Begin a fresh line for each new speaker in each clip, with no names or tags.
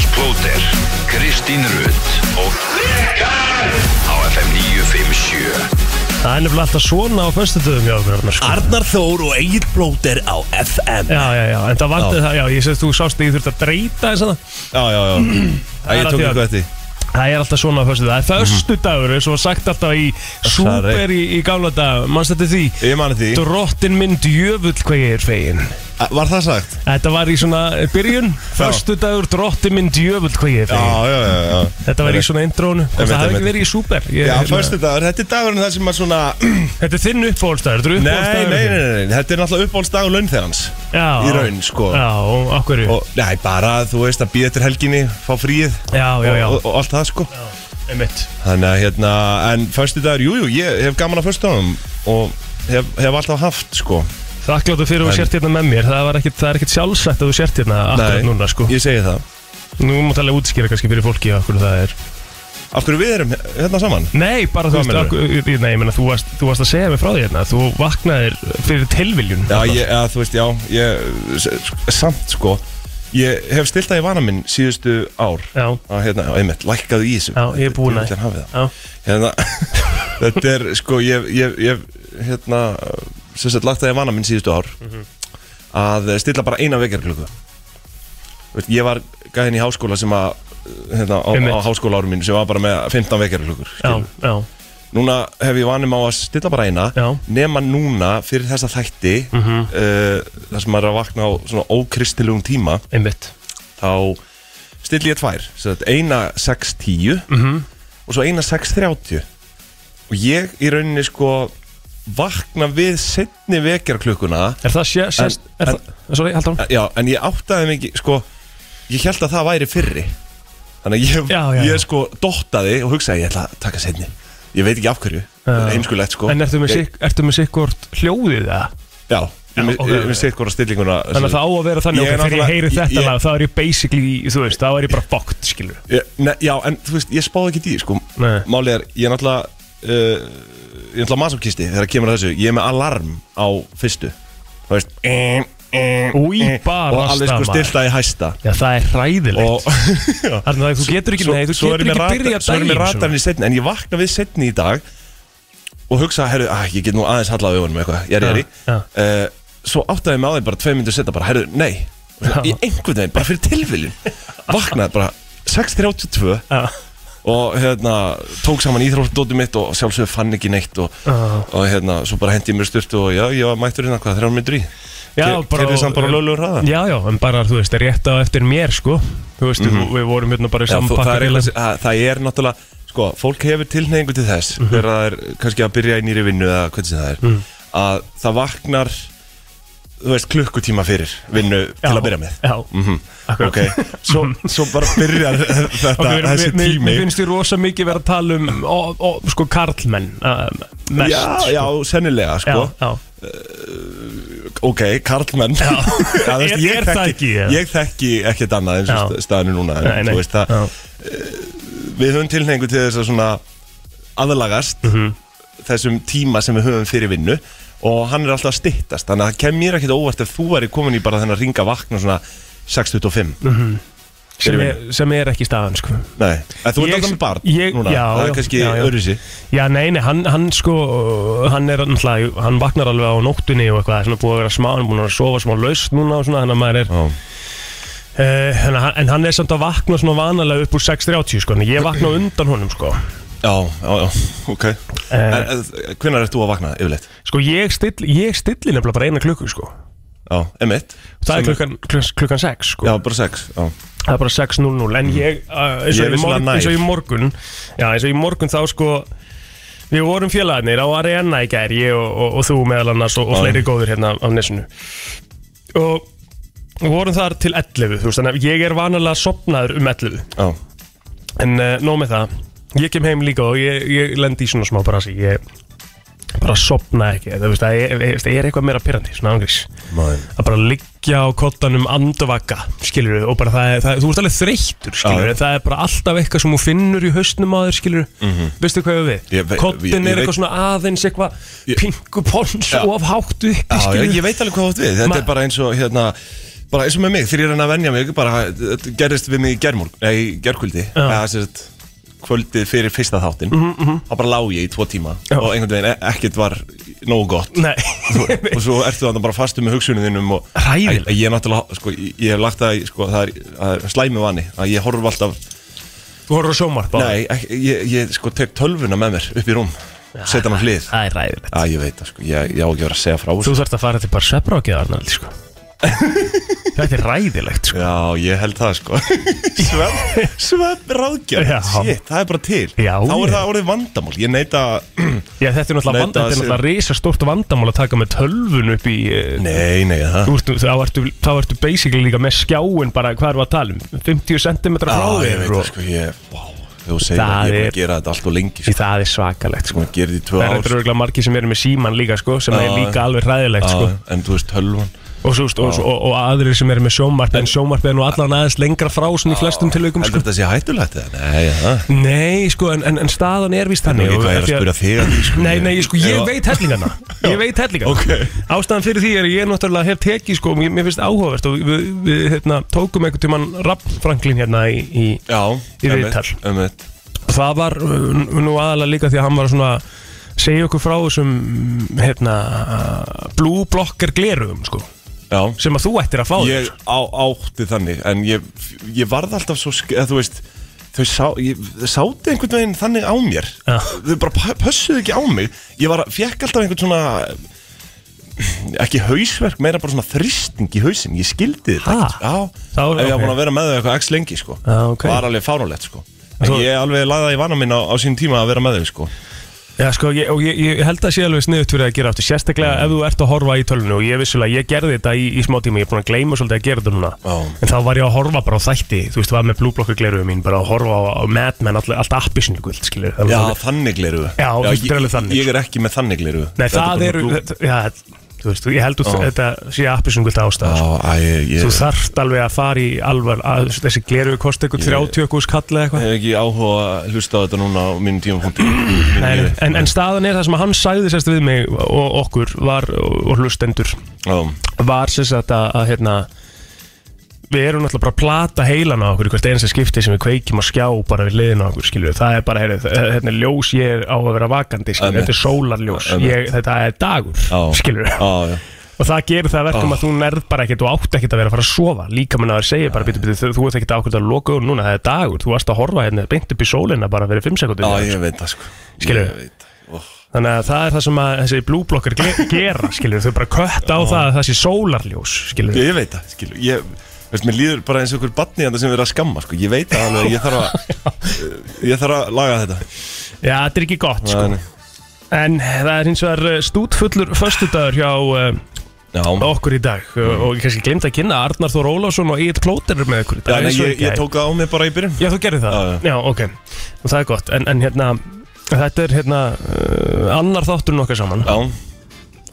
Blóter, Kristín Rutt og Rikar á FM 957
Það er nefnilega alltaf svona á föstutöðum hjá okkur Arnar, sko.
Arnar Þór og Egil Blóter á FM
Já, já, já, en það vandi
Já.
það, já, ég sé þú sást að ég þurfti að breyta þess að
Já, já, já Æ,
er að
ég tók
því að-
eitthvað eftir Mhm.
Það er alltaf svona á föstutöð, það er föstudagur eins og var sagt alltaf í
er
súper í, í gamla dag, mannst þetta því
Ég mani því
Drottin minn djöfull hvað ég er fegin
A, Var það sagt?
Þetta var í svona byrjun, föstudagur drottin minn djöfull hvað ég er fegin
já, já, já
Þetta var í svona indrónu og
Einmitt,
það hafði
einmitt.
ekki verið í súper Ég-
Já,
hérna,
fyrstu dagur, þetta er dagurinn það sem að svona Nei,
Þetta er þinn uppbólstaður, þetta er
nei,
uppbólstaður
nei, nei, nei, þetta er náttúrulega uppáhaldsdagur laun þegar hans
Já,
Í raun, sko.
Já, og af hverju
Og, nei, bara, þú veist, að býða eftir helginni, fá fríið
Já, já, já,
Og, og, og allt það, sko
einmitt
Þannig að, hérna, en fyrstu dagur, jú, jú, ég hef gaman að fyrstu dagum Og hef, hef alltaf haft, sko
Þakkláttu fyrir að þú
En-
sért hérna með mér Það, var ekkit, það er ekkit sjálfsagt að þú sért hérna akkurat núna sko.
ég segi það
Nú má tala útskýra kannski fyrir fólki af hverju það er
Af hverju við erum hérna saman?
Nei, bara þú
Hvað
veist
meinarðu?
akkur, Nei, ég meina þú varst, þú varst að segja mig frá því hérna Þú vaknaðir fyrir tilviljun
Já, ég, ja, þú veist, já, ég, s- samt sko Ég hef stilt það í vana minn síðustu ár
já,
að, hérna, já, einmitt, lækkaðu í þessu
Já, ég er búinn að-
Djöfull er hafið það.
já,
hérna, Þetta er, sko, ég, ég, ég hérna, sem sagt, lagt það í vana minn síðustu ár
Mhm.
að stilla bara eina vekjarklöku Veit, Ég var gæðin í háskóla sem að hérna, á,
Einmitt.
á háskóla árum mínu sem var bara með 15 vekjarklökur
já, já,
Núna hef ég vanum á að stilla bara eina
Já. Mhm.
nema núna fyrir þessa þætti mm þar sem maður er að vakna á svona ókristilugum tíma
einmitt
þá stilli ég tvær Svo þetta, eina 6.10
Mhm.
og svo eina 6.30 og ég í rauninni sko vakna við setni vekjarklukkuna
Er það sé, sérst,
En-
er það Sorry, haldur hann
já, en ég áttaði mig ekki sko, ég held að það væri fyrri þannig að ég,
Já, já, já.
ég sko dottaði og hugsaði ég ætla að taka setni ég veit ekki af hverju,
Já.
heimskulegt sko
En ertu með,
Ég-
sikk, ertu með sikkort hljóðið það?
Já,
Já,
ég mis-
ok,
ég
ok.
misti eitthvað stillinguna
Þannig að það á að vera þannig
Ég
ok,
er
Þegar ég
náttúrulega-
heyri þetta
ég-
lag þá er ég basically, í- þú veist, þá er ég bara fokkt, skilur
ég, ne, Já, en þú veist, ég spáði ekki því sko.
Nei.
Málið er, ég er náttúrulega uh, Ég er náttúrulega masokisti Þegar kemur að þessu, ég er með alarm á fyrstu Þú veist em, em,
Új,
em,
bara
Eh, Og alveg sko
stamaður.
stillta í hæsta
Já, það er hræðilegt
Og já.
Arnar, þú getur ekki,
Svo-
nei, þú
svo
getur
erum við
ekki
rata-
byrjað daginn
Svo erum við ratarinn
svona.
í setni En ég vakna við setni í dag Og hugsa, herru, ah, ég get nú aðeins hallað á augunum eitthvað Ég er
Já,
ég er í
já.
Eh, Svo áttaði ég mig á því bara tvei myndir setna bara, herru, nei Og svo
Já.
Í einhvern veginn, bara fyrir tilviljun Vaknaði bara 6.32
Já.
Og hérna, tók saman íþróttdóti mitt Og sjálfsögur fann ekki neitt Og,
Já.
og hérna, svo bara hendi ég mér styrtu Og já, ég var mættur hérna, hvað, þrjár myndir í
Já,
Ke- keyrði samt bara á löglegum hraða.
Já, já, en bara, þú veist, rétt á eftir mér, sko Þú veist, mm við vorum hérna bara í
Mhm. Já, þú-
saman
það, er
pakka
eitthvað, sem- að- það er náttúrulega sko, fólk hefur tilneyingu til þess
Mhm.
þegar það er kannski að byrja í nýri vinnu eða hvernig sem það er að það vaknar þú veist klukkutíma fyrir vinnu til að byrja með
Já,
Mhm.
akkurat
ok, svo, svo bara byrjar þetta
Ok, við-
þessi
við- við-
tími
Mér finnst því rosa mikið vera að tala um, ó, ó, sko, karlmenn uh, Mest
já,
sko.
já,
já,
sennilega sko.
já.
ok, karlmenn já. þú veist,
Er-
ég
er það
þekki-
ekki, eða?
ég þekki ekkert annað eins
Já.
og staðinu núna en,
Nei, nei,
þú veist, það, eh,
já.
við höfum tilhengu til þess að svona aðlagast
Mhm.
þessum tíma sem við höfum fyrir vinnu og hann er alltaf að styttast þannig að það kem mér ekkit óvart ef þú væri komin í bara þennan ringa vakna svona 6.25
sem, er, sem er ekki staðan, sko
Nei, að þú
Ég-
ert alltaf með barn
ég-
núna
já,
það
já,
er kannski
já, já.
öðruvísi
Já, nei, nei, hann, hann sko, hann er náttúrulega, hann vaknar alveg á nóttunni og eitthvað, svona búið að vera smá, hann er búin að sofa smá laust núna og svona, þannig að maður er,
Já.
uh, en, hann- en hann er samt að vakna svona vanalega upp úr 6.30, sko, en ég vakna á undan honum, sko.
Já, já, já, ok
Eh.
En en, hvenær ert þú að vakna yfirleitt?
Sko, ég stilli, ég stilli nefnilega bara eina klukku, sko.
Já, emitt
Það er klukkan, klukkan, klukkan 6, sko.
Já, bara 6 já.
það er bara 6.00 en ég, uh, eins,
Mm. Ég er
og í
vissulega
morgun,
nær.
eins og í morgun já, eins og í morgun þá sko við vorum félagarnir á Arena í gær ég og, og, og þú meðal annars og, og
Já.
fleiri góður hérna á nesinu og við vorum þar til 11 þú veist, þannig að ég er vanalega sopnaður um 11
Já,
en uh, nóg með það ég kem heim líka og ég, ég lendi í svona smá brasi ég bara sopna ekki það, veist, það, er, það er eitthvað meira pyrrandi svona ángrís
maður
að bara liggja á kottanum andvaka, skilur og bara það, er- það, þú ert alveg þreyttur, skilur
Já.
það er bara alltaf eitthvað sem þú finnur í hausnum á þér, skilur veistu hvað ég á
Mhm. Ég
við
vei- ég-
kottin
ég
er
veit-
eitthvað svona aðeins eitthvað
Ég-
pingu pons
Já.
og af hátt uppi,
Já, já,
skilur
ég veit alveg hvað þú átt við Þetta
Ma-
er bara eins og hérna bara eins og með mig, þegar ég er enn að venja mig bara, þetta gerðist við mig í germorg nei, í gerkvöldi, eða sem sagt kvöldið fyrir fyrsta þáttin
Mhm,
þá bara lág ég í tvo tíma og einhvern veginn e- ekkert var nógu gott
Nei.
Þú- og svo ertu þannig bara fastu með hugsunum þínum og
Hræðilegt.
Æ, ég er náttúrulega, sko, ég ég hef lagt það í, sko, það er, það er slæmi vani að ég horf alltaf,
Þú horfður á sjómarp á
nei, ekki, ég, ég sko tek tölvuna með mér upp í rúm setja hann á hlið,
Það er ræðilegt
að ég veit það, sko ég, ég á ekki að vera að segja frá þessu.
Þú þarft að fara til bara svefnrákið Arnaldi sko Þetta er ræðilegt sko
já, ég held það, sko svepp, svepp ráðgjörn
Já.
shit, það er bara til,
Já,
þá er
ég-
það orðið vandamál ég neita,
Já, þetta er náttúrulega,
Nei,
vand, þetta er
það sé-
náttúrulega risastórt vandamál að taka með tölvun upp í eh,
nei, nei, það
þú ert, þá, ertu, þá ertu basically líka með skjáin bara hvað erum við að tala um 50 cm frá
já,
þér
ég veit
og-
það, sko ég, vá, þú segir
Það
það, ég er búin
er-
að gera þetta allt og lengi,
Því
sko,
það er svakalegt sko.
Búin að gera þetta í tvö
Það er
ár
þetta örgulega margir sem eru með síman líka sko, sem er
Já,
líka alveg hræðilegt sko.
Já, en þú veist, tölvan
og, svo, veist, og, og, og aðrir sem eru með sjónvarp en sjónvarp er nú allan aðeins lengra frá sem í flestum tilaukum
heldur
sko.
þetta sé hættulegt eða? Nei, það
Nei, sko, en, en, en staðan er víst
Nú,
þannig
ég
og
hvað
af
er að
því
spyrja þig að því, sko.
Nei, nei, sko, ég
Ef-
veit hellingana Ég veit hellingana
Ok.
Ástæðan fyrir því er að ég náttúrulega hef tekið sko, mér, mér finnst áhugavert og við, við hérna, tókum einhvern tímann Rapp Franklin hérna í, í
Já,
Í viðtal.
ömmit.
það var uh, nú aðalega líka því að hann var svona að segja okkur frá þessum hérna, blue blocker glerugum sko,
Já,
sem að þú ættir að fá
ég
þér.
á, átti þannig En ég, ég varð alltaf svo sk- eða, Þú veist, þau sá, ég, þau sátu einhvern veginn þannig á mér
Já.
Þau bara pa- pössuðu ekki á mig Ég var, fekk alltaf einhvern svona Ekki hausverk, meira bara svona þristing í hausin Ég skildi þetta
Ha?
ekkert. Já,
Þá-
ef ég
ok.
var búin að vera með þau eitthvað x lengi sko.
Já, ok.
Var alveg fáránlegt sko. En
Svo-
ég alveg lagði það í vana minn á, á sín tíma að vera með þau sko.
Já, sko, ég, og ég, ég held að sé alveg sniðut fyrir að gera aftur sérstaklega ef þú ert að horfa í tölvunni og ég vissulega, ég gerði þetta í, í smá tíma ég er búin að gleyma svolítið að gera þetta núna
Já.
en þá var ég að horfa bara á þætti þú veist, var með blue blocker glerugum mín bara að horfa á, á Mad Men, all, allt appisnugult skilur, það var
Já,
alveg-
þannig gleru
Já, þetta er alveg þannig. sko.
Ég er ekki með þannig gleru
Nei, það eru, þetta- já, þú veist, ég held að
Já.
þetta sé appisnugult ástæða sko.
Já, æ, ég
Þú
Ég
þarft alveg að fara í alvar að þessi gleru kosti eitthvað 30 ekkur skall eða eitthvað
hef ekki áhuga að hlusta á þetta núna á minn tímapunkti Mínu
Nei,
lífi.
en, en staðan er það sem að hann sagði sérst við mig og okkur var, og hlustendur
Já,
var sérst að, að, að hérna, við erum náttúrulega bara að plata heilan á okkur í hvert einasta skipti sem við kveikjum á skjá bara við liðin á okkur skilju það er bara, heyri, hérna, ljós ég er á að vera vakandi skilju,
Einmitt.
þetta er sólarljós
Einmitt.
ég, þetta er dagur
já
skilju
Já, Ah. já
Og það gerir það að verkum að þú nærð bara ekkert og átt ekkert að vera að fara að sofa Líka minn að það segja bara, býtu, býtu, þú- þú ert ekkert ákvörð að loka augun núna, það er dagur Þú varst að horfa hérna, beint upp í sólina bara fyrir 5 sekundur
Já, ég veit það sko
Skilurðu?
Ég veit það. Ó,
Þannig að það er það sem að þessi blúblokkar gera, skilur Þau bara kött á það að það sé sólarljós, skilur
Ég veit það, skilu Ég, veist, mér líður bara eins og einhver batni þetta sem verið að skamma sko Ég veit það alveg, ég þarf að Ég þarf að laga þetta
Já, þetta er ekki gott, sko
Þannig.
En það er hins vegar eh, stútfullur föstudagur hjá uh,
Já,
okkur í dag mm. Og ég kannski glemt að kynna Arnar Þór Ólafsson og Egil Plóter eru með okkur í
Já,
dag
nei,
eins og í
ég, ég
gær.
tók það á mig bara í byrjun
Já, þú gerði það?
Já,
já. ok. Og það er gott. En, en hérna, þetta er hérna uh, annar þátturinn okkar saman.
Já,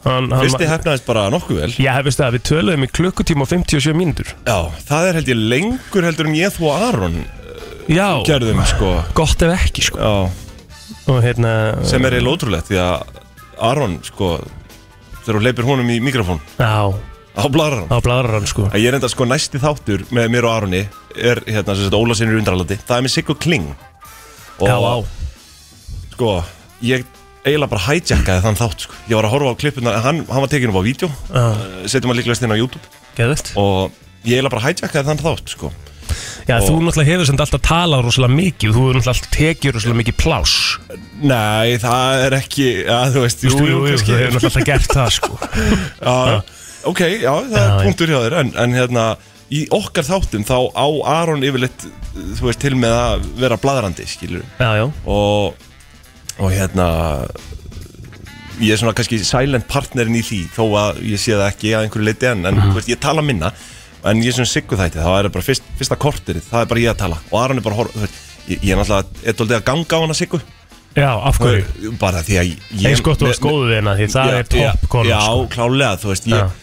Hann, hann
fyrsti hefnaðist bara nokkuð vel
Já, veistu það, við töluðum í klukkutíma og 57 mínútur.
Já, það er held ég lengur heldur en ég þú og Aron eh,
Já,
gerðum sko
gott ef ekki, sko.
Já,
Og hérna,
sem er eiginlega ótrúlegt því að Aron sko þegar hún leipir honum í mikrofón
já,
á blarar hann
á bladrar hann, sko.
að ég er enda sko næsti þátur með mér og Aroni er hérna sem sagt Óla sinni undralandi það er með Siggo Kling og
Já, á.
sko ég eiginlega bara hijackaði þann þátt sko. ég var að horfa á klippuna hann, hann var tekinum á vídeo Eh,
Já,
setjum að líklegast inn á YouTube
geðvöld.
og ég eiginlega bara hijackaði þann þátt sko.
Já, þú
og-
náttúrulega hefur sem alltaf talað rosalega mikið, þú hefur náttúrulega alltaf tekið rosalega mikið plás.
nei það er ekki ja, þú veist, jú, jú,
þú hefur
kannski
náttúrulega alltaf gert það, sko.
Já, ok, já, það
Já,
er
já.
punktur hjá þér en, en hérna, í okkar þáttum þá á Aron yfirleitt þú veist til með að vera bladrandi, skilur
Já, já,
og, og hérna ég er svona kannski silent partnerin í því þó að ég sé það ekki að einhverju leiti en, en
Mhm.
mm veist, ég tala minna en ég er svona siggu þætti, þá er það bara fyrst, fyrsta korterið það er bara ég að tala og Aron er bara að horfa, þú veist, ég, ég er náttúrulega, er doldið að ganga á hana siggu
já, af hverju?
bara því að ég
Eins gott þú
me-
varst góðu við hérna, því það
Já,
er topp
já,
konan, sko.
Já, klálega, þú veist ég,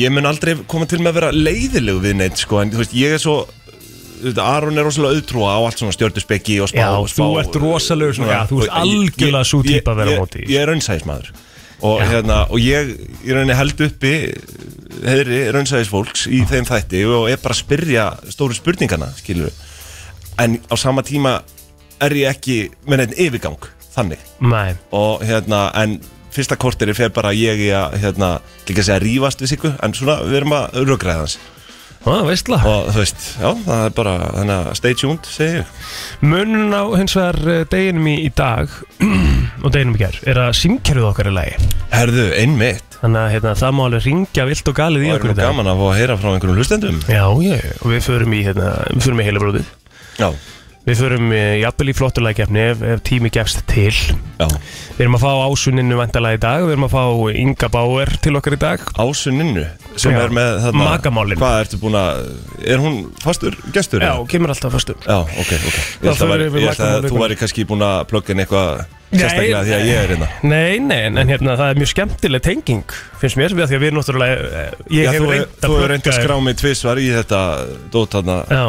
ég mun aldrei koma til með að vera leiðilegu við neitt sko, en þú veist, ég er svo þú veist, Aron er rosalega auðtrúa á allt svona stjörnuspeki og spá
Já,
og spá,
þú ert rosalegur svona- já, þú ert
og ég-
algjörlega
ég-
sú típa að vera á
ég-
móti.
Ég, ég er raunsæðismæður og, hérna, og ég í rauninni held uppi heðri raunsæðis fólks í þeim þætti og er bara að spyrja stóru spurningana skilur en á sama tíma er ég ekki með neitt yfirgang þannig
Nei,
og hérna en fyrsta kortir fer bara ég í að hérna, líka segja rífast við sikku en svona við erum að röggræða hans
það veistla
og þú veist, já, það er bara þannig að stay tuned, segi ég
Munun á hins vegar eh, deginum í, í dag og deginum í gær er að símkerfið okkar er lægi
Herðu, einmitt
Þannig að hérna, það má alveg ringja vilt og galið í
og
okkur
erum
í dag
gaman að fá að heyra frá einhverjum hlustendum
Já, já, já. og við förum í, hérna, við förum í heilabrótið
Já,
Við förum eh, jafnvel í flottulækjafni ef, ef tími gefst til
já
Við erum að fá ásuninu vandalega í dag Við erum að fá Inga Bauer til okkar í dag
Ásuninnu sem
Já,
er með þarna
makamálin.
Hvað ertu búin að, er hún fastur gestur?
Já,
eða?
kemur alltaf fyrstum
Já, ok,
Þá
ok Ég held að,
förum við
væri,
yfir
ég held að
makamálin.
þú væri kannski búin að plugga inn eitthvað sérstaklega því að ég er hérna
Nei, nei, en en hérna það er mjög skemmtileg tenging finnst mér, við að því að við erum náttúrulega eh, ég
Já,
hef
þú,
reynt
þú hefur reynd
plugga
að
þér.
skrá mig tvissvar í þetta dót þarna
Já,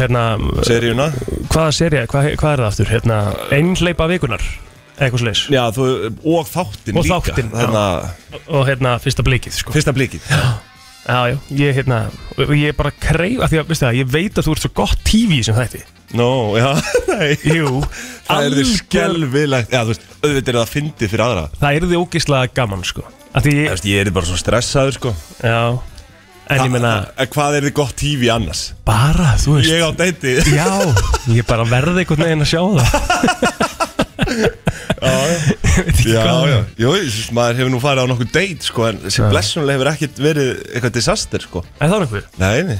hérna,
seríuna
hvaða serja, hvað, hvað er það aftur? Hérna, einhleipa vikunar eitthvað sliðis
Já, þú, og þáttinn
Og
líka
þáttinn, já.
Þarna,
og hérna, fyrsta blikið, sko
fyrsta blikið
Já, já, ég, hérna, og ég bara kreif að því að, veistu það, ég veit að þú ert svo gott TV sem þætti
Nó, já, nei
Jú,
Það er því
algjör-
skelvilegt Já, þú veist, auðvitað er það fyndið fyrir aðra
Það er því ógislega gaman, sko að því,
Þú
ég,
veist, ég er bara svo stressaður, sko
já En ég meina,
En Hvað er þið gott tífi annars?
bara, þú veist
Ég á deiti
Já, ég bara verði einhvern veginn að sjá það Ég veit ekki
Já,
hvað
já, jú, þess, maður hefur nú farið á nokkuð deit, sko En sem
Já.
blessunlega hefur ekkert verið eitthvað disaster, sko
Er það einhver?
Nei, nei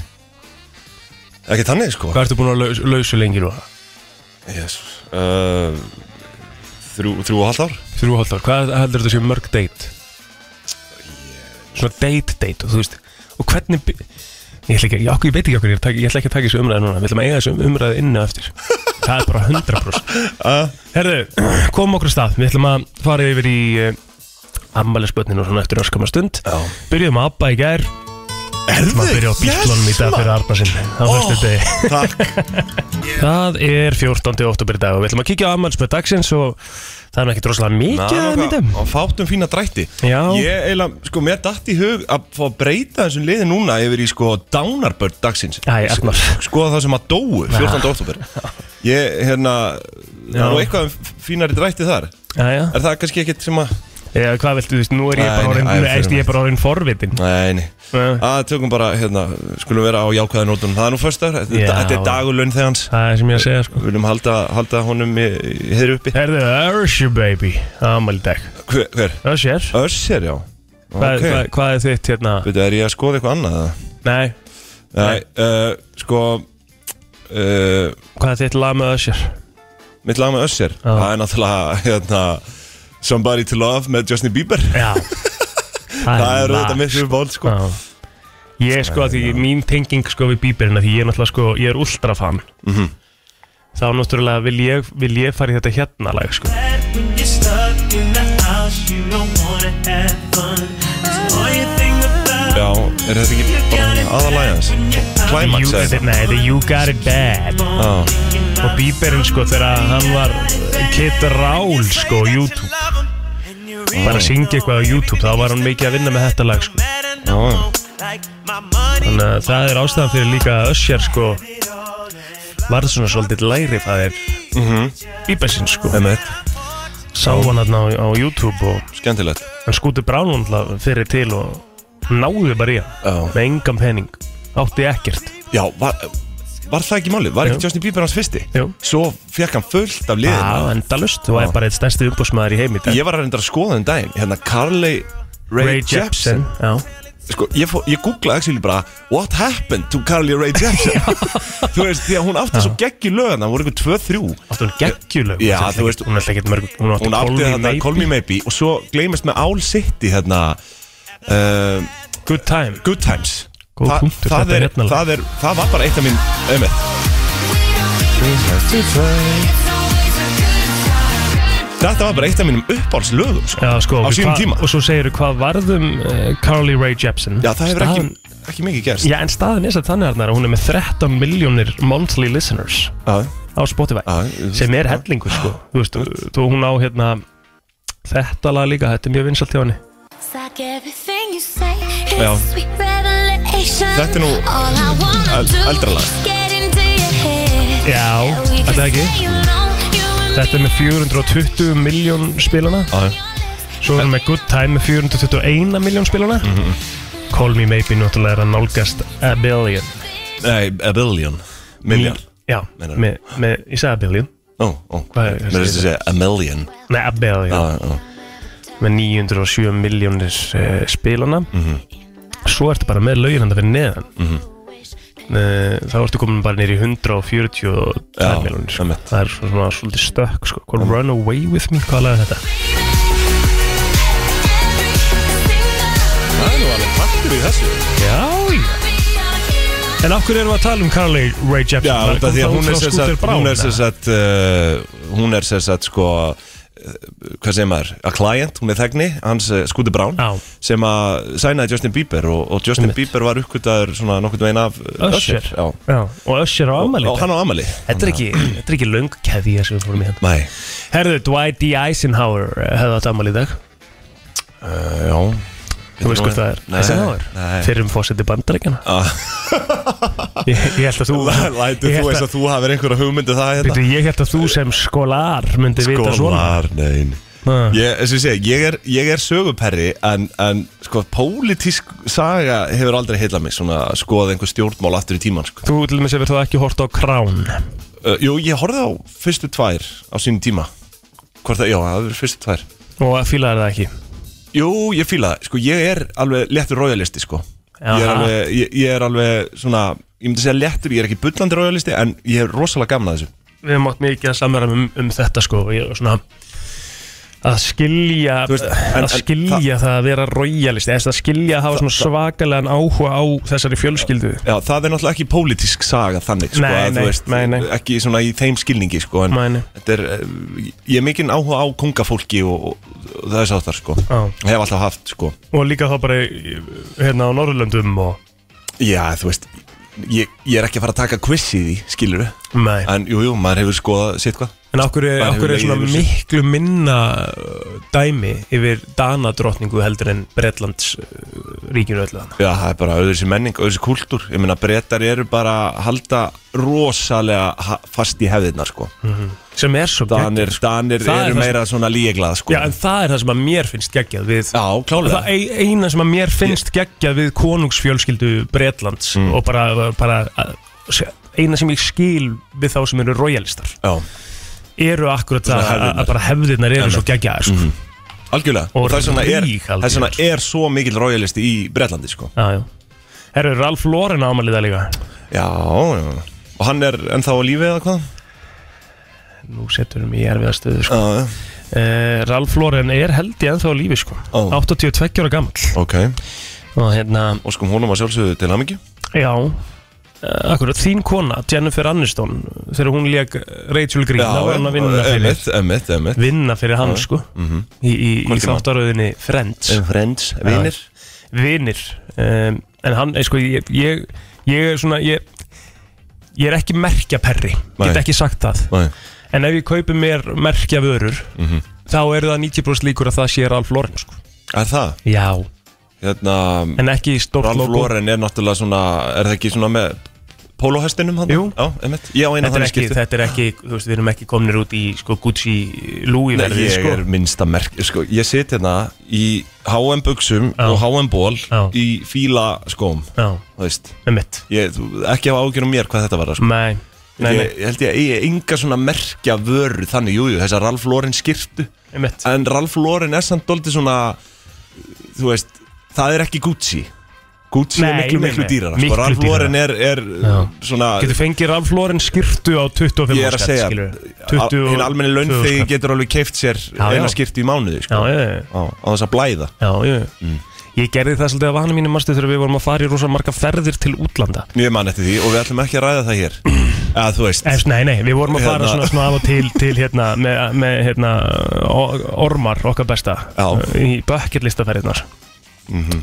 Ekki þannig, sko
Hvað ertu búin að laus, lausu lengi nú?
Jesus. Uh, Þrjú, þrjú og halvt ár
Þrjú hálft ár, hvað heldur þetta sé mörg date? Svona date date og þú veist Og hvernig by- Ég, ætla ekki, ég, okkur, ég veit ekki okkur, ég, er að taka- ég ætla ekki að taka þessu umræði núna Við ætlum að eiga þessu umræði inni á eftir Það er bara 100%
Ah.
Herðu, komum okkur af stað Við ætlum að fara yfir í uh, ammælisbötnin og svona eftir öskama stund
Já.
Byrjuðum að abba í gær
Erðu?
maður byrja á bílunum í dag fyrir Arna sinn á fyrstu degi
Takk
Það er 14. oktober í dag og við ætlum að kíkja á ammælspöð dagsins og það er nú ekkert rosalega mikið að myndum
Og fátum fína drætti
Já.
Ég eiginlega, sko, mér datt í hug að fá að breyta þessum liði núna yfir í sko dánarbörn dagsins
Æ, Arnar.
Sko það sem að dóu
Ah.
14. oktober Ég, hérna, það
Já.
er nú eitthvað um fínari drætti þar
Jæja,
Er það kannski ekkert sem að
eða hvað viltu, þú veist, nú er ég
Nei,
bara orðin,
nei, æ,
eist, ég er bara orðin forvitin
Nei, nei
Nei.
Að tökum bara, hérna, skulum vera á jákvæða nótunum Það er nú föstar, þetta,
Já.
þetta er dagulun þegar hans
Það er sem ég að segja, sko
Við viljum halda, halda honum í, í heiðri uppi
Herðu, Usher baby, ammæli í dag
Hver? hver?
Usher,
Össer, já
hvað,
Ok.
hvað, hvað er þitt hérna?
Veitu, er ég að skoða eitthvað annað? eða?
Nei,
Nei, uh, sko uh,
hvað er þitt lag með Usher?
Mitt lag með Össer
Já.
Það er náttúrulega hérna, Somebody to Love með Justin Bieber
Já
Það er
lag,
auðvitað mitt
sko.
fyrir ból sko.
Já. Ég sko að því mín tenging sko við bíberina því ég er náttúrulega sko, ég er ultrafan
Mhm.
Þá náttúrulega vil ég, vil ég fara í þetta hérna lag sko
when you're stuck in the house, you don't wanna have fun. So all you think about
Já, er þetta ekki bara aðalæg hans?
when you're out
Climax
you, þetta,
eða eitthvað?
Nei, þetta er You Got It Bad
Já.
Og bíberin sko þegar hann var Kid Rál sko á YouTube Bara að syngja eitthvað á YouTube þá var hann mikið að vinna með þetta lag sko Þannig að það er ástæðan fyrir líka að Össjar sko Varð svona svolítið læri það er Bíbersinn sko
Mhm. Einmitt,
sá hann hérna á, á YouTube og
skemmtilegt
hann skúti bránum fyrir til og náði bara í hann
Já.
með engan pening átti ekkert
Já, var, var það ekki máli? Var
Jú.
ekki Justin Bieber hans fyrsti?
Jú.
Svo fekk hann fullt af
Já,
liðin
endalust, þú er bara eitt stærsti umbúsmaður í heimi í dag.
Ég var að reynda að skoða þenn daginn Hérna Carly Ray,
Ray Jepsen Já,
sko, ég, fó, ég googlaði actually bara What happened to Carly Rae Jepsen Þú veist, því að hún átti svo gegg í lögana Hún voru ykkur 2-3
átti hún geggjulög
Já, þú veist-
Hún er alltaf ekkert mörg Hún átti
Hún átti
Colby
þarna Call
Maybe
Me Maybe Og svo gleymist með Owl City þarna uh,
Good time
Good Times
Góð
Þa-
punktur,
það,
þetta er
er,
hérna lag.
það, er, það var bara eitt af mín ömið Þetta var bara eitt af mínum uppáhaldslögum sko,
Já, sko
Á
við
sínum
hvað-
tíma
Og svo segirðu hvað varðum uh, Carly Rae Jepsen
Já, það hefur
Staðan-
ekki, ekki mikið gerst
Já, en staðan er satt þannig Arnar, að hún er með 13 miljónir monthly listeners
Já,
á Spotify
já, þú veist,
sem er hellingur sko þú veist, þú, hún á hérna Þetta lag líka, þetta er mjög vinsalt hjá henni
Já.
Já
Þetta er nú el- eldra lag.
Já,
Þetta
þetta er ekki Þetta er með 420 miljón spilana
Já, já.
Svo erum við með Good Time með 421 miljón spilana
Mhm.
Call Me Maybe náttúrulega er að nálgast A Billion Mm,
Nei, a billion Million
Já,
Meinar.
með, með, ég sagði A Billion
Ó, ó
Hvað er-
Mér finnst að segja a million
Nei, A
Já,
Billion
já, já
Með 907 miljónir uh, spilana
Mhm.
Svo ertu bara með lögin handa fyrir neðan mm Þá ertu komin bara nýr í 142
Já,
miljónir sko.
einmitt.
Það er svona svolítið stökk sko. Hvað Run Away With Me, hvað lag er þetta?
Það er nú alveg partur í þessu
Já, já En af hverju erum við að tala um Carly Rae Jepsen?
Já,
Það
þetta
kom
því
þá frá
að hún er
Scooter
sér satt
Braun,
Hún er sér
eða?
satt Hún er sér satt sko eh, Hvað segir maður? A client, hún er þegni Hans Skúti Brown
Já.
Sem að sænaði Justin Bieber Og, og Justin
Einmitt.
Bieber var uppkvitaður svona nokkurt veginn af eh,
Usher.
Já
Já, og Usher á Amali
Og hann á Amali
Þetta er ekki, þetta er ekki löng keðja sem við fórum í hann
Nei
Herðu, Dwight D. Eisenhower eh, hefði átt Amali í dag Eh,
uh, Já
Þú veist hvað það er,
Nei,
Eisenhower
nei.
Fyrir um fósetti bandarækjana
Ah.
ég, ég held að þú
Lætur
ég
þú
held
eins og þú hafir einhverja hugmyndu það hérna
Bíddu, Ég held að þú sem skólar myndi vita svona
Skólar, nein
Ha.
Ég, eins og ég segi, ég er, ég er söguperri en, en sko, pólitísk saga hefur aldrei heila mig svona að skoða einhver stjórnmál aftur í tímann sko.
Þú til dæmis hefur þá ekki hort á Crown
uh, Jú, ég horfði á fyrstu tvær á sínum tíma Hvort það, já, það hefur verið fyrstu tvær
og fílaði það ekki
Jú, ég fíla það, sko, ég er alveg léttur royalisti, sko
Jaha.
ég er, alveg, ég, ég er alveg svona, ég myndi segja léttur, ég er ekki bullandi royalisti en ég er rosalega gaman að þessu
við höfum átt mikið að samverða um, um þetta sko og ég er svona að skilja
Þú veist, en- en
að skilja það að vera royalist eða að skilja að hafa svona svakalega áhuga á þessari fjölskyldu
Já, það er náttúrulega ekki pólitísk saga þannig sko,
Nei,
að,
nei,
þú veist,
nei, nei.
ekki svona í þeim skilningi sko, en
Nei, nei.
þetta er, eh, ég er mikinn áhuga á kongafólki og, og, og það er sáttar sko.
Já.
hef alltaf haft sko.
og líka þá bara í- hérna á Norrlöndum og
já, þú veist ég, ég er ekki að fara að taka quiz í því, skilur við
Nei.
en jú, jú, maður hefur skoðað sitt hvað
en okkur er,
Bara hefur
okkur er
legið
svona
yfir sig.
miklu minna uh, dæmi yfir danadrottningu heldur en Bretlands uh, ríkinu öllu þannig
já, það er bara öðru sér menning, öðru sér kultúr ég meina, brettar eru bara að halda rosalega ha- fast í hefðirnar sko.
sem er svo gegn
danir, danir
Það er það
eru
sem-
meira svona líeglað sko.
Já, en það er það sem að mér finnst geggjað við
Já, klálega.
Það ei- eina sem að mér finnst geggjað við konungsfjölskyldu Bretlands
Mm.
og bara, uh, bara eina sem ég skil við þá sem eru royalistar
já,
eru akkurat það
Svona
að-
hefðirnar. Mhm.
að bara hefðirnar eru svo geggjaðar sko.
algjörlega
Og
og, þess vegna er,
rík algjör.
þess vegna er svo mikill royalisti í Bretlandi sko.
Já, já Herru, Ralf Loren ámælið það líka
Já, já Og hann er ennþá á lífi eða hvað?
Nú setur við í erfiðastöðu sko.
Já, já
uh, Ralf Loren er held ég ennþá á lífi sko.
Ó.
82 ára gamall
Ok
og hérna
Og sko húnum að sjálfsögðu til hamingi
Já uh, Akkurat, þín kona, Jennifer Aniston Þegar hún lék Rachel Green Það var hann að vinna fyrir
Emmett, Emmett, Emmett
Vinna fyrir hann sko Í, í, í
Hvorki mál.
þáttaröðinni Friends
Friends,
vinir. Vinir um, En hann, eh, sko, ég, ég, ég er svona Ég, ég er ekki merkjaperri
Nei.
Get ekki sagt það
Nei,
En ef ég kaupi mér merkjavörur Þá eru það 90% líkur að það sé Ralf Lauren sko.
er það?
Já,
Hérna
en ekki stórt
Ralf
logo
Lauren er náttúrulega svona Er það ekki svona með Pólóhestinum hann?
Jú.
Já, Emmett Ég á
Þetta
eina
er,
þannig
ekki,
skipti
þetta er ekki, þú veist, við erum ekki komnir út í sko, Gucci Louis
Nei,
verðið,
ég
sko.
er minnsta merk sko, Ég sit hérna í H&M buksum
Já.
og H&M ból
Já.
Í fíla skóm
Já,
Þú veist
með mitt
ég, þú- Ekki hafa ágjör um mér hvað þetta var sko.
Nei, nei, nei,
ég, ég held ég að eigi enga svona merkja vöru þannig, jújú, jú, þessa Ralf Lauren skirtu
með mitt
en Ralf Lauren er samt doldið svona þú veist, það er ekki Gucci Gucci er
Nei,
miklu,
nei,
miklu
nei.
dýrara
Miklu
sko. Ralf
dýrara.
Lauren er, er
Já.
svona
Getur fengið Ralf Lauren skirtu á 25
ég er að
áskatt,
segja,
skilur við.
al-
20
hinn almenni laun
20
þegar
skatt.
getur alveg keift sér
Já, já.
eina skirtu í mánuði
Já,
sko.
já, já,
á, á þess að blæða Mm.
já, já. Ég gerði það svolítið að vana mínu marstu þegar við vorum að fara í rosa marga ferðir til útlanda
ég man eftir því og við ætlum ekki að ræða það hér að þú veist,
Efst, Nei, nei, við vorum að fara
Hérna.
svona, svona af og til, til hérna, með, með hérna, o- ormar okkar besta
Já.
í bökkirlistaferðinar
mhm.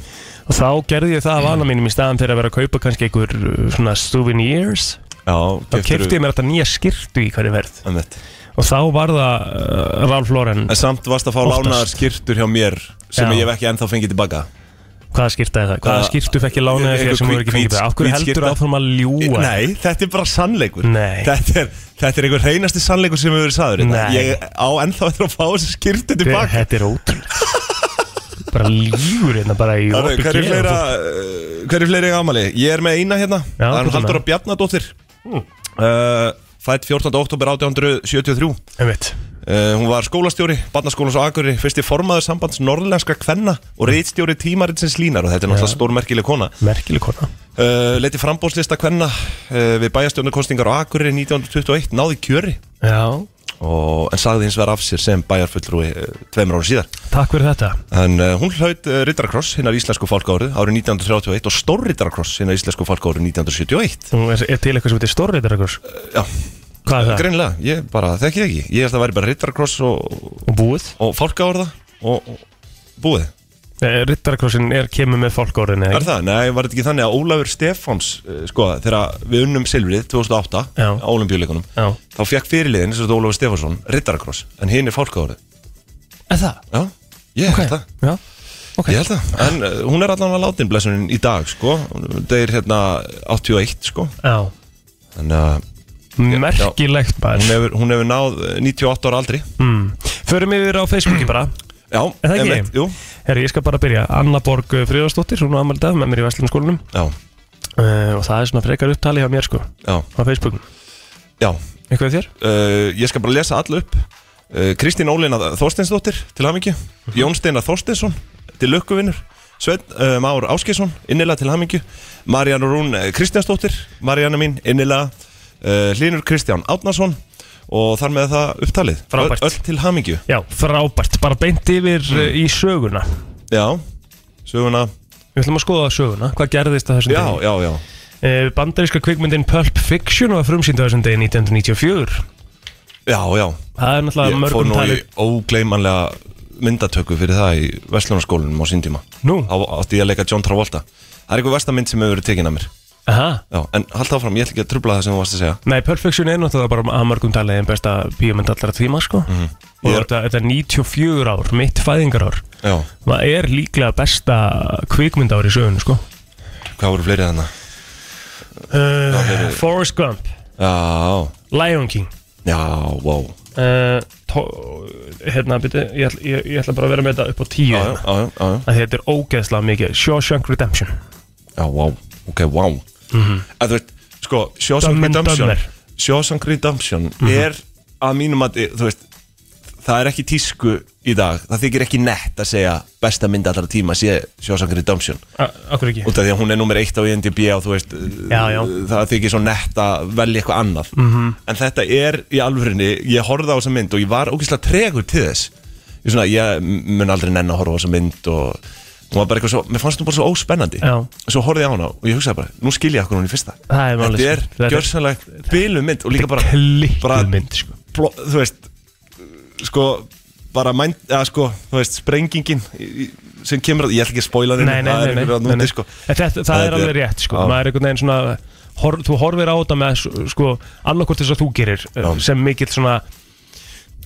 Og þá gerði ég það að vana mínum í staðan fyrir að vera að kaupa kannski einhver uh, svona souvenirs
já,
Þá kefti ég mér þetta nýja skirtu í hverju verð
Einmitt.
og þá var það uh, Ralf Lauren
En samt varst að fá
Oftast.
lánaðar skýrtur hjá mér sem
Já.
ég hef ekki ennþá fengið tilbaka
hvaða skýrtaði það, hvaða
Hvaða-
skýrtu fekk ég lánaði
Einhver
þér sem voru ekki
hvít-
fengið það, af hverju
hvít
heldur
skyrta?
áfram að ljúa
Nei, þetta er bara sannleikur
Nei.
Þetta er, þetta er einhver reynasti sannleikur sem hefur verið saður
Nei.
Ég á ennþá eftir að fá þessi skýrtu
Hver-
tilbaka
þetta er ótrúlega bara ljúur hérna bara í
Herru,
opið
Hver er
geð
fleira,
og
uh, hver er fleira í ámali? Ég er með eina hérna
Já,
Það er
hvað er
Haldur
það?
og Bjarnadóttir
Hmm.
uh, Fætt 14. oktober 1873
fólk- Einmitt.
Uh, hún var skólastjóri, barnaskólans og agurri, fyrsti formaður sambands norðlenska kvenna og
Hmm.
reyðstjóri tímaritsins línar og þetta er náttúrulega stórmerkileg kona.
merkileg kona
Uh, leiti frambóðslista kvenna uh, við bæjarstjórnarkostingar á agurri 1921, náði kjöri
já,
og, en sagði hins vegar af sér sem bæjarfullrúi uh, tveimur ára síðar.
takk fyrir þetta
En uh, hún hlaut uh, Riddarakross hinnar íslensku fálkárið árið 1931 og stór Riddarakross hinnar íslensku fálkárið 1971.
Nú er, er til eitthvað sem heitir stórriðar hvað er
Já,
það,
greinilega, ég bara þekki það ekki. Ég held að það væri bara Riddarakross og,
og búið
og fálkárið og, og búið.
Rittarkrossin Eh, er kemur með fólkórðin
Er það? Nei, var þetta ekki þannig að Ólafur Stefáns eh, sko, þegar við unnum silfrið 2008
Já.
á olimpíuleikunum
Já.
þá fekk fyrirliðin, þess að Ólafur Stefánsson Riddarakross, en hinn er fálkaórið
er það?
Já, ég held það
já, ok
Ég held það, en uh, hún er allan að látin blessunin í dag, sko, það er hérna 81, sko,
Já.
en uh,
merkilegt
hún,
maður
hefur, hún hefur náð eh, 98 ára aldri
mm. förum yfir á Facebooki bara
Já,
Er það ekki?
einmitt, Jú,
Herri, ég skal bara byrja Anna Borg Fríðarsdóttir, hún á ammæli í dag með mér í Vestlandskólanum
já,
uh, og það er svona frekar upptali hjá mér sko á
já,
Facebookum
já
eitthvað þér?
uh, ég skal bara lesa all upp uh, Kristín Ólina Þorsteinsdóttir til hamingju,
Mhm.
Jón Steinar Þorsteinsson til lukkuvinnur, Sveinn uh, Már Áskesson, innilega til hamingju Marjan Rún eh, Kristjánsdóttir Marjana mín, innilega uh, Hlinur Kristján Átnarsson og þar með það upptalið,
Frábært.
Ö- öll til hamingju
Já, frábært, bara beint yfir mm. í söguna
já, söguna
Við ætlum að skoða söguna, hvað gerðist á þessum
já, já, já,
degi? Bandaríska kvikmyndin Pulp Fiction var frumsýnd á þessum degi 1994
já, já
Það er náttúrulega
ég fór
mörgum
nú í
talið
ógleymanlega myndatöku fyrir það í Vestlunarskólanum á síndíma
Nú?
þá átti ég að leika John Travolta það er eitthvað vestamynd sem hefur verið tekin að mér
Aha.
Já, en haldt áfram, ég ætla ekki að trubla það sem þú varst að segja
Nei, Pulp Fiction er náttúrulega bara að mörgum talið en besta bíómynd allra tíma sko
Mhm.
og
Ég er-
þetta, þetta er 94 ár, mitt fæðingarár
Já,
Það er líklega besta kvikmyndár í sögunu sko
hvað voru fleiri þannig? Eh,
uh, Forrest Gump,
Já,
Lion King
já, wow
uh, tó- hérna, byrju, ég, ætla- ég, ég ætla bara að vera með þetta upp á tíu
Já, já,
hérna.
já, já, já,
að þetta er ógeðslega mikið Shawshank Redemption
já, wow, ok, wow
Mhm.
Að þú veit, sko, Shawshank
Dumb and
Redemption
Dumber.
Shawshank Redemption
Mhm.
er að mínum að, þú veist það er ekki tísku í dag það þykir ekki nett að segja besta mynd allra tíma sé Shawshank Redemption
A- Akkur ekki
út af því að hún er nummer eitt á INDB og þú veist,
Já, já. Mhm.
það þykir svo nett að velja eitthvað annað -hmm. en þetta er í alvörinni, ég horfði á þessa mynd og ég var ógeðslega tregur til þess ég, svona, ég mun aldrei nenn að horfa á þessa mynd og hún var bara eitthvað svo, mér fannst hún bara svo óspennandi
Já.
svo horfði ég á hana og ég hugsaði bara, nú skil ég akkur hún í fyrsta
Það er málið,
þetta er
sko. Þetta er-
gjörsanlega bylum mynd og líka bara, bara
Klikkuð mynd sko.
bló, þú veist sko bara mænd, eða sko, þú veist, sprengingin í- í- sem kemur að, ég ætla ekki að spoila þér
nei, nei,
það
nei,
er
nei,
einhverju að
nei, nei.
núti sko
En þetta, Það er
Þetta
alveg
er-
rétt sko.
Já.
Maður er einhvern veginn svona hor, Þú horfir á þetta með sko, annarkvort þess að þú gerir eh,
Já.
sem mikill svona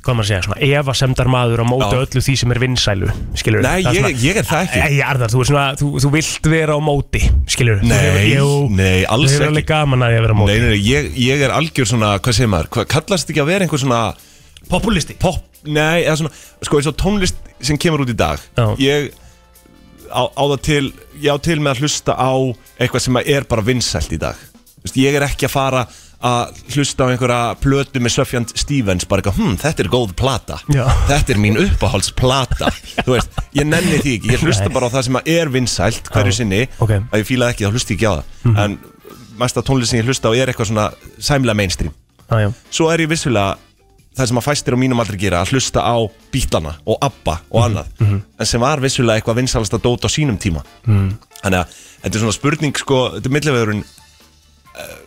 hvað maður að segja, svona efasemdar maður á móti
Já.
öllu því sem er vinsælu skilur
Nei, ég, ég er það ekki
Nei, Arðar, þú, er svona, þú, þú vilt vera á móti, skilur
Nei, nei, alls
Þú hefur
ekki.
alveg gaman að ég vera á móti
Nei, nei, nei ég, ég er algjör svona, hvað segir maður, hvað, kallast ekki að vera einhver svona
Populisti
pop, nei, eða svona, sko eins og tónlist sem kemur út í dag
Já.
Ég á, á það til, ég á til með að hlusta á eitthvað sem er bara vinsælt í dag Þú veist, Ég er ekki að fara að hlusta á einhverja plötu með Söfjan Stevens bara eitthvað, hm, þetta er góð plata
Já.
þetta er mín uppáhaldsplata þú veist, ég nenni því ekki, ég hlusta bara á það sem að er vinsælt hverju
Já.
sinni
Ok.
að ég fílaði ekki, þá hlusti ég ekki á það en mesta tónlist sem ég hlusta á er eitthvað svona sæmlega mainstream
ah, já.
svo er ég vissulega það sem að fæstir á mínum aldrei gera að hlusta á bítlana og abba
Mhm.
og annað en sem var vissulega eitthvað vinsalasta dót á sínum tíma
Mhm.
-hmm. þannig að þetta er svona spurning sko, þetta er millivegurinn uh,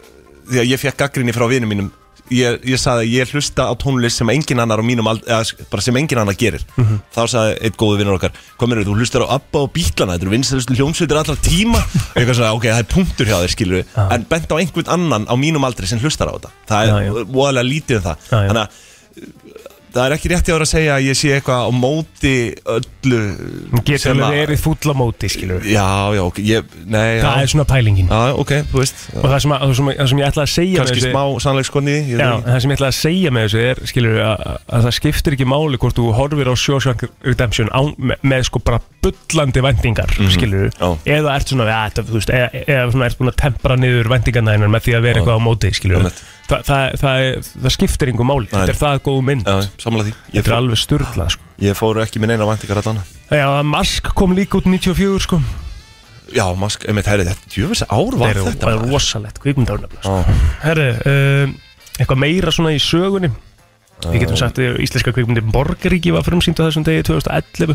því að ég fekk gaggrinni frá vinum mínum ég, ég saði að ég hlusta á tónlist sem engin annar á mínum aldrei, eða, sk- bara sem engin annar gerir
Mhm.
þá saði einn góðu vinnur okkar komur þú hlustar á abba og bítlana þetta eru vinsalustu hljómsveitir allra tíma og ég var svona ok, það er punktur hjá þér skilur en bent á einhvern annan á mínum aldri sem hlustar á þetta það er
Já, já.
voðalega lítið um það
Já, já.
þannig að það er ekki rétti ára að segja að ég sé eitthvað á móti öllu
Hún getur
sem að-
alveg verið fúll á móti, skilur við.
Já, já, ok, ég, nei,
Það
já,
er svona pælingin.
já, ok, þú veist já.
Og það sem, að, það sem, það sem ég ætla að segja
Kannski smá sannleikskonni í því, ég veit
Já,
ekki.
það sem ég ætla að segja með þessu er, skilur, að, að það skiptir ekki máli hvort þú horfir á Shawshank Redemption á, með, með sko bara bullandi vendingar,
Mhm.
mm skilur,
Já.
eða ert svona, ja, þetta, þú veist, eða, eða svona ert búin að tempra niður vendingarna hennar með því að vera eitthvað á móti, skilur,
Einmitt.
Þa, það, það, er- það skiptir engum máli,
Nei.
þetta er það góð mynd,
Já, samla því ég
þetta er
fór,
alveg sturglað, sko.
ég fór ekki minn eina væntingar allan
Já, Mask kom líka út 94, sko,
Já, mask, einmitt, herri, þetta djöfis ár var
það
þetta
er
maður?
rosalegt, kvikmyndarnafna, sko.
Já,
Herri, um, eitthvað meira svona í sögunni
Ah.
Við getum sagt að íslenska kvikmyndi Borgaríki var frumsýnd á þessum degi 2011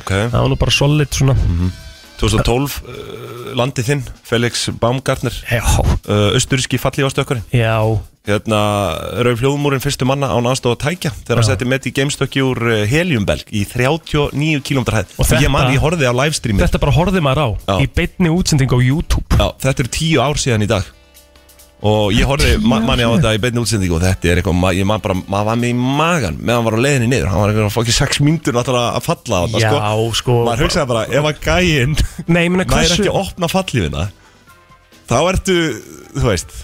Ok, Mhm.
Það var nú bara solid svona
2012, uh, landið þinn, Felix Baumgartner
Já,
uh, Östuríski fallífastökkari
já,
Hérna, rauð fljóðmúrin fyrstu manna án aðstofa tækja Þegar hann
Já.
setti með í geimstökki úr uh, heliumbelg í 39 km hæð
Og þetta-
Ég man, ég horfði á livestreami
þetta bara horfði maður á
Já.
Í beinni útsending á YouTube
Já, þetta eru tíu ár síðan í dag Og ég horfði ma manni á þetta í beinni útsendingu Og þetta er eitthvað, ma ég man bara, maður var með í magan Meðan hann var á leiðinni niður Hann var eitthvað að fá ekki sex mínútur náttúrulega að falla á þetta
Já,
sko.
sko
Maður hugsaði bara, ef að gæinn
Nei, ég meina
Nær
hversu
ekki að opna fallífina Þá ertu, þú veist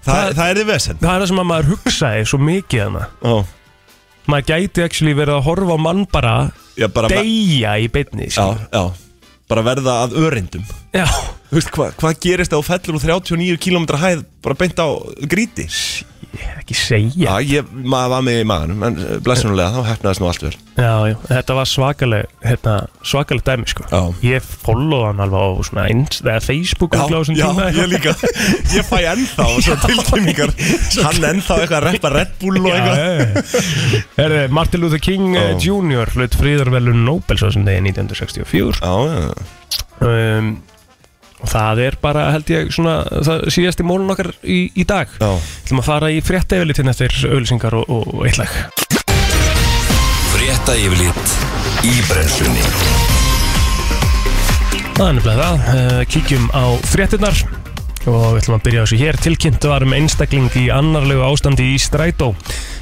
Það,
Það-
það er þið vesen
Það er það sem að maður hugsaði svo mikið hana
Ó,
Maður gæti actually verið að horfa á mann bara
já, bara me-
Deyja í beinni
já,
skilur.
já, bara verða að örindum
já,
Þú veist, hva, hvað gerist ef þú fellur úr 39 km hæð bara beint á gríti?
ekki segja
Já, ég, maður var með í maganum En eh, blessunulega, þá hefnaðist nú allt vel
Já, já, þetta var svakaleg hérna, svakaleg dæmi sko
Já.
Ég follow hann alveg á svona inst, eða Facebook
Já,
örugglega á þessum
já,
tíma
ég líka Ég fæ ennþá svo tilkynningar Hann ennþá eitthvað að reppa Red Bull og eitthvað
Er, Martin Luther King oh. Jr. hlut fríðarvelun Nobels á þessum degi 1964
Já, já,
um, og það er bara held ég svona það síðast í mólun okkar í, í dag
já
Þú maður að fara í frétta yfirlitin eftir auðlýsingar og, og, og eitlæg
Frétta yfirlit í brennslunni
Það er nefnilega það, Eh, kíkjum á fréttinnar og við ætlum að byrja á þessu hér. Tilkynnt var um einstakling í annarlegu ástandi í Strætó.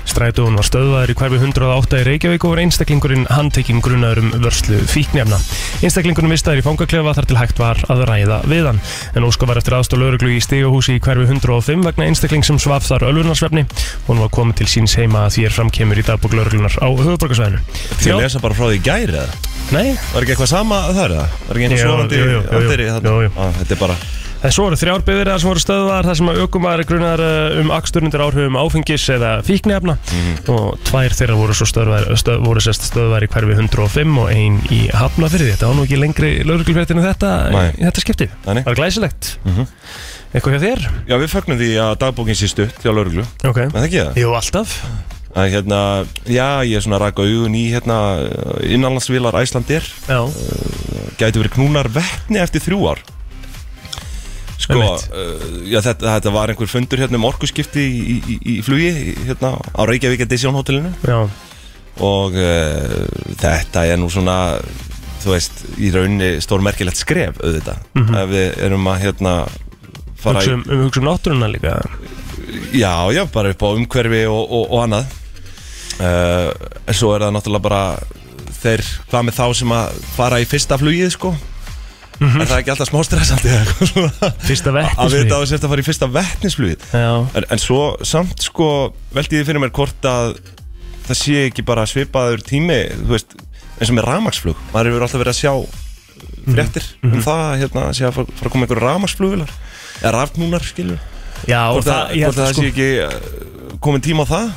Strætóun var stöðvaður í hverfi 108 í Reykjavík og var einstaklingurinn handtekinn grunaður um vörslu fíknefna. Einstaklingurinn vistaður í fangaklefa þar til hægt var að ræða við hann. En óska var eftir aðstof lauruglu í stigahúsi í hverfi 105 vegna einstakling sem svaf þar ölvunarsvefni. Hún var komið til síns heima að því er framkemur í dagbúk lauruglunar á höfuborgarsvæðinu.
Því að lesa bara frá því í gæri eða
Nei,
Var ekki eitthvað sama þar eða? Var ekki
Jú,
einhver svonandi
jú, jú, jú, jú.
anddyri þarna?
Jú, jú.
Á, Ah, Þetta er bara
En svo eru þrjár bifurðar sem voru stöðvar þar sem að aukumar grunar um aksturnundir áhrifum áfengis eða fíknefna og tvær þeirra voru svo stöðvar, stöð, voru sérst stöðvar í hverfi 105 og ein í Hafnafyrði. Þetta var nú ekki lengri lögreglufréttin en þetta
Nei.
í þetta skipti.
Nei, nei. Mhm.
Var glæsilegt. Eitthvað hjá þér?
Já, við fögnum því að dagbókin sé stutt hjá lauruglu
Ok.
En það ekki það?
Jú, alltaf.
Að hérna, já, ég er svona raka augun í hérna Innanlandsvilar Æslandir
Já.
Gæti Eh, verið knúnar vettni eftir þrjú ár Sko,
Einmitt.
uh, já, þetta, þetta var einhver fundur hérna um orkuskipti í, í, í flugi í- hérna, á Reykjavík Edition hótelinu
Já.
og uh, þetta er nú svona þú veist, í rauninni stórmerkilegt skref auðvitað,
Mhm.
ef við erum að hérna fara
Hugsa um, um, hugsa um náttúruna líka.
í, já, já, bara upp á umhverfi og, og, og annað uh, en svo er það náttúrulega bara þeir, hvað með þá sem að fara í fyrsta flugið, sko er það ekki alltaf smá stressandi eða eitthvað svona?
Mhm. Fyrsta
að við þetta
vettismið.
að sérst að fara í fyrsta vetnisflugið
Já.
En, en svo samt sko veldi ég fyrir mér hvort að það sé ekki bara svipaður tími þú veist, eins og með ramagsflug maður hefur alltaf verið að sjá fréttir
Mhm.
um það að hérna, sé að fara, fara að koma einhverju ramagsflugvilar eða rafnúnar skilur
Já,
hvort
það,
að
ég held
hvort að
að
það
sko.
sé ekki uh, komin tíma á það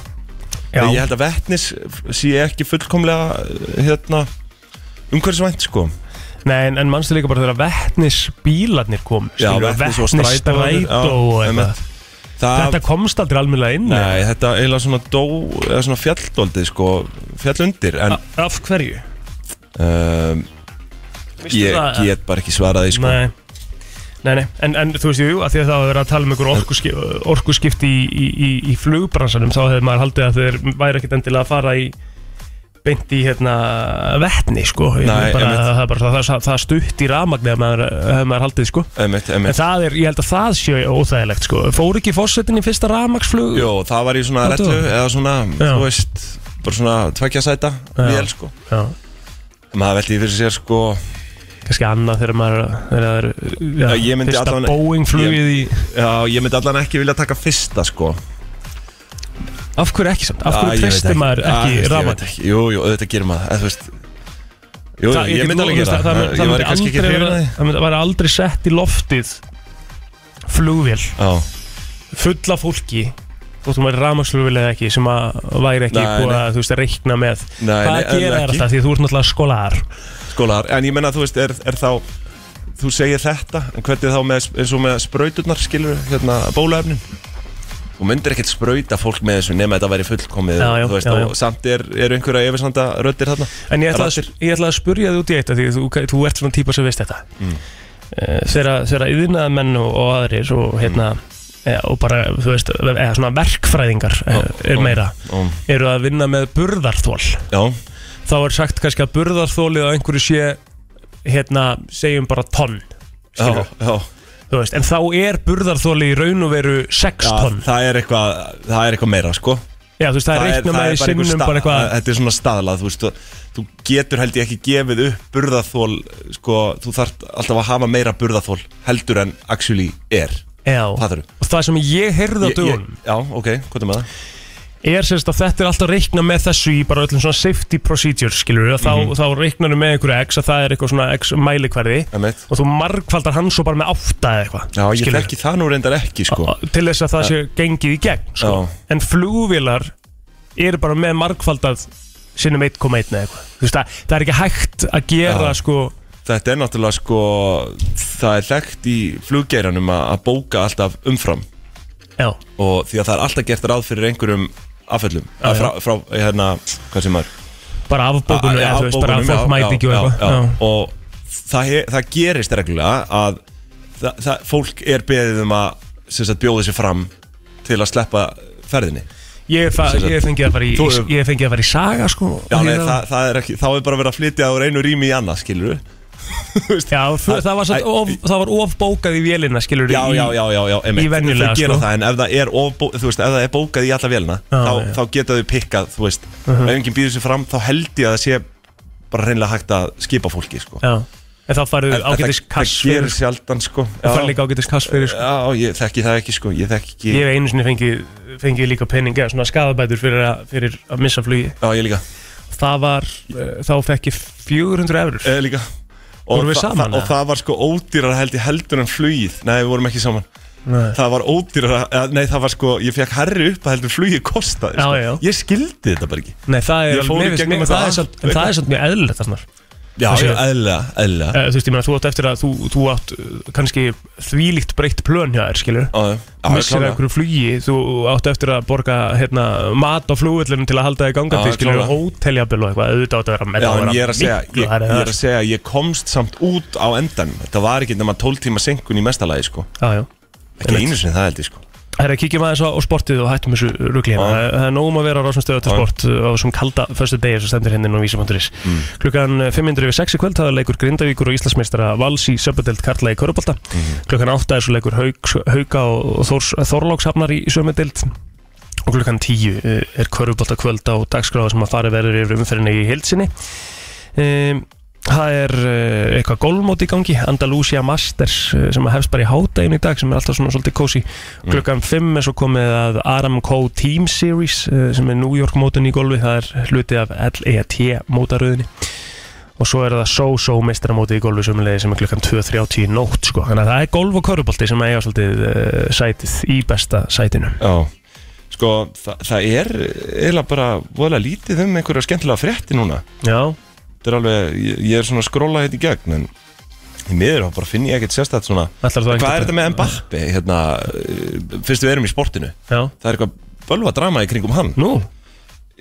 Já,
ég held að vetnis sé ekki fullkomlega uh, hérna umhverfisvænt sko
Nei, en, en mannstu líka bara þegar vettnisbílarnir kom.
Já,
skilurðu,
vetnis og strætó.
vetnisstrætó og
Já,
eitthvað.
einmitt. Það-
Þetta komst aldrei almennilega inn
Nei, þetta eiginlega svona dó eða svona fjalldóldið sko fjallundir en
eða? Af hverju?
um, ég
það?
get bara ekki svarað því sko
Nei Nei, nei, en, en þú veist, jú, að því að það hafa verið að tala um einhver orkuskip, orkuskipti í, í, í, í flugbransanum þá hefði maður haldið að þeir væri ekkit endilega að fara í beint í hérna vettni sko Ég
Nei,
meina bara,
einmitt.
það, er bara, það, það, það er stutt í rafmagni ef maður, ef maður haldið sko
Einmitt,
en
einmitt.
það er, ég held að það sé óþægilegt sko fór ekki fórsetin í fyrsta rafmagsflug
Jó, það var í svona
Það
rellu
dugar.
eða svona,
Já.
þú veist bara svona tvekja sæta
Já.
vél sko
Já,
maður veldi fyrir sér sko
kannski annað þegar maður þegar það er já,
Já, ég myndi
fyrsta
allavega-
Boeing flugið í
já, ég myndi allan ekki vilja taka fyrsta sko
af hverju ekki samt, af
Ah,
hverju
ég veit
treystir maður ekki
Ah, þú veist, ég veit
rafmagni
ekki. jú, jú, auðvitað gerir maður það, þú veist jú,
Það-
jú,
ég
ég
get
myndi alveg
lofað
gera
þér það, það
það ég
myndi
var kannski ekki
aldrei
hrifin
vera-
að því
það myndi- væri aldrei sett í loftið flugvél
Já,
fulla fólki þótt hún væri rafmagsflugvél eða ekki sem að væri ekki
Nei,
búið
nei.
að þú veist að reikna með
Nei,
hvað
nei, en
gera er
ekki.
þetta því þú ert náttúrulega skólar
skólar, sko, en ég menna þú veist er, er þá, þú segir þetta en hvernig þá með, eins og með sprauturnar skilur hérna bólaefnin þú myndir ekkert sprauta fólk með þessu nema þetta væri fullkomið
Já, já,
þú veist,
já, já.
og samt er, er einhverja yfirsanda röddir þarna
en ég ætla, að,
Raddir.
ég ætla að spurja þig út í eitt af því þú, þú ert svona típa sem veist þetta mm. þegar yðinaða menn og, og aðrir
Mm.
og hérna eh, og bara, þú veist, eða svona verkfræðingar eh, er meira,
Ó,
eru að vinna með burðarþól
já,
þá er sagt kannski að burðarþólið á einhverju sé hérna, segjum bara tonn
já,
skilur,
já,
þú veist, en þá er burðarþólið í raun og veru 6
já
tonn
það er eitthvað það er eitthvað meira sko
Já, þú veist, það er reikna með í
einhver
sinnum
sta-
bara eitthvað
þetta er svona staðlað þú, veist, þú- þú getur held ég ekki gefið upp burðaþól sko, þú þarft alltaf að hafa meira burðaþól heldur en actually er
Já,
Fattarðu?
og það sem ég heyrði á
Ég- ég-
dögun
já, ok, hvað er með það?
er sérst að þetta er alltaf reikna með þessu í bara öllum svona safety procedures skilur við, þá,
Mhm.
þá reiknar við með einhverju x að það er eitthvað svona x mælikverði
Einmitt.
og þú margfaldar hann svo bara með átta eða eitthvað
já, ég
skilurðu.
þekki það nú reyndar ekki sko.
Á- til þess að það sé gengið í gegn sko.
Já.
en flugvélar eru bara með margfaldað sinnum 1,1 eða eitthvað Þú veist, það, það er ekki hægt að gera
Já.
sko,
þetta er náttúrulega sko það er þekkt í fluggeiranum að að bóka alltaf umfram
já,
og því að það er alltaf gert ráð fyrir einhverjum afföllum,
Já,
að
já.
frá, frá hérna, hvað sem maður
bara afbókunum
Já,
eða þú veist, bara að
afbókunum,
fólk
já,
mæti ekki og
já,
eitthvað
já,
Já.
já. og það, he- það gerist reglulega að það, það, fólk er beðið um að sem sagt, bjóða sér fram til að sleppa ferðinni
ég, er fa-
Sem sagt,
ég fengi að fara í,
þú hefur-
ég fengi að fara í saga sko,
já,
og
nei,
hérna-
það, það er ekki, þá er bara verið að flytja úr einu rými í annað skilur
Já, það, það, var satt,
Æ,
of, það var ofbókað í vélina, skilur
já, já, já, já, já einmitt.
í venjulega,
þau gera
sko.
það en ef það er, ofbó, þú veist, ef það er bókað í alla vélina
Já,
þá,
já. Mhm.
þá geta þau pikkað þú veist, ef enginn býður sér fram þá held ég að það sé bara reynilega hægt að skipa fólki sko.
já. En þá farið
En- en það,
ágætis
það
kass fyrir
gerir sjaldan sko.
Það
Já.
farið líka ágætis kass fyrir sko.
Já, ég þekki það ekki sko, ég þekki ekki
Ég hef einu sinni fengið, fengið líka pening eða svona skadabætur fyrir, a, fyrir að missa flugi
Já, ég líka,
Það var, uh, þá fekk ég 400 eurur
ég líka.
Vorum við
það-
saman,
það- Og
eða?
það var sko ódýrar held ég heldur en flugið Nei, við vorum ekki saman
Nei.
Það var ódýrar, eða, nei það var sko, ég fekk herri upp að heldur en flugið kostaði sko.
Já, já.
Ég skildi þetta bara ekki
Nei, það er
Ég fór í
mér finnst-
gegnum
mér-
þetta
það er
allt,
samt- En
veit
það er samt mjög eðlilegt þarna
Já,
Þessi-
já, eðlilega, eðlilega
Eh, Þú veist, ég meina, þú átt eftir að þú, þú átt uh, kannski þvílíkt breytt plön hjá þér, skilur
Já, já, já, já,
missir
klárlega.
einhverju flugi þú átt eftir að borga hérna, mat á flugvöllunum til að halda þig
Já,
gangandi skilur
klálega.
hóteljabil og eitthvað auðvitað átt að vera með
Já,
það að
en
vera
ég er að segja,
miklu
ég,
hærri
ég er að
þar.
segja, ég komst samt út á endanum Þetta var ekki nema 12 tíma senkun í mestalagi sko
Já, já.
Ekki einu sinni það held ég sko
Herra, kíkjum aðeins á, á sportið og hættum þessu rugli hérna.
Já.
Það- Það er nógum að vera á rásum stöðu til
Já.
sport uh, á þessum kalda föstu degi sem stendur henni á vísum.is.
Mm.
Klukkan 500 yfir 6 í kvöld, það er leikur Grindavíkur og Íslandsmeistara Vals í söpudeld Karla í Körubolta.
Mhm.
Klukkan 8 er svo leikur Hauk, Hauka og Þors, Þorlókshafnar í sömudeld. Og klukkan 10 uh, er Körubolta kvöld á dagskráða sem að fari verður yfir umferðinni í heilsinni. Um, Það er uh, eitthvað gólmót í gangi Andalusia Masters uh, sem að hefst bara í hádegin í dag sem er alltaf svona svolítið kósi
Mm.
klukkan 5 er svo komið að Aramco Team Series uh, sem er New York mótun í golfi það er hluti af LET mótaröðinni og svo er það So-So meistaramóti í golfi sem sem er klukkan 2.30 í nótt sko. þannig að það er golf og körubolti sem eiga svolítið uh, sætið í besta sætinu
Já, sko, þa það er eiginlega bara voðalega lítið um einhverja skemmtilega frétti núna
Já,
Þetta er alveg, ég, ég er svona að skróla þetta í gegn en í miður þá bara finn ég ekkert sérstætt svona
ætlar þú
Hvað er þetta með Mbappe, hérna, eh, fyrst við erum í sportinu
Já,
Það er eitthvað bölva drama í kringum hann
nú,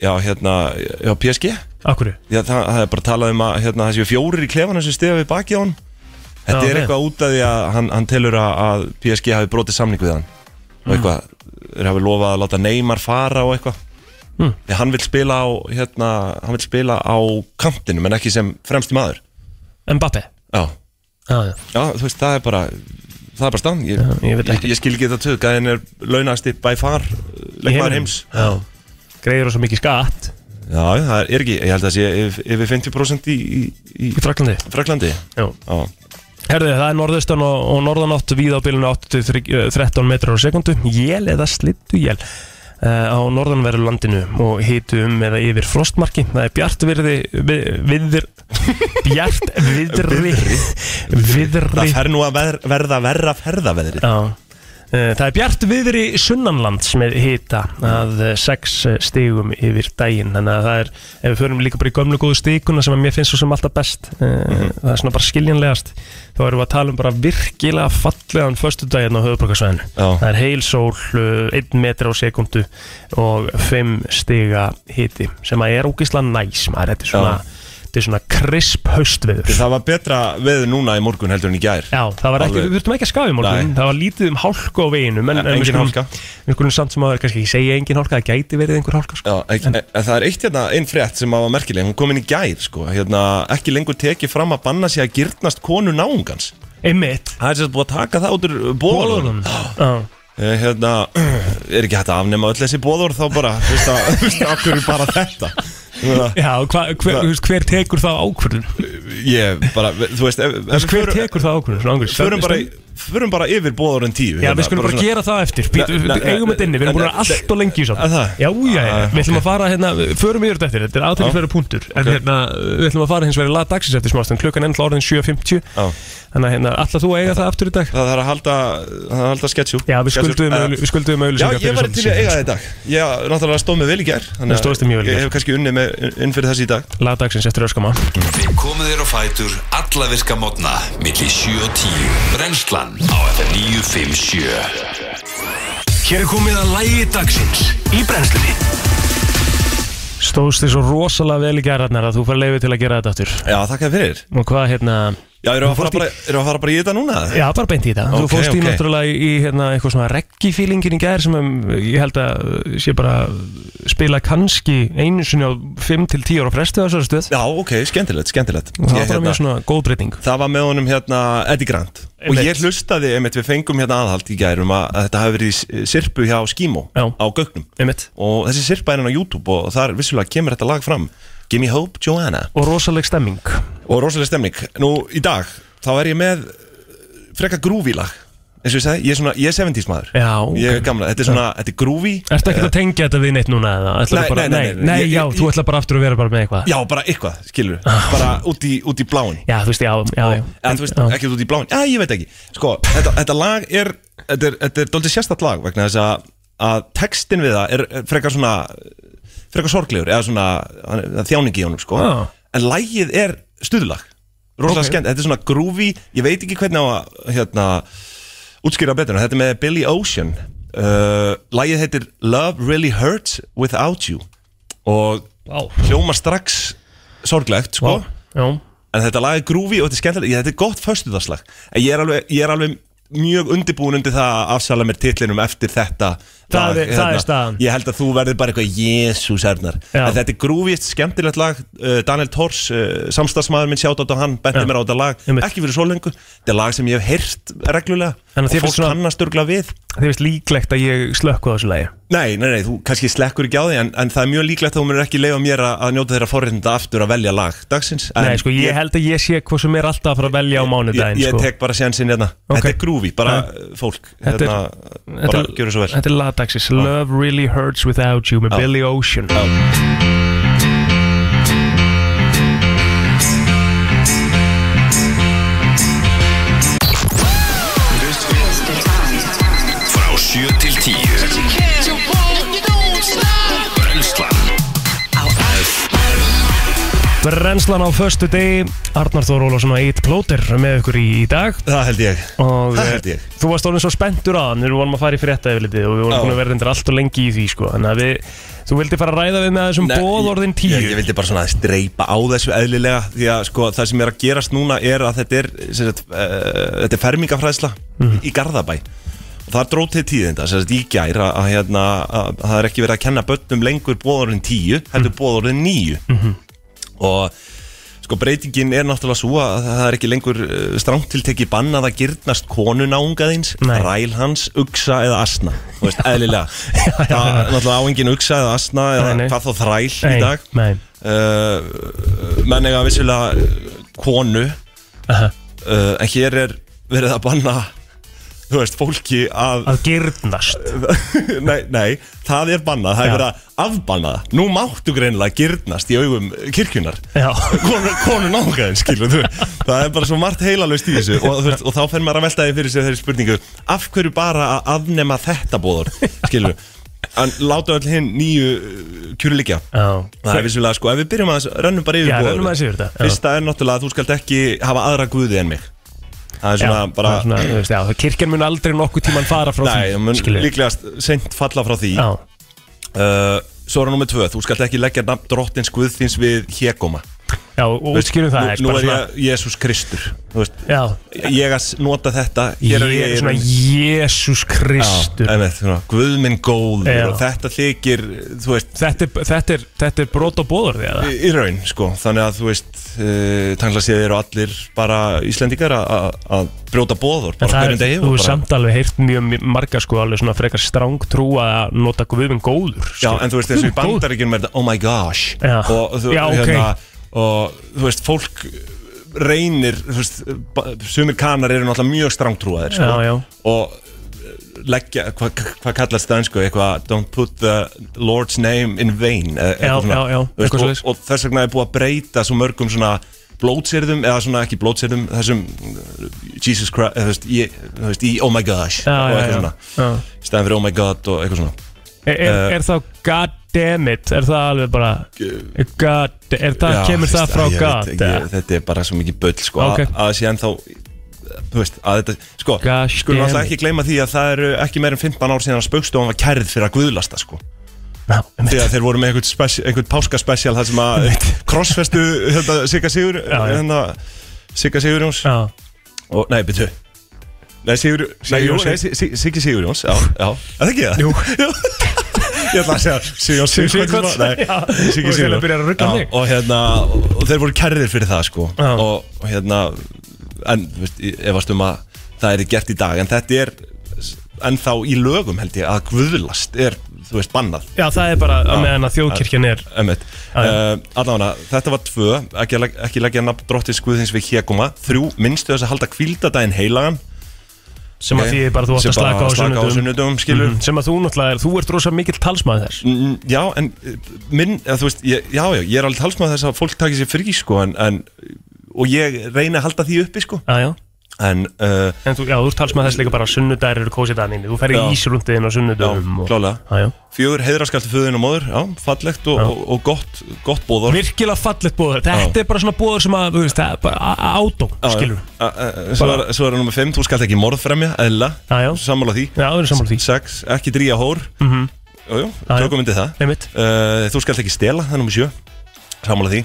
Já, hérna, já, PSG
akkurru
Já, það, það er bara talað um að hérna, þessi fjórir í klefanum sem stiða við baki á hann Þetta
Já,
er
ok.
eitthvað út af því að hann, hann telur að, að
Mm.
PSG hafi brotið samning við hann og eitthvað, þeir hafi lofað að láta Neymar fara og eitthvað mm. hann vil spila á hérna, hann vil spila á kantinum en ekki sem fremsti maður
Mbappe
já,
Já, já.
já þú veist, það er bara það er bara stann, ég,
Já, ég veit ekki.
ég skil ekki þetta tök að hann er launasti by far leikmaður heims
Já Greiður svo mikið skatt
já, það er ekki, ég held að það sé yf- yfir 50% í, í,
í Fraklandi
í Fraklandi
Já
já,
Herðu, það er norðaustan og, og norðanátt við á bylunni 8-13 metrar á sekundu Jél eða slittu jél á norðanverðu landinu og hitu um eða yfir frostmarki það er bjart virði við, viðir, bjart viðri viðri
það fer nú að ver, verða verra ferðaveðri
Já Eh, Það er bjart viðri sunnanlands með hita að 6 stigum yfir daginn þannig að það er, ef við förum líka bara í gömlu góðu stiguna sem að mér finnst svo sem alltaf best mm
Mhm.
það er svona bara skiljanlegast þá erum við að tala um bara virkilega fallegan föstudaginn á höfuborgarsvæðinu
Já.
það er heil sól, 1 metri á sekundu og 5 stiga hiti sem að er ógislega næs maður, þetta er svona,
Já.
þetta er svona krisp haustveður
það var betra veður núna í morgun heldur en í gær
Já, það var ekki,
Alveg.
við þurftum ekki að skafa í morgun
Nei.
Það var lítið um hálku á veginum en,
En- engin
við skulum-
hálka.
Við skulum samt sem að kannski ekki segja engin hálka Það gæti verið einhver hálka sko.
Já, ekki, en, en það er eitt hérna, einn frétt sem var merkileg, hún kom inn í gær sko, hérna, ekki lengur tekið fram að banna sig að girtnast konu náungans
Einmitt
Það er sérst búið að taka það út úr bóðorðunum
Já.
Eh, Hérna, er ekki hægt að afnema öll þessi bóðorð þá bara, þú veist að, þú veist að, af hverju bara þetta Ég meina,
Já, hva, hver,
Já.
þú veist, hver tekur það ákvörðun? Þú
Ég bara, þú veist, ef,
veist,
ef við
Hver
förum-
tekur það ákvörðun? Svona ángurinn.
förum bara, í- förum bara yfir bóðorðun tíu
Já,
hérna,
við skulum bara,
svona-
gera það eftir Býtu,
Nei, nei,
Eigum
nei,
þetta inni, við erum
nei,
búin að
nei,
vera allt og lengi í samt
Að það?
Já, já, já,
Ah,
við ætlum að fara hérna Förum yfir þetta eftir, þetta er aðtökisverðu punktur En
Ok.
hérna, við ætlum að fara hins vegar í lag dagsins eftir smástund Klukkan ennla orðin 7.50
Já.
Þannig að hérna, ætlar þú að eiga það aftur í dag?
Það þarf að halda, það þarf að halda sketsjú
Já, við skulduðum auðl- við skulduðum
eh, Já,
auðlýsingar
ég var til í að eiga það í dag Ég náttúrulega stóð mig vel í gær þannig
Þú stóðst þig mjög vel í
að Ég
gær.
hef kannski unnið með inn fyrir þessi í dag
Lagdagsins eftir öskama
Við komum þér á fætur alla virka mótna milli 7 og 10 Brennslan á FM 957 Hér er komið að lægi dagsins í brennslunni
Stóðst þið svo rosalega vel í gerðarnar að þú fær leiði til að gera þetta aftur
Já, þakka fyrir
Og hvað hérna
Já, eru að,
Þú
fara
fórst
bara, eru að fara bara í þetta núna?
Já, bara beint í þetta Þú
Ok,
fórst í
ok.
náttúrulega í hérna, eitthvað svona reggifílingin í gerð sem um, ég held að uh, sé bara spila kannski einu sinni á 5-10 ára frestu þessari stöð
Já, ok, skemmtilegt, skemmtilegt
Og það
Ég, hérna,
var bara mjög svona góð breyting
það var með honum hérna Eddie Grant
Einmitt.
Og ég hlustaði, einmitt, við fengum hérna aðhald í gærum að, að þetta hafi verið í s- eh, sirpu hjá Skímó
Já.
á gögnum
Einmitt
Og þessi sirpa er hérna á YouTube og þar vissulega kemur þetta lag fram Gimme Hope Joanna
Og rosaleg stemming
Og rosalega stemning Nú, í dag, þá er ég með freka grúvi lag Eins og ég segi, ég er svona, ég er 70s maður
Já, ok.
Ég er gamla, þetta er svona, þetta er grúvi
Ertu ekki að tengja þetta við neitt núna eða? Ætlarðu
Nei,
bara,
nei, nei, nei,
nei,
ég-
já,
ég-
þú ætlar bara aftur að vera bara með eitthvað
Já, bara eitthvað, skilur Bara út í, út í bláin
Já, þú veist, já, já, já
En þú veist,
Já.
ekki út í bláin Já, ég veit ekki Sko, þetta, þetta lag er Þetta er, þetta er dóldi sérstætt lag vegna þess að að textin við það er er frekar svona frekar sorglegur eða svona hann- það er þjáningi í honum sko
Já.
en lagið er stuðlag rosalega
Ok.
skemmt, þetta er svona groovy ég veit ekki hvernig á að hérna, útskýra betur en þetta er með Billy Ocean uh, lagið heitir Love Really Hurts Without You og
Vá.
hljóma strax sorglegt sko
Vá, Já,
en þetta lag er grúfi og þetta er skemmtilegt ég- þetta er gott föstudarslag en ég er alveg, ég er alveg mjög undirbúin undir það að afsala mér titlinum eftir þetta hérna.
Það er- það er staðan.
ég held að þú verður bara eitthvað jésús ernar
Já.
en þetta er grúfist, skemmtilegt lag uh, Daniel Tors, uh, samstagsmaður minn sjátt á hann, benti
Já.
mér á þetta lag
Einmitt.
ekki fyrir svo lengur, þetta er lag sem ég hef heyrt reglulega
Þannig að
og
þér
fólk
finnst svona-
kannast örgla við
þið veist líklegt að ég slökku á þessu lagi
Nei, nei, nei, þú kannski slekkur ekki á því en, en það er mjög líklegt að þú mér ekki leifa mér að, að njóta þeirra forréttinda aftur að velja lag dagsins en
Nei, sko, ég held að ég sé hvað sem er alltaf að fara að velja á mánudaginn
ég, ég
sko.
tek bara sénsinn hérna
Ok.
Þetta er grúfi, bara uh, fólk
Þetta er-
hérna, Bara
Þetta
gjöru svo
er-
vel
Þetta er lagdagsins Love Really Hurts Without You með Billy Ocean
Frá 7 til 10 Brennslan
Brennslan á föstu degi Arnar Þór Ólafsson og Eitt Plóter með ykkur í, í dag
Það held ég
og
Það held ég.
eh, þú varst orðin svo spenntur á hann við vorum að fara í frétta yfirlitið og við vorum
Já.
búin að vera endur allt og lengi í því sko. þannig að við, þú vildi fara að ræða við með þessum bóðorðin tíu
ég, ég vildi bara svona streipa á þessu eðlilega Því að sko, það sem er að eh, gerast núna er að þetta er, sem sagt, uh, þetta er fermingafræðsla í Garðabæ þar dróð til tíðinda sem sagt í gær að, að, hérna, að það er ekki verið að kenna börnum lengur bóðorðin 10 heldur bóðorðin 9
Mhm.
og sko breytingin er náttúrulega svo að það er ekki lengur uh, strangt tilteki bannað að girtnast konuna unga þins,
Nei.
ræl hans, uksa eða asna, þú veist, eðlilega það er náttúrulega áengin uksa eða asna eða
Nei, nei.
hvað þó þræl í
Nei,
dag
nei.
uh, menn eiga vissulega uh, konu
Aha.
uh, en hér er verið að banna þú veist, fólki að
Að gyrnast
nei, nei, það er bannað, það er
Já.
verið að afbanna það nú máttu greinilega girnast í augum kirkjunar
Já
konu, konu nágaðin, skilur þú það er bara svo margt heilalust í þessu og, þú veist, og þá fer maður að velta því fyrir sér þeirri spurningu af hverju bara að afnema þetta bóður, skilur en láta öll hinn nýju kjurleikja
Já
Það er vissulega sko, ef við byrjum að rönnum bara yfir
Já,
boðorðin.
rennum aðeins yfir þetta, já.
Fyrsta er náttúrulega að þú skalt ekki hafa aðra guði en mig Það er svona
Já,
bara
það er svona, þú veist, já, kirkjan mun aldrei nokkuð tíman fara frá
Nei, það mun
skilurðu.
líklegast seint falla frá því
Já,
uh, Svo er nummið tvö, þú skalt ekki leggja nafn drottins guð þins við hégóma
já, og útskýrum það
Nú, nú
bara
er
svona-
ég Jésús Kristur Þú veist,
Já,
ég að nota þetta
ég
Hér er
er
ég
svona Jésús Kristur
Kristur Guð minn góður
Já.
og þetta þykir, þú veist
Þetta er, þetta er, þetta er brot og bóður því að
í í raun sko, þannig að þú veist uh, tangla séðir og allir bara Íslendingar að- að að brjóta bóður
En
bara
það
hverjum
er,
degi
þú
og
er
bara-
samt alveg heyrt mjög mi- marga sko alveg svona frekar stráng trú að nota guðminn góður sko.
Já, en þú veist þessu í
Guð minn góður.
bandaríkjunum er þetta oh my gosh
Já.
og, þú, hérna,
Já, ok.
og þú veist fólk reynir þú veist, ba- sumir kanar eru náttúrulega mjög strangtrúaðir sko,
Já, já.
og eh, leggja, hvað hva kallast það einsku eitthvað, don't put the Lord's name in vain eða eitthvað
Já,
svona.
já, já,
Þú
eitthvað
veist,
svoleiðis.
og, og þess vegna er búið að breyta svo mörgum svona blótsirðum eða svona ekki blótsirðum þessum uh, Jesus Christ eða, þú veist, í, þú veist, í oh my gosh
Já,
og
já, já.
eitthvað svona,
Já.
í staðan fyrir oh my god og eitthvað svona Eh,
Er, er,
Uh,
er þá god damn it Er það alveg bara God, er það,
Já,
kemur það
veist,
frá
ég veit
God
ekki,
eða?
Þetta er bara svo mikið bull sko,
Ok.
að, að sé ennþá þú veist, að þetta, sko,
Gosh
skulum
damn
alltaf
it.
ekki gleyma því að það eru ekki meir en 15 ár síðan að spaukstofan var kærð fyrir að guðlasta sko,
Já, einmitt.
því að þeir voru með einhvern, spes- einhvern páskaspecial þar sem að krossfestu hérna, Sigga Sigur
Já, já.
hérna, Sigga Sigurjóns
Já,
og, nei, byrju Nei, Sigur, nei, jú,
Sigurjóns,
nei, Sig- Sig- Siggi Sigurjóns, já, já, er það ekki það? Jú Ég ætla að segja Sigurjóns Sigurjóns
Sigurjóns, já. Og
Siggi
þegar það byrjar að rugga
Já,
mig.
Og hérna, og þeir voru kærðir fyrir það, sko
Já.
og, og hérna, en, þú veist, ég efast um að það er gert í dag En þetta er ennþá í lögum, held ég, að guðlast er, þú veist, bannað
já, það er bara
Já.
að meðan að þjóðkirkjan er
Ömmit
Já, já.
uh, Allána, þetta var tvö Ekki, að legg- ekki leggja nafn drottins guðins við héguma Þrjú, minnstu þess að halda kvíldadaginn heilagan
sem að
Ok.
því bara þú átt
Sem
að slaka á
bara slaka á
sunnudum
sunnudum, skilur
sem að þú náttúrulega er, þú ert rosa mikill talsmaði þess
Mm, Já, en eh, minn, eða, þú veist, ég, já, já, ég er alveg talsmaður þess að fólk takir sér frí, sko, en, en og ég reyna að halda því uppi, sko,
Já, já,
en, uh,
en þú, já, þú ert talsmaði þess líka bara að sunnudar eru kósið daginni, þú ferði
Já.
ísrundiðin á
já,
sunnudum og-
klálega,
Já, já.
fjögur heiðraskalti föðin og móður, já, fallegt og,
Já.
og, og gott, gott bóðor.
Virkilega fallegt bóður, þetta
Já.
er bara svona bóður sem að, þú veist, það er bara ádóm, skilur
Svo er, svo er nummer 5, þú skalt ekki morðfremja, eðla,
Já, já.
sammála því.
Já, við erum sammála því
6, ekki dríja hór, mm -hmm. jú, jú,
Já, já.
tökum myndið það.
Einmitt,
Uh, þú skalt ekki stela, það er nummer 7 Samála því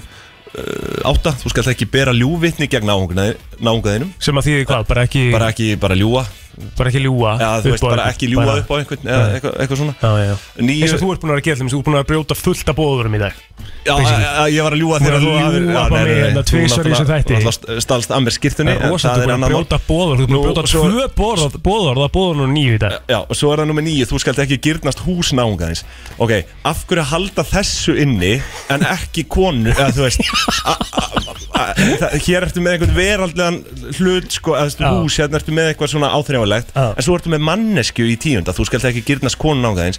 uh, 8. Þú skalt ekki bera ljúvitni gegn náungaðinum
sem að því hvað, bara ekki,
Bara ekki, bara ljúa
bara ekki ljúa
Já, þú veist,
á
bara
einhvern,
ekki ljúa upp á einhvern Eða eitthvað, eitthvað svona
Já, já, já
Níu,
Eins og þú ert búin að vera að gera þeim, þú ert búin að brjóta fullt af bóðurum í dag
já,
basically.
að- að ég var að ljúa
Þú
þegar
ert að ljúga
Já,
bara með
nei, nei, nei,
hérna
þú
tvisvar í
náttúrulega-
þessum þætti.
náttúrulega Stalst ammer skirtunni
Það er rosa, þú ert búin að brjóta bóður, þú ert búin að
Nú,
brjóta
svo-
tvö bóður, bóður, það bóður nú nýju í dag
Já, og svo er það nummer nýju, þú skalt ekki girnast hús náungaðins Ok, af hverju halda þessu inni en ekki konu, eða þú veist a- a- a- það- Hér ertu með einhvern veraldlegan hlut, sko, eða þú veist,
Já.
hús, hérna ertu með eitthvað svona áþrjáilegt
Já.
En svo ertu með mannesku í tíunda, þú skalt ekki girnast konu náungaðins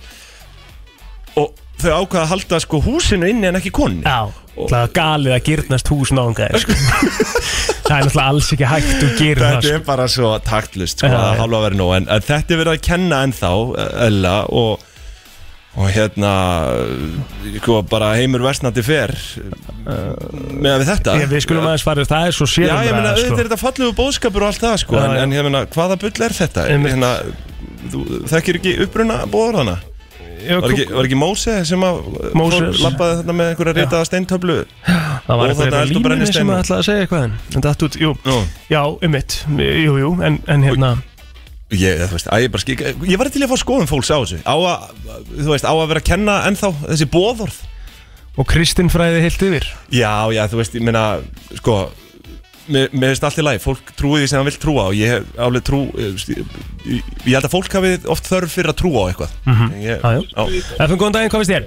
Og þau ákvaða að halda sko húsinu inni en ekki konu
Já, það er galið að gyrnast hús náungaðir sko. Það er náttúrulega alls ekki hægt að gera það
Þetta
sko.
er bara svo taktlust sko,
Já,
að
já.
hálfa verið nóg en, en þetta er verið að kenna ennþá Ella og, og hérna sko, bara heimur versnandi fer með við þetta
Eh, Ég, Við skulum aðeins farið, það er svo
Já,
sérum
ég meina, auðvitað er þetta fallegu bóðskapur og allt það sko,
Já,
en,
já.
en ég meina, hvaða bull er þetta?
Einmitt.
Hérna, þú, þekkir ekki uppruna bóðorðana? Var ekki, var ekki Móse sem að
Móses.
lappaði þarna með einhverja ritaða steintöflu?
Það var
Og
eitthvað
þarna
eitthvað
eld og
líminni sem
brennisteinum.
að ætlaði að segja eitthvað en en datt út, jú,
Nú,
já, um mitt, jú, jú, en, en hérna,
Ég, þú veist, að ég, bara, skik- ég var til að fá skoðum fólks á þessu Á að, þú veist, á að vera að kenna ennþá þessi bóðorð
Og kristinfræði heilt yfir
Já, já, þú veist, ég meina, sko Mér mér finnst allt í lagi, fólk trúi því sem það vil trúa og ég hef alveg trú Ég, ég, ég held að fólk hafi oft þörf fyrir að trúa á eitthvað mm -hmm. ég,
Mhm. Já, já.
já.
FM, góðan daginn, hvað finnst þér?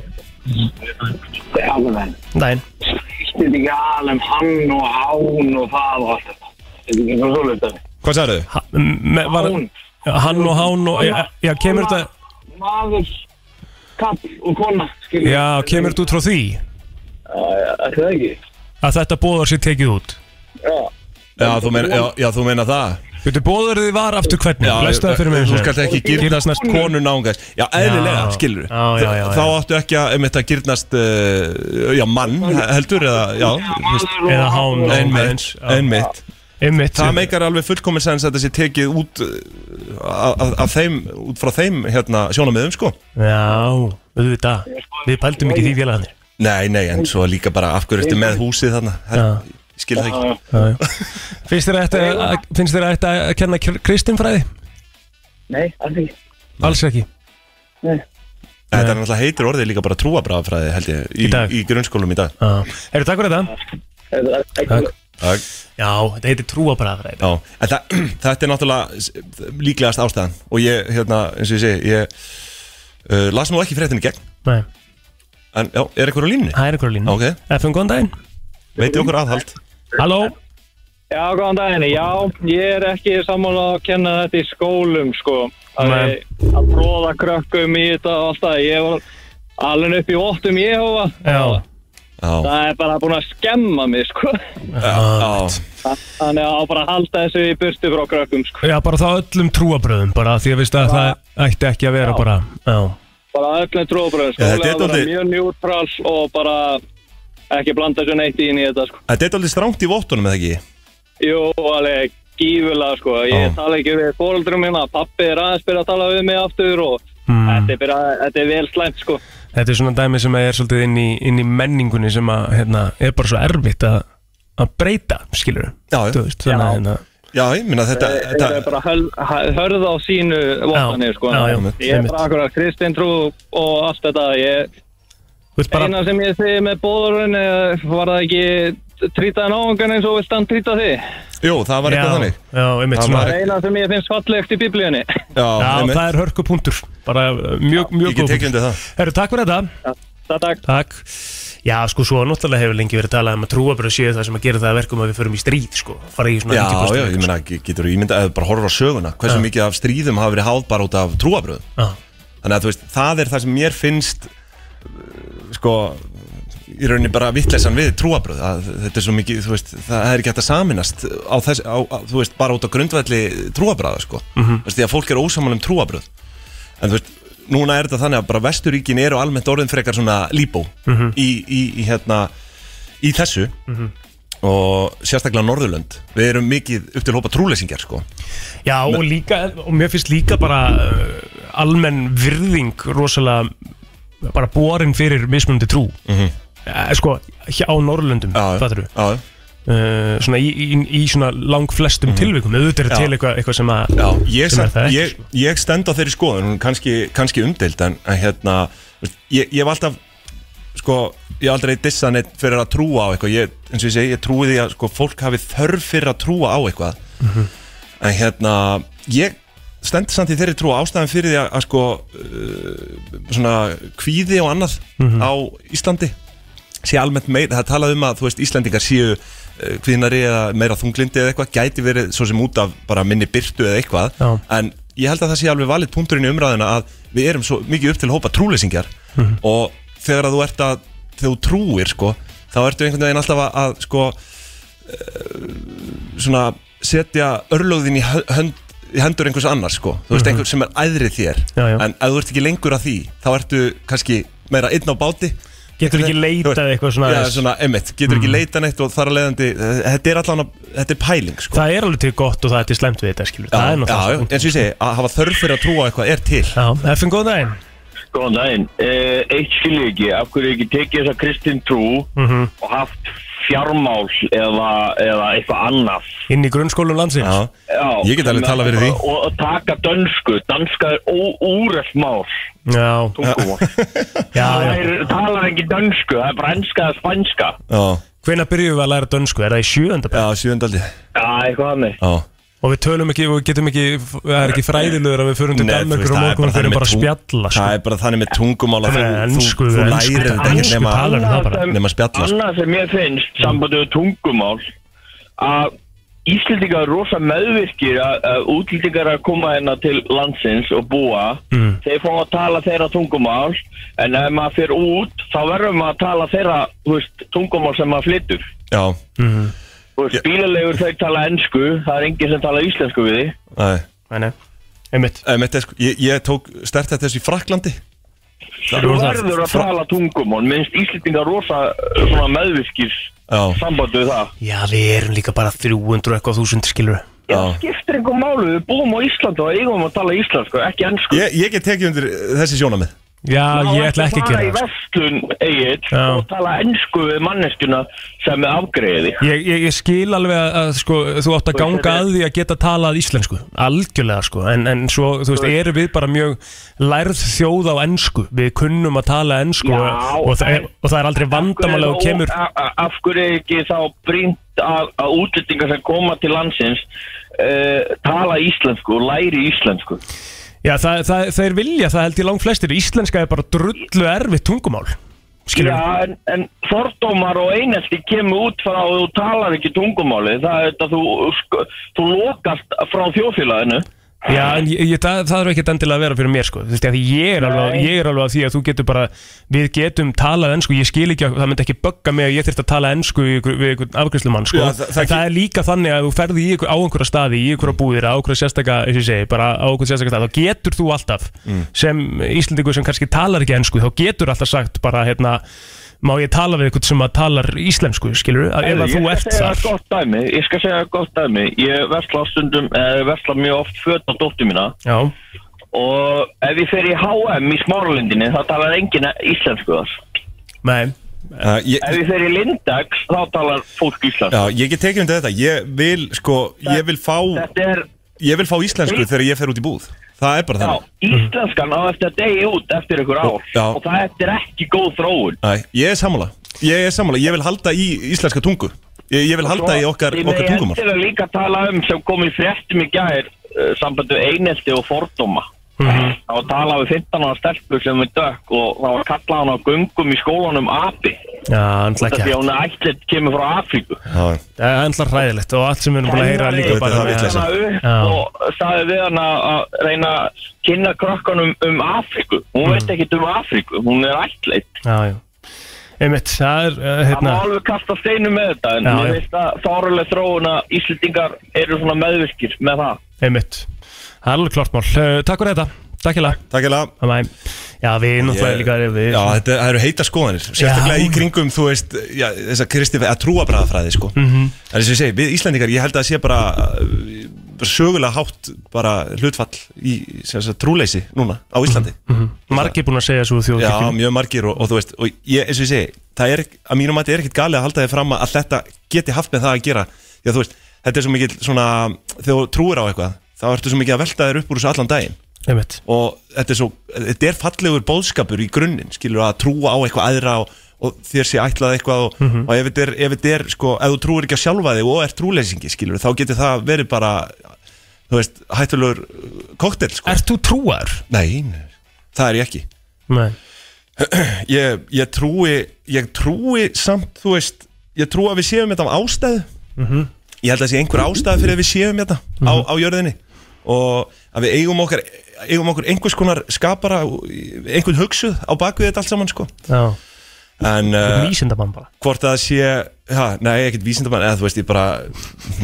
Já, menn,
Góðan Daginn
skiptir þetta ekki alveg um hann og hán og það og allt þetta. Þetta er ekki eitthvað svolítið dæmi.
Hvað sagði þau?
Ha- me- var-
Hán.
Já, Hann og hán og Já, já, kemur þetta
Maður, kall og kona, skilur.
Já, kemur þetta út frá því
Er það ekki?
að þetta bóðar sér tekið út
Já.
Já, þú meina, já, já, þú meina það
Þetta bóðar þið var aftur hvernig
Já,
Lestu það fyrir mig
Þú
einu sinni.
skalt ekki
Girnast
gyrnast konu náungast Já, eðlilega,
Já.
skilur
Já, já, já,
Þá
já.
áttu ekki að, um þetta gyrnast uh, Já, mann, heldur eða, já þú veist,
Maður
Eða
og
hán og
Einmitt,
Já.
einmitt
Einmitt
Það meikar alveg fullkomin sens að þetta sé tekið út uh, af af þeim, út frá þeim hérna, sjónamiðum, sko
Já, auðvitað Við pældum ekki í því félagarnir
Nei, nei, en svo líka bara af hverju ertu með húsið þarna Her,
Já.
ég Skil það ekki
Já, já. Finnst þér að þetta- að- finnst þér að þetta að kenna kr- kristinfræði?
Nei, alls ekki.
Alls ekki
Þetta er náttúrulega heitir orðið líka bara trúabrafræði, held ég Í,
Í dag.
í grunnskólum í dag
Eru takk fyrir þetta?
Þetta er
Takk.
ekki.
Takk
Já, þetta heitir trúabræðfræði
Já, en það, þetta er náttúrulega s- líklegast ástæðan og ég, hérna, eins og ég segi, ég uh, las nú ekki fréttinni gegn,
Nei,
en já, er eitthvað á línni?
það er ykkur á línu
Ok.
FM, góðan daginn
Veitðu okkur aðhald?
Halló
Já, góðan daginn. Já, ég er ekki sammála að kenna þetta í skólum, sko. Að,
Nei.
að próða krökkum í þetta og allt það. Ég var alveg upp í óttum ég hófa.
Já,
Já,
Það er bara búin að skemma mig, sko.
já,
Þannig að á bara að halda þessu í burtu frá krökkum, sko.
já bara þá öllum trúabröðum bara því að veist að það ætti ekki að vera bara Já,
Bara öllum tróðbröðum, sko.
Já, þetta er
að vera
dálítið-
mjög njútrals og bara ekki blanda þessu neitt inn í þetta, sko.
þetta er aldrei strangt í vottunum, eða ekki?
Jú, alveg gífulega, sko. Ég
Já.
tala ekki við fóruldrum minna. Pappi er aðeins byrjað að tala við mig aftur og
Mm.
þetta, er byrja, þetta er vel slæmt, sko.
þetta er svona dæmi sem er svolítið inn í, inn í menningunni sem að, hérna, er bara svo erfitt að, að breyta, skilur
Já, já.
Þú veist, þannig að hérna,
Já, ég minna þetta,
Eh, Þetta er
þetta,
bara höl- h- hörð á sínu vopnanir sko.
já, já,
Ég er
einmitt.
bara akkur að kristin trú og allt þetta ég,
Þú veist bara
Eina sem ég segi með bóðurinn eh, var það ekki trýtaði náungan eins og vilt hann trýta þig
jú, það var eitthvað þannig.
Já, einmitt,
Það
svona
var-
Það er eina sem ég finnst fallegt í biblíunni
Já,
Já,
einmitt.
það er hörkupunktur Bara uh, mjög, mjög
Ég get tekið undir það.
Herru, takk fyrir þetta
Það takk
Takk Já, sko, svo náttúrulega hefur lengi verið talað um að trúabröð séu það sem að gera það að verkum að við förum í stríð, sko Fara í svona
Já,
ríkipostun,
já, ég
sko.
minna, getur þú ímyndað að bara horfa á söguna, hversu
Já.
mikið af stríðum hafa verið háð bara út af trúabröðum.
Ah,
Þannig að þú veist, það er það sem mér finnst uh, sko í rauninni bara vittlesan við trúabröð að þetta er svo mikið, þú veist, það er ekki hægt að saminast á þess, á, á, þú veist, bara út á grundvelli trúabröða, sko
Mm. mhm.
þú veist, því að fólk er ósamal um trúabröð en þú veist, núna er þetta þannig að bara vesturíkin eru almennt orðin frekar svona líbó í, í, í hérna í þessu og sérstaklega Norðurlönd, við erum mikið upp til hópa trúleysingjar, sko
Já, já og líka, og mér finnst líka bara uh, almenn virðing rosalega bara borin fyrir mismunandi trú mm Sko, hjá Norrlöndum,
Já, já.
fattur
Já, já.
uh, Svona í, í, í svona langflestum tilvikum Auðvitað er
Já.
til eitthvað, eitthvað sem að
Já, ég,
sem er
sem,
það ekki,
ég,
sko.
ég stend á þeirri skoðun hún er kannski, kannski umdeild en en hérna, þú veist, ég, ég hef alltaf sko, ég hef aldrei dissað neitt fyrir að trúa á eitthvað, ég, eins og ég segi ég trúi því að sko, fólk hafi þörf fyrir að trúa á eitthvað
Mhm.
en hérna ég stend samt í þeirri trú ástæðan fyrir því að, að sko uh, svona kvíði og annað á Íslandi sé almennt meira, það er talað um að þú veist Íslendingar séu uh, kvinnari eða meira þunglindi eða eitthvað, gæti verið svo sem út af bara minni byrtu eða eitthvað
Já.
en ég held að það sé alveg valið punkturinn í umræðina að við erum svo mikið upp til hópa trúleysingjar
Mhm.
og þegar að þú ert að þegar þú trúir sko, þá ertu einhvern veginn alltaf að, að sko eh, svona setja örlögðin í hö- hönd í hendur einhvers annars sko, þú veist einhver sem er æðrið þér,
Mhm. Já, já.
en ef þú ert ekki lengur að því, þá ertu kannski meira einn á báti
Getur ekki
Þú veist,
leitað eitthvað svona
Já,
aðeins? Mhm.
svona, emmitt, getur ekki leitað neitt og þar að leiðandi, eh, þetta er allan að, þetta er pæling sko
Það er alveg til gott og það er til slæmt við þetta, skilur Það er
já, já,
náttúrulega
eins og ég segi, að hafa þörf fyrir að trúa á eitthvað er til
Já, FN góðan daginn
Góðan
Mhm.
daginn. Eh, eitt skilur ég ekki, af hverju er ekki tekið þessa kristin trú og haft fjármál eða, eða eitthvað annað
Inn í grunnskólum landsins
Já,
Já,
Ég get alveg talað fyrir því.
Og, og taka dönsku, danska er óúrelt mál
Já,
tungumál Það
já, já.
er, talar ekki dönsku, það er bara enska eða spanska
já,
Hvenær byrjuðum við að læra dönsku? Er það í sjöönda?
já, sjöndaldi Já,
Já, eitthvað hannig
Og við tölum ekki, og við getum ekki Það er ekki fræðilegur að við förum til
Nei, þú veist,
Danmarkur og
það er
morgunum
bara
fyrir
þannig
bara að
með
spjalla sko.
Það er bara þannig með tungumál að
Það er
þú,
ensku,
þú,
ensku-
þú lærir þetta ekki
ensku
nema
talar við það bara.
nema að spjalla sko.
Annað sem ég finnst sambandið við tungumál að Íslendingar er rosa meðvirkir að, að útlendingar að koma hérna til landsins og búa
Mm.
þeir fá að tala þeirra tungumál en ef maður fyrir út þá verður maður að tala þeirra þú veist, tungumál sem maður flyttur
Já,
Mhm.
Þú veist,
Ég-
bílalegur þau tala ensku það er enginn sem tala íslensku við því
nei
Nei, nei. Einmitt.
Em, þetta er sko, ég, ég tók stert þetta þessu í Fraklandi
þú verður að
Fra-
tala tungumál minnst Íslendingar rosa uh, svona meðvirkir
Já,
sambandið við það
Já, við erum líka bara 300 eitthvað þúsund skilur
Já,
Já.
skiptir einhver málu, við búum á Íslandu og eigum að tala íslensku, ekki ennsku
ég, ég get tekið undir þessi sjónamið
Já, ég ætla ekki
það
að gera
í
það sko.
vestlun eigið
Já.
og tala ennsku við manneskuna sem er afgreiði
Ég, ég, ég skil alveg að, að sko, þú átt
veist,
að ganga
þetta er-
að því að geta talað íslensku Algjörlega sko En, en svo, þú veist, eru við bara mjög lærð þjóð á ensku Við kunnum að tala ensku
Já,
og, og, það er,
en-
og það er aldrei vandamálega og kemur
af hverju er ekki þá brínt að, að útlendingar sem koma til landsins uh, tala íslensku og læri íslensku
Já, það, það, þeir vilja, það held ég langt flestir Íslenska er bara drullu erfitt tungumál Skilur við?
Já, en, en fordómar og einelti kemur út frá að þú talar ekki tungumáli það er þetta þú, sko, þú lokast frá þjóðfélaginu
Já, en ég, ég, það, það er ekkert endilega að vera fyrir mér sko Þú veist, af því ég er, alveg,
Nei.
ég er alveg að því að þú getur bara Við getum talað ennsku, ég skil ekki að það myndi ekki bögga mig að ég þurft að tala ennsku við ykkur, við ykkur afgjörslumann sko
Já,
En
það-
það,
það-
er líka þannig að þú ferði í ykkur á einhverja staði, í ykkur búðir á einhverja sérstaka, eins og ég segi, bara á einhverja sérstaka staði þá getur þú alltaf, sem Íslendingur sem kannski talar ekki ennsku, þá getur alltaf sagt bara, hérna, má ég tala við ykkur sem að talar íslensku, skilur ef að
Heyrðu,
þú
ég sko.
ert
skal segja
þar
gott dæmi, ég skal segja gott dæmi ég versla á stundum, eh, versla mjög oft föt á dóttur mína
Já,
og ef ég fer í H&M í smáralindinni þá talar enginn íslensku þar
nei,
uh, ég,
ef ég fer í Lindax þá talar fólk íslensku
Já, ég get tekið undir þetta Ég vil, sko, ég vil fá
þetta er,
Ég vil fá íslensku þegar ég fer út í búð Það er bara
já,
þannig Mhm.
íslenskan á eftir að degi út eftir ykkur ár
Já.
og það eftir ekki góð þróun
Æ, Ég er sammála Ég er sammála, ég vil halda í íslenska tungu Ég, ég vil halda í okkar, okkar tungumál
Ég er líka að tala um sem kom í fréttum í gær uh, sambandu einelti og fordóma Það var að tala við 15 ára stelpu sem við dökk og það var að kalla hann á göngum í skólanum api
já, andla
Þetta
ekki
því að hún er ætlit kemur frá Afríku
Já,
Það er ennþá hræðilegt og allt sem við erum búin að heyra líka
Þetta
bara
er það
með-
vitleysa.
Já.
hana upp og sagði við hann að að reyna að kynna krökkunum um Afríku Hún veit
Mm.
ekkert um Afríku, hún er ætlit
Já, já Einmitt, það er, uh,
Það má
hérna
alveg kasta steinu með þetta en
Já,
ég
já.
veist að þáruleg þróun að Íslendingar eru svona meðvirkir með það
Einmitt Það er alveg klart mál uh, Takk fyrir þetta Takk hella
takk ég lega
Bye bye Já, við náttúrulega líka erum við
Já, þetta það eru heita skoðanir Sérstaklega
Já.
í kringum, þú veist já, Þessa kristi, að trúa bræðafræði, sko
Mhm.
mm -hmm. Það er sem ég segi, við Íslendingar, ég held að það sé bara uh, Sögulega hátt Bara hlutfall í sem sagt, trúleysi Núna, á Íslandi
Margi búin mhm. að segja svo
Já,
þjóðkirkjum
mjög margir og, og þú veist og ég, eins og ég segi, það er, að mínum mati er ekkit galið að halda þið fram að þetta geti haft með það að gera, já þú veist þetta er svo mikið svona, þegar þú trúir á eitthvað þá ertu svo mikið að velta þér upp úr þessu allan daginn
Einmitt
og þetta er svo þetta er fallegur bóðskapur í grunninn skilur að trúa á eitthvað aðra og, og þér sé ætlað eitthvað og,
Mhm.
og ef þetta er, ef þetta er sko, ef þú trúir ekki að sjálfa þig og er trúleysingi skilur, þá getur það verið bara þú veist, hættulegur koktel sko.
Ert þú trúar?
nei, nei, það er ég ekki
Nei
ég, ég trúi ég trúi samt, þú veist ég trúi að við séum þetta á ástæðu
Mhm.
ég held að það sé einhver ástæðu fyrir að við séum þetta á, á jörðinni og að við eigum okkar eigum okkur einhvers konar skapara einhvern hugsuð á bakvið þetta allt saman sko.
Já
en
uh,
uh,
Vísindamann bara
hvort að það sé ha, nei, ekkert vísindamann, eða þú veist, ég bara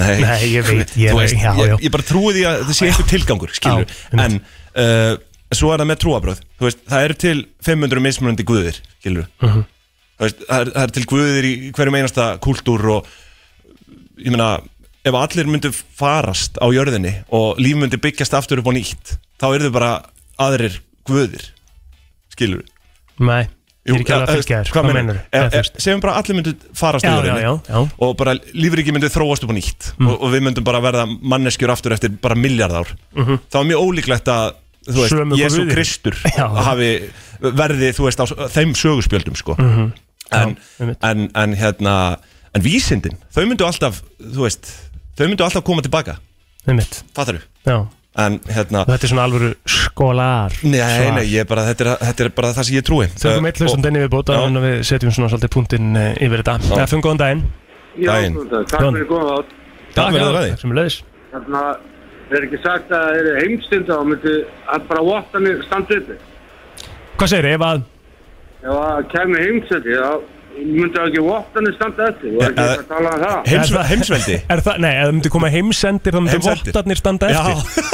nei,
Nei, ég veit, ég-
Þú veist,
já, já.
ég, ég bara trúi því að það sé einhver tilgangur skilur,
Já,
en uh, svo er það með trúabröð, þú veist, það eru til 500 mismunandi guðir, skilur
Mhm.
Þú veist, það, er, það er til guðir í hverjum einasta kúltúr og ég meina, ef allir myndu farast á jörðinni og líf myndi byggjast aftur upp á nýtt, þá eru þau bara aðrir guðir skilur
Nei Ég er ekki
eh,
alveg að fylgja þér. Hvað meinarðu? Eða, þú veist.
Segjum bara að allir myndu farast
Já,
úr jörðinni
já, já, Mm. já.
Og bara lífriki myndu þróast upp á nýtt og, og við myndum bara verða manneskjur aftur eftir bara miljardár mm -hmm. Það var mjög ólíklegt að Þú veist,
Mhm. Sömu
Jésu
guðir.
Kristur
Já.
hafi verði, þú veist, á s- þeim söguspjöldum, sko en,
Mhm. einmitt.
en, en, hérna, en vísindin, þau myndu alltaf, þú veist, þau myndu alltaf koma tilbaka,
einmitt,
fattar þú?
já
En, hérna,
Og þetta er svona alvöru skólar
Nei, nei, ég bara, þetta er, þetta er bara það sem ég trúi
Tökum eitt hlustandi inn í við bóta
Eh, Já.
og við setjum svona svolítið punktinn eh, yfir þetta Efum góðan daginn
Daginn.
Jón.
Takk fyrir góða átt.
Takk fyrir það
Takk sem er leiðis
Þannig er ekki sagt að það eru heimstund þá myndi að bara votta mig standupi.
Hvað segir ef að
Ef það kemur heimstundi þá myndi það ekki votta mig standa eftir. Þú er ekki
Ja,
að tala um það.
Heims,
Er það-
Heimsveldi
Er það, nei, ef það myndi koma heimsendir þá myndi
Heimsendir.
vottarnir standa
Já,
eftir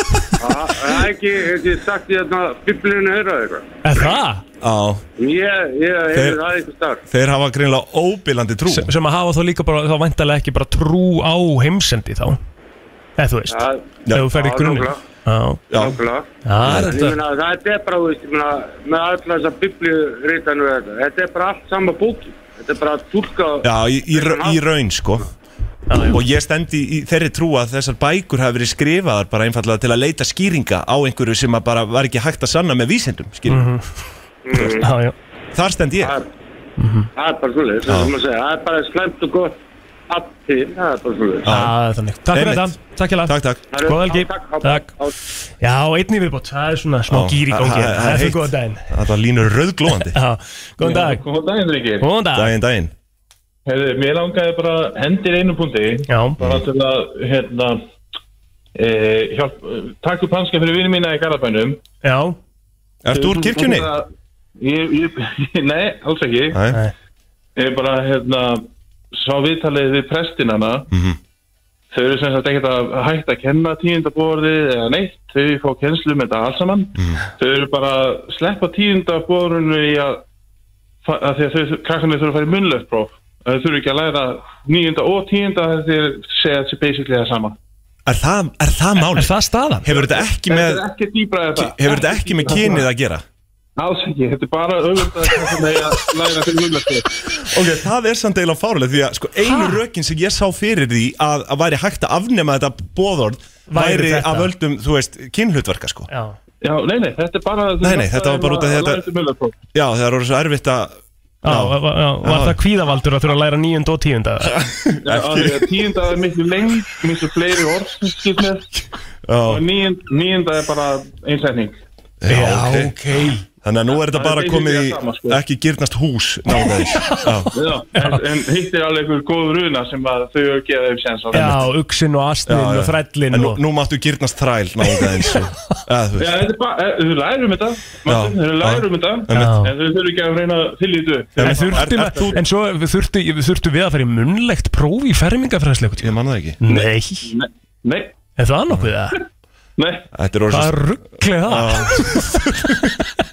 Það það er ekki, ekki sagt í þarna biblíunni höra eitthvað.
Er það?
á,
Ég, ég hefði
Þeir-
það eitthvað starf.
þeir hafa greinlega óbilandi trú
Sem, sem að hafa þá líka bara, þá væntalega ekki bara trú á heimsendi þá Eða þú veist,
Það
ef þú ferð í
Já,
grunni
nákvæmlega.
Já,
Já,
nákvæmlega.
það er
En ég
þetta
meina, það er bara, þú veist, ég meina, með alla þessa biblíurítanur og þetta. Þetta er bara allt sama bóki. Þetta er bara að tólka...
já í, í, ra- í raun sko Og ég stendi í þeirri trú að þessar bækur hafi verið skrifaðar bara einfallega til að leita skýringa á einhverju sem að bara var ekki hægt að sanna með vísindum mm
Mhm.
Já, já,
Þar stend ég
Það er- Mm. það er bara svolítið, það er sem að segja, það er bara slæmt og gott allt til, það er bara svolítið.
Já.
það er þannig Takk fyrir
Einmitt.
þetta, takk hjá
Takk, takk
Góða helgi, takk Já, einn í viðbót, það er svona smá
Já,
gýr í gangi
það- það er
Efum
heitt.
góðan daginn
Það var línur rauðglóandi
Já, góðan dag
Góðan daginn, drengir.
Góðan dag
Daginn, daginn
Herðu, mér langaði bara að endir einu punkti.
Já,
Bara til að, hérna, e, hjálp, takk upp hanska fyrir vinið mína í Garabænum.
já,
Ertu úr kirkjunni?
Ég, ég, nei, alls ekki.
Nei.
Ég bara, hérna, sá viðtalið við prestinana.
Mhm.
Þau eru sem sagt ekkert að hætta að kenna tíundaborðið eða neitt. Þau fá kennslu með þetta allt saman.
mhm.
Þau eru bara að sleppa tíundaborðinu í að, fa- að því að þau, krakkarnir þurfa að fara í munlöfpróf. Þau þurfa ekki að læra níunda og tíunda þegar þeir segja þessi basically það sama.
Er það, er það
er
málið?
það staðan?
Hefur þetta ekki
Þetta
með
er ekki dýbra eða það.
Hefur þetta ekki með kynið að gera?
Alls ekki, þetta er bara auðvitað að læra fyrir munlöfpróf.
Ok, það er samt eiginlega fárlega því að sko, einu rökin sem ég sá fyrir því að, að væri hægt að afnema þetta bóðorð
Væri
væri
þetta?
af öldum, þú veist, kynhlutverka sko.
Já,
Já, nei, nei, þetta er bara
Nei, nei, þetta var bara út af því að þetta-
þetta
Já, það eru svo erfitt að
já, já, já, var það kvíðavaldur að þurfa að læra nýjund og tíunda?
Já, af því að tíunda er miklu lengd, miklu fleiri orðskipnir og
Já,
níund, níunda er bara einsetning.
já, ok Þannig að nú er þetta
Það er
bara
basically
komið í
það sama, sko.
ekki girnast hús náðeins Já,
Já, en, en hitt er alveg einhver góð runa sem að þau eru að gefa þeim séns á.
Já, uxinn og astnin og þrællin
En nú,
og
nú máttu girnast þræl náðeins
Já, þetta er bara, eh, þau lærum þetta, Martin,
Já,
þau lærum þetta,
einmitt.
en þau þurfum ekki að reyna að fylgja þetta. upp.
En, þurftum,
er- er þú-
en svo þurftu, þurftu við að fara í munlegt próf í fermingafræðsleiku
Ég manna það ekki
Nei,
Nei, nei,
er það nokkuð það?
nei,
Þetta er
Það
orðið
rugglið það,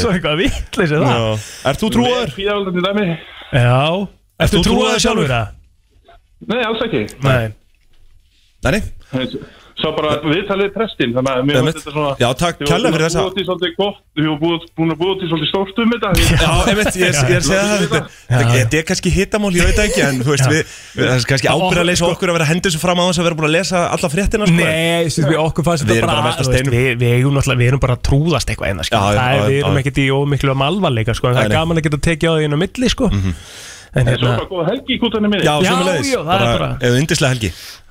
svo eitthvað vitleis er það
Já. Ert þú trúaður?
fíðavaldandi dæmi,
Já, ertu
þú
trúið
trúaður
það sjálfur það?
nei, alls ekki.
Nei,
Nei, nei,
Svo bara viðtalið prestin, þannig að mér
einmitt.
finnst þetta svona...
Já, takk, kælega fyrir þessa
Við vorum búið til svolítið gott, við vorum búin að búið til svolítið stórt um þetta. Já,
Já, ég veit, ég, ég er að segja það þetta- þetta- Þetta er kannski hittamál, ég veit það ekki En þú veist, við, við, það er kannski ábyrðarleysa okkur að vera að henda þessu fram á þess að vera búin að lesa alla fréttina sko.
sko- Nei, þú veist, við okkur fannst þetta
Við erum bara að velta
þú veist,
steinum.
við, við, eigum náttúrulega- við erum bara að trúðast eitthvað einna, sko.
Já, já,
það er,
já,
við
já,
erum
já.
ekkert í ómiklu um alvarleika, sko, en það
Nei,
er
nei. Mhm.
gaman að geta tekið á því inn á milli, sko. En
Svo
hérna,
bara góða helgi í kútanum minni
Já,
Já,
sömuleiðis.
já, það er bara-
Eða yndislega helgi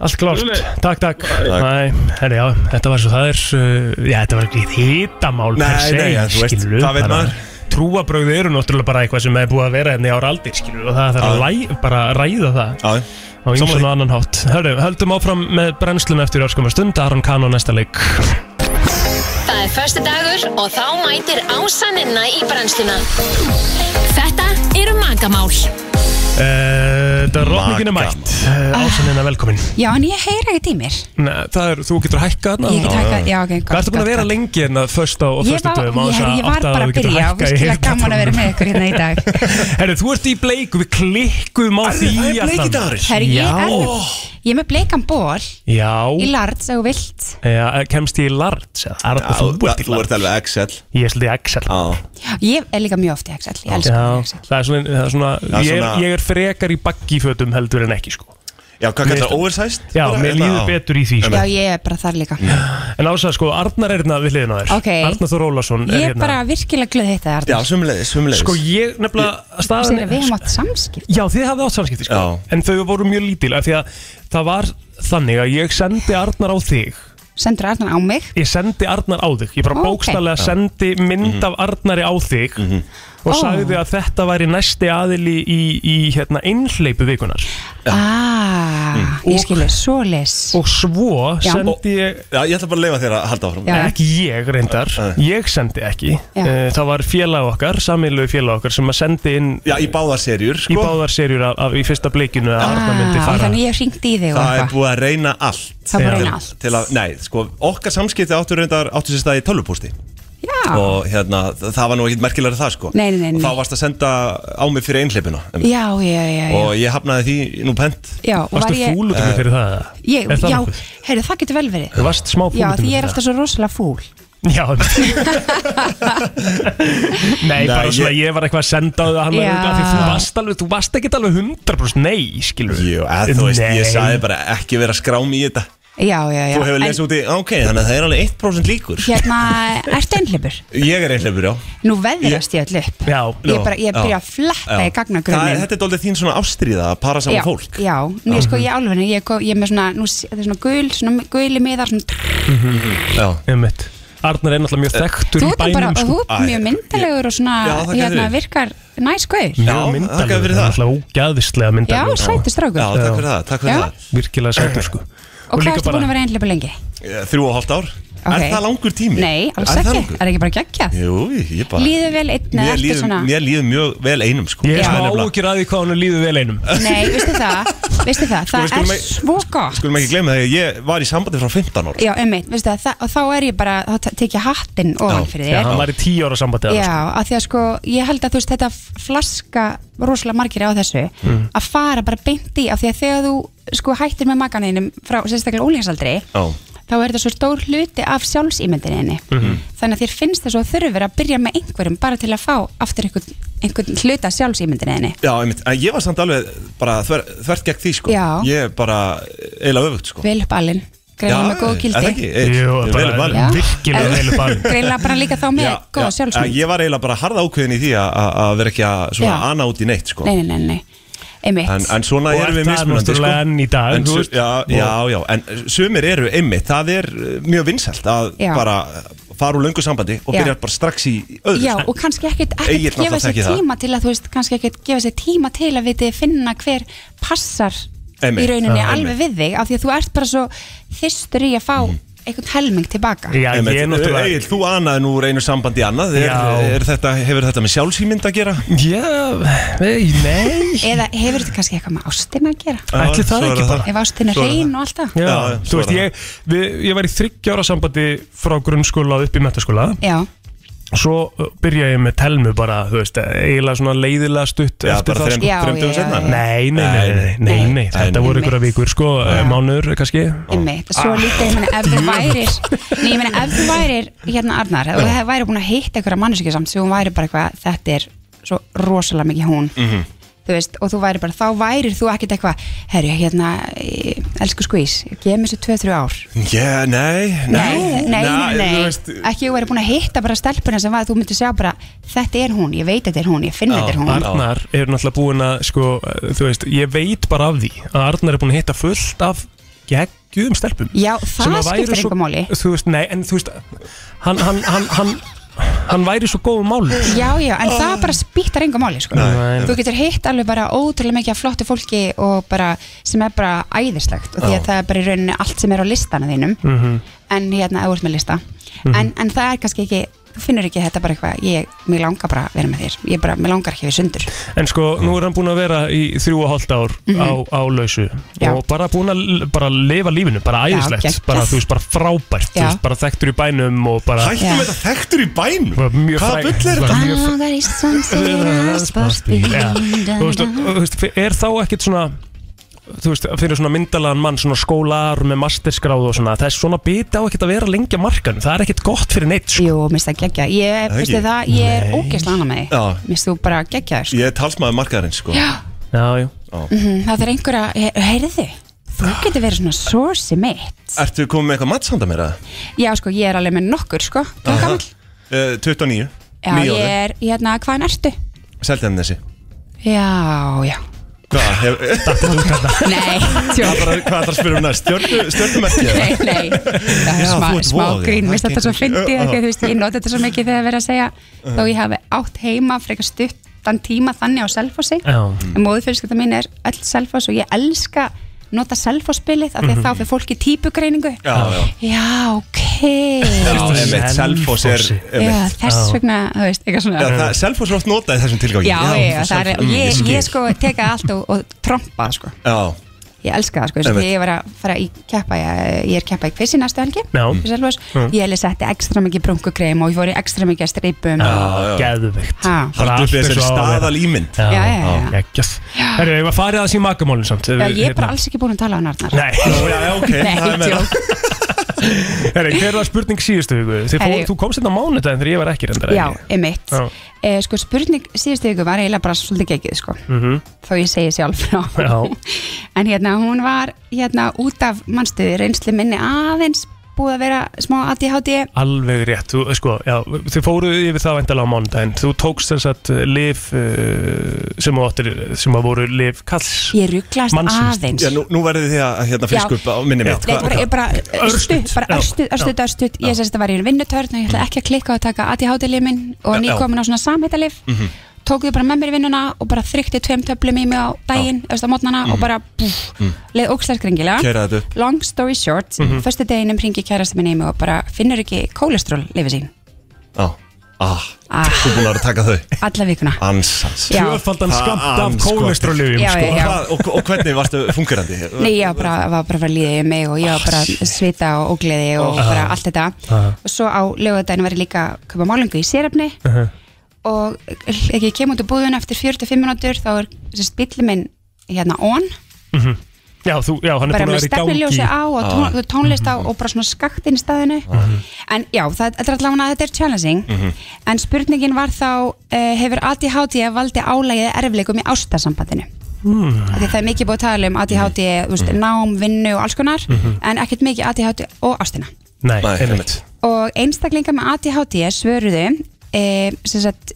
allt klárt,
Sömuleiðis.
takk, takk Nei, herri, já, þetta var svo, það er uh, já, þetta var ekki hitamál
Nei, nei, en þú veist, hvað veit maður?
Trúabrögð eru náttúrulega bara eitthvað sem er búið að vera hérna í ára aldir, skilur, og það þarf að
Já.
læ, bara ræða það
Já,
á
Sammála
ymsan
því.
og annan hátt Hörru, höldum áfram með brennsluna eftir örskumar stund Aron Kahn á næsta leik
Það er förstu dagur og þá mætir ásaninna í brennsluna. Þetta eru magamál.
Eh, Þetta er rofningin er
Magamál.
mætt Ásanina velkomin
Já, en ég heyra ekkert í mér
Nei, það er, þú getur hækkað hérna
Ég get hækkað, já, ok,
Hvað ertu búin að vera
gott.
lengi hérna föst á og
Ég
föstu
var,
dögum
ég, ég var bara að byrja og virkilega gaman að vera með ykkur hérna í dag
Herru, þú ert í bleiku, við klikkuðum á því
það er
allan.
bleikidagurinn
Herri, ég er
Já.
nefnilega- Ég er með bleikan ból
Já
í lard, sagðu vilt
Já, eh, kemst ég í large eða? Er það þú ert í large? Þú ert alveg Excel Ég er svolítið Excel Já,
Ég er líka mjög oft í Excel, ég elsku
Já, það er svona, það er svona,
er
ég, er,
svona-
ég er frekar í baggífötum heldur en ekki sko
Já, hvað kallar oversized?
Já,
Bara,
mér
hérna,
líður
á.
betur í því sko.
Já, ég er bara þar líka
En ásað sko, Arnar er hérna við hliðina á þér
Ok.
Arnar Þór Ólafsson er
Ég er
hérna
bara virkilega glöð hitta þér Arnar.
sumleðis, sumleðis
Sko ég nefnilega staðan
Sem Við hefum átt samskip
Já, þið hafði átt samskipti sko
Já.
En þau voru mjög lítil af Því að það var þannig að ég sendi Arnar á þig
Sendur Arnar á mig
Ég sendi Arnar á þig Ég bara
Ó, ok.
bókstallega
Já.
sendi mynd af Arnari á þig
Ó.
Og sagði að þetta væri næsti aðili í, í hérna, einhleipu vikunar
Mm.
Ah, ég skilur, svo les
Og svo
Já.
sendi ég
Já, ég ætla bara að leifa þér að halda áfram
Já.
Ekki ég reyndar, ég sendi ekki
Já.
Eh, Það var félag okkar, samílu félag okkar sem að sendi inn
Já, í báðar serjur sko.
Í báðar serjur af, af, í fyrsta bleikinu að Arnar myndi
ah,
fara
Þannig ég hringdi í þig og
Það er
eitthvað
búið að reyna allt
Það er búið að reyna
Til-
allt.
til að, Nei, sko, okkar samskipti áttu reyndar áttu sér stað í tölvupústi
Já.
Og hérna, þa- það var nú ekkit merkilega það sko
Nei, nei, nei,
Og
nei.
þá varst að senda á mig fyrir einhleipina
Já, já, já, já.
Og ég hafnaði því nú pent
Já, og Varstu var ég- fúl út í mig
fyrir það?
Ég, já, heyrðu, það getur vel verið
Þú varst smá fúl
Já,
út í
því
mig
ég er
fyrir
alltaf svo rosalega fúl
Já Nei, bara svona, ég var eitthvað að senda á það hann
Já.
var út af því þú varst alveg, þú varst ekkit alveg 100% nei, skilur
Jú, eða þú veist, ég
Nei.
sagði bara ekki vera skrám í þetta
Já, já, já
Þú hefur
En
lesið út í, ok, þannig að það er alveg 1% líkur
Hérna, ertu einhleipur?
Ég er einhleipur, já
Nú veðrast ég öll upp
Já,
Ég er bara, ég byrja að fletta í
Það er-
gagnagrunnin
Þetta er doldið þín svona ástríða að para saman
Já,
fólk Mhm.
já, en ég sko, ég álfinu, ég, er ko- ég er með svona, nú, sé- þetta er svona gul, svona guli miðar, svona
Já,
einmitt Arnar er náttúrulega mjög þekktur
Þú
í
ert nú bara,
sko?
bænum sko.
þú ert mjög myndalegur og svona,
Já, það gæti
hérna,
verið.
virkar næskauð
Mjög myndalegur, það er náttúrulega ógæðislega myndalegur
Já, sætur strákur. Já, takk fyrir
það,
takk fyrir Já. það.
Virkilega sætur sko
Og hvað ertu búin að vera einhleipur lengi?
Þrjú og hálft ár
Ok.
Er það langur tími?
Nei, alls
Er það
ekki,
langur?
það er ekki bara geggjað
Jú, ég bara
Líður vel einn eða
Mér
eftir
líður,
svona
mér líður mjög vel einum sko
Ég er
Það
smá
nefnilega-
ágjur að því hvað hann líður vel einum
Nei, veistu það, veistu það,
Sko, við
það
skulum
er
ekki-
svo gott
Skulum ekki gleyma það að ég var í sambandi frá 15 ára
Já, einmitt, veistu það, það, og þá er ég bara, þá te- tek ég hattinn ofan fyrir
Já,
þér
hann var í tíu ára sambandi
Já, af því að sko, ég held að þú veist þetta flaska rosalega margir á þessu
Mm.
að fara bara beint í af því að þegar þú sko hættir með makaneinum frá sérstaklega úlingsaldri
Já
þá er þetta svo stór hluti af sjálfsýmyndininni þannig að þér finnst þess að þurfur að byrja með einhverjum bara til að fá aftur einhvern, einhvern hluta sjálfsýmyndininni
Já, einmitt, en ég var samt alveg bara þver, þvert gegn því sko
Já.
Ég er bara eiginlega öfugt sko
vel upp alinn,
Já,
greinlega með góð
er það
gildi
ekki? Egill?
Jú,
Vel
bara
upp alinn.
Já.
virkilega vel upp alinn.
greinlega bara líka þá með
Já,
góða
já,
sjálfsmynd
Ég var eiginlega bara harða ákveðin í því að- að að vera ekki að svona
Já.
ana út í neitt sko
nei, nei, nei, nei, einmitt
En, en svona
Og
erum við
það er
mismunandi sko.
náttúrulega enn í dag,
en,
þú
su-
veist.
já, já, já, en sumir eru einmitt Það er uh, mjög vinsælt að
Já.
bara fara úr löngu sambandi og
Já.
byrja bara strax í öðru
Já, og kannski ekkert,
Egill
ekkert gefa
náttúrulega
sér
þekkir það.
tíma til að þú veist, kannski ekkert gefa sér tíma til að við þið finna hver passar
Einmitt. Mhm.
í rauninni
Já,
alveg við þig af því að þú ert bara svo þystur í að fá einhvern helming tilbaka
Já, ég
Einmitt.
náttúrulega-
Egill, þú anaði nú úr einu sambandi í annað er,
Já.
er þetta, Hefur þetta með sjálfsýmynd að gera?
Já, nei, nei
eða hefur þetta kannski eitthvað með ástina að gera
Ætli það svo er ekki það. bara.
ef ástina
Svo
er
er
hrein og alltaf
Já, þú veist, ég, við, ég var í þryggja ára sambandi frá grunnskóla og upp í metaskóla
Já,
Svo uh, byrjaði ég með telmu bara, þú veist, eiginlega svona leiðilega stutt
Já,
eftir
bara
það sko.
þrem- Já, þrem dögum já, seinna? já.
Nei, nei, nei, nei, nei, nei, nei. þetta voru ykkur að vikur, sko, já. mánuður, kannski
einmitt, svo líka ég meina ef þú værir Nei, ég meina ef þú værir hérna Arnar, ef þú væri búin að hitta einhverja manneskja samt sem hún væri bara eitthvað, þetta er svo rosalega mikið hún
Mhm.
þú veist, og þú væri bara, þá værir þú ekkert eitthvað, herru, hérna eh, elsku skvís, gef mér svo 2-3 ár
Já, nei,
nei, nei, nei,
þú
nei.
veist,
ekki þú væri búin að hitta bara stelpuna sem var, þú myndir sjá bara, þetta er hún, ég veit þetta er hún ég finn þetta er hún
Arnar er náttúrulega búinn að, sko, uh, þú veist, ég veit bara af því að Arnar er búinn að hitta fullt af geggjum stelpum
Já, það
Sem að væru
skiptir
svo-
engu máli.
Þú veist, nei, en þú veist, hann, hann, hann, hann, hann væri svo góðum máli
já, já, en það bara spýttar enga máli sko.
Nei.
þú getur hitt alveg bara ótrúlega mikið af flottu fólki og bara, sem er bara æðislegt og því
Já.
að það er bara í rauninni allt sem er á listana þínum
Mhm.
en hérna, þú ert með lista
Mhm.
en, en það er kannski ekki, þú finnur ekki þetta bara eitthvað, ég, mér langar bara að vera með þér ég bara, mér langar ekki við sundur
En sko, nú er hann búinn að vera í þrjú og hálft ár
Mhm.
á, á lausu
Já.
og bara búinn að l- bara lifa lífinu, bara
Já,
æðislegt
geggjað.
bara, þú veist, bara frábært, þú
Já.
veist, bara þekktur í bænum og bara
Hættum Já. þetta þekktur í bænum? Hvaða bull er þetta?
Langar í sundur
Þú veist, og- og þú veist, er þá ekkert svona þú veist, fyrir svona myndalagan mann svona skólar með masterskráð og svona það er svona biti á ekkert að vera lengi að markan það er ekkert gott fyrir neitt sko.
Jú, minnst það geggja Ég,
Það
veistu
ekki?
það, ég er
Nei.
ógeðslega annað með því
Já.
Minnst þú bara geggja þér sko.
Ég er talsmaður markaðarins sko
Já.
Já, já
Mhm, Það er einhverja, he- heyrðu Þú getur verið svona source mitt
Ertu komið með eitthvað matsanda mér að?
Já, sko, ég er alveg með nokkur, sko Hvað gamall?
Uh, 29
Já,
níu
ég
ári.
er, hérna, hvaðan ertu?
Seltjarnesi
Já, já
Hvað? hef-
Nei,
Hvað
tjók
þarf að spyrja um næst? Stjörnu- Stjörnumerki? eða?
Nei, nei, það
Já,
er smá,
þú ert
smá
voða,
grín,
það
veist þetta
gengur
svo
ekki.
fyndi
Já.
því að þú veist, ég noti þetta svo mikið þegar það er verið að segja
Já.
þó ég hafi átt heima frekar stuttan tíma þannig á Selfossi
Já.
en móðufjölskylda mín er öll Selfoss og ég elska nota Selfoss-spilið af því að
Mhm.
þá fyrir fólki típugreiningu
Já, já
Já, ok
Já, einmitt, Selfoss er
Já,
einmitt.
þess vegna, þú veist, eitthvað svona
Já, það- Selfoss er oft notað í þessum tilgangi
Já, já, það er,
Selfoss- Mm,
ég,
skil.
ég sko teka allt og, og trompa, sko
Já,
Ég elska það sko, eins og
Einmitt.
því ég var að fara í keppa, ég, ég er keppa í kvissi næstu helgi
Já.
í Selfoss.
Mm.
Ég heli setti ekstra mikið brunkukrem og ég fór í ekstra mikið að streipum
Já, geðveikt
Ha.
Bara
Haltu
allt
upp í
eins og á
þessari
að vera.
staðalímynd.
Já,
Já, já,
já,
já.
geggjað Herru, ég var farið að þessi makamálin samt
Já, ég er bara alls ekki búin að tala um Arnar
hérna. Nei, já, já, ok
Nei,
það er meira.
tjók.
Herru, hver var spurning síðustu viku? Þið fór,
Herru.
þú komst þetta á mánudaginn þegar ég var ekki reyndar
Já, emitt
Já.
e, Sko spurning síðustu ykkur var eiginlega bara svolítið geggið sko
Mhm.
Þó ég segi sjálf frá
Já.
En hérna, hún var hérna út af mannstuði reynsli minni aðeins búið að vera smá ADHD
Alveg rétt, þú, sko, já, þið fóruð yfir það vendalega á mánudaginn Þú tókst þess að lif uh, sem, þú áttir, sem að voru lif kalls
Ég rugglast aðeins
Já, nú, nú verðið þið að hérna fisk
Já.
upp á minni mitt
Nei, bara, ég bara örstuð, bara
Já,
örstuð, örstuð,
já,
örstuð Ég sérst að var í vinnutörn og ég ætla ekki að klikka og taka ADHD-lið minn og
Já, já.
nýkomin á svona samhættalif
Mhm.
Tók þau bara með mér í vinnuna og bara þrykti tveim töflum í mig á daginn, öst á mótnana og
Mhm.
bara búf,
Mm.
leið ókslarskringilega
Keira þetta upp.
Long story short, mm
Mhm.
-hmm. förstu deginum ringi kærasti minn í mig og bara finnur ekki kólestról lifið sín
Já, ah,
Ah.
þú er búin að vera að taka þau
alla vikuna
Ansans
Já. Tvöfaldan
skammt af kólesterólyfjum,
Já, sko. já, já.
Hvað- og, og hvernig varstu fungerandi?
Nei, ég var bara, var bara að fara að líða í mig og ég var bara að svita og ógleði og
Ah.
bara allt þetta
Ah.
og svo á lögadaginn var ég líka að köpa málingu í sérefni og ekki ég kem út á búðun eftir 45 minútur þá er þessi bíli minn hérna on
Mhm. Já, þú, já, hann er
bara
búin að
með
vera í gangi
stefniljósi á og
Ah.
tón,
Já.
tónlist á og bara svona skakt inn í staðinu en já, það, þetta er allavega þetta er challenging
Mm.
Mhm.
en spurningin var þá uh, hefur ADHD valdi álægið erfleikum í ástasambandinu
Ah.
Hmm.
Af því það er mikið búið að tala um ADHD, mm. veist,
Mhm.
nám, vinnu og alls konar
Mhm.
en ekkert mikið ADHD og ástina
Nei, einmitt
og einstaklingar með ADHD svöruðu e, sem sagt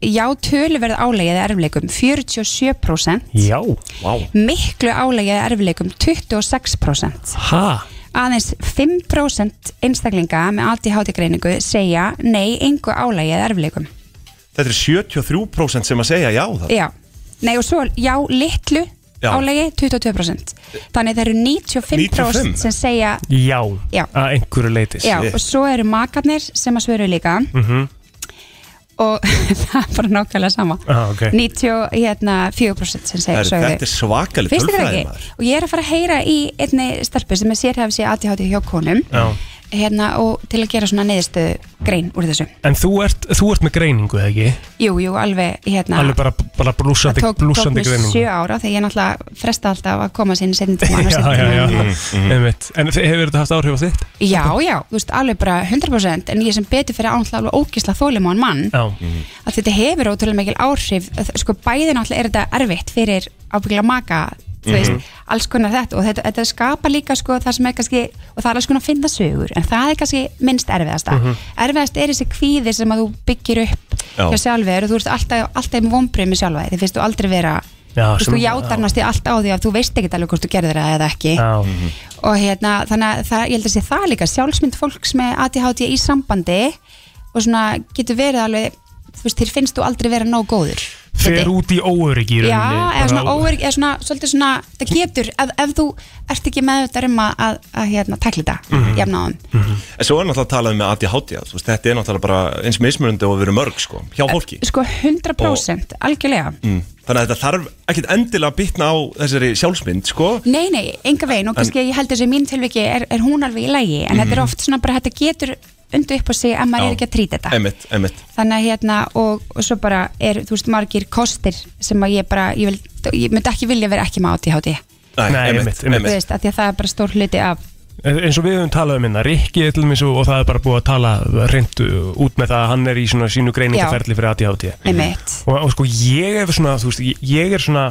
já töluverð álegið erfleikum 47%
Já, vá
miklu álegið erfleikum 26%
Ha?
aðeins 5% einstaklinga með ADHD greiningu segja nei, engu álegið erfleikum
Þetta er 73% sem að segja já það
Já, nei og svo já, litlu
Já.
álegi 22% Þannig það eru 95%,
95?
sem segja
Já,
Já.
að einhverju leiti
já og svo eru makarnir sem að svöru líka
Mhm.
og það er bara nákvæmlega sama
Ah, ok.
94% sem segja
Herru, Þetta er svakalig
Fyrst þetta
tölfræði
ekki og ég er að fara að heyra í einni stelpu sem er sérhæfi sér ADHD hjá konum
Já.
hérna, og til að gera svona neyðstöðu grein úr þessu
En þú ert, þú ert með greiningu, eða ekki?
Jú, jú, alveg hérna
Alveg bara, bara
það
blúsandi,
tók, tók
blúsandi
mig
greiningu
sjö ára þegar ég náttúrulega fresta alltaf að koma sín setjum tíma annars
Já,
seinni
já, já,
Mm,
Mm,
tímann.
einmitt En þi- hefur þetta haft áhrif á þitt?
já, já, þú veist, alveg bara 100% en ég sem betur fyrir ánætla alveg ógisla þólimón mann
Já
að þetta hefur ótrúlega mikil áhrif að- sko bæði náttúrulega er þetta erfitt fyrir ábyggla maka þú veist,
Mhm.
alls konar þetta og þetta, þetta skapa líka sko það sem er kannski og það er alls konar að finna sögur en það er kannski minnst erfiðasta
Mhm.
erfiðast er þessi kvíði sem að þú byggir upp
Já.
hjá sjálfur og þú ert alltaf, alltaf með vonbrið með sjálfa þér, þið finnst þú aldrei vera
Já,
þú veist, þú
sem-
játar
já.
næstu allt á því að þú veist ekkert alveg hvort þú gerðir það eða ekki
Já
og hérna, þannig að það, ég held að sé það líka sjálfsmynd fólks með ADHD í sambandi og svona getur verið alveg þú veist, þér finnst þú aldrei vera nóg góður
Fer út í óöryggi í
Já,
rauninni,
eða svona
bara-
óverg, eða svona, svolítið svona, það getur, ef, ef þú ert ekki með þetta um að, að, að hérna, takla þetta,
Mhm.
jafnáðum.
En svo er náttúrulega að tala um með ADHD þú veist, Þetta er náttúrulega bara eins mismunandi og við erum mörg sko, hjá fólki
Sko 100%, algjörlega.
mm. Þannig að þetta þarf ekkit endilega að bitna á þessari sjálfsmynd sko.
Nei, nei, enga veginn og kannski ég held þessi mín tilviki er, er hún alveg í lægi en þetta er
Mhm.
oft svona bara þetta getur undu upp á sig ef maður er ekki að trýta þetta.
Einmitt, einmitt
þannig að hérna og, og svo bara er, þú veist, margir kostir sem að ég bara, ég, vil, ég myndi ekki vilja vera ekki með ADHD
Nei, einmitt,
Þú
einmitt.
veist, af því að það er bara stór hluti af
En- eins og við höfum talað um hérna, Rikki til mér og það er bara búið að tala reynd út með það að hann er í svona sínu greiningaferli fyrir ADHD
Einmitt.
og, og sko ég er svona, þú veist, ég- ég er svona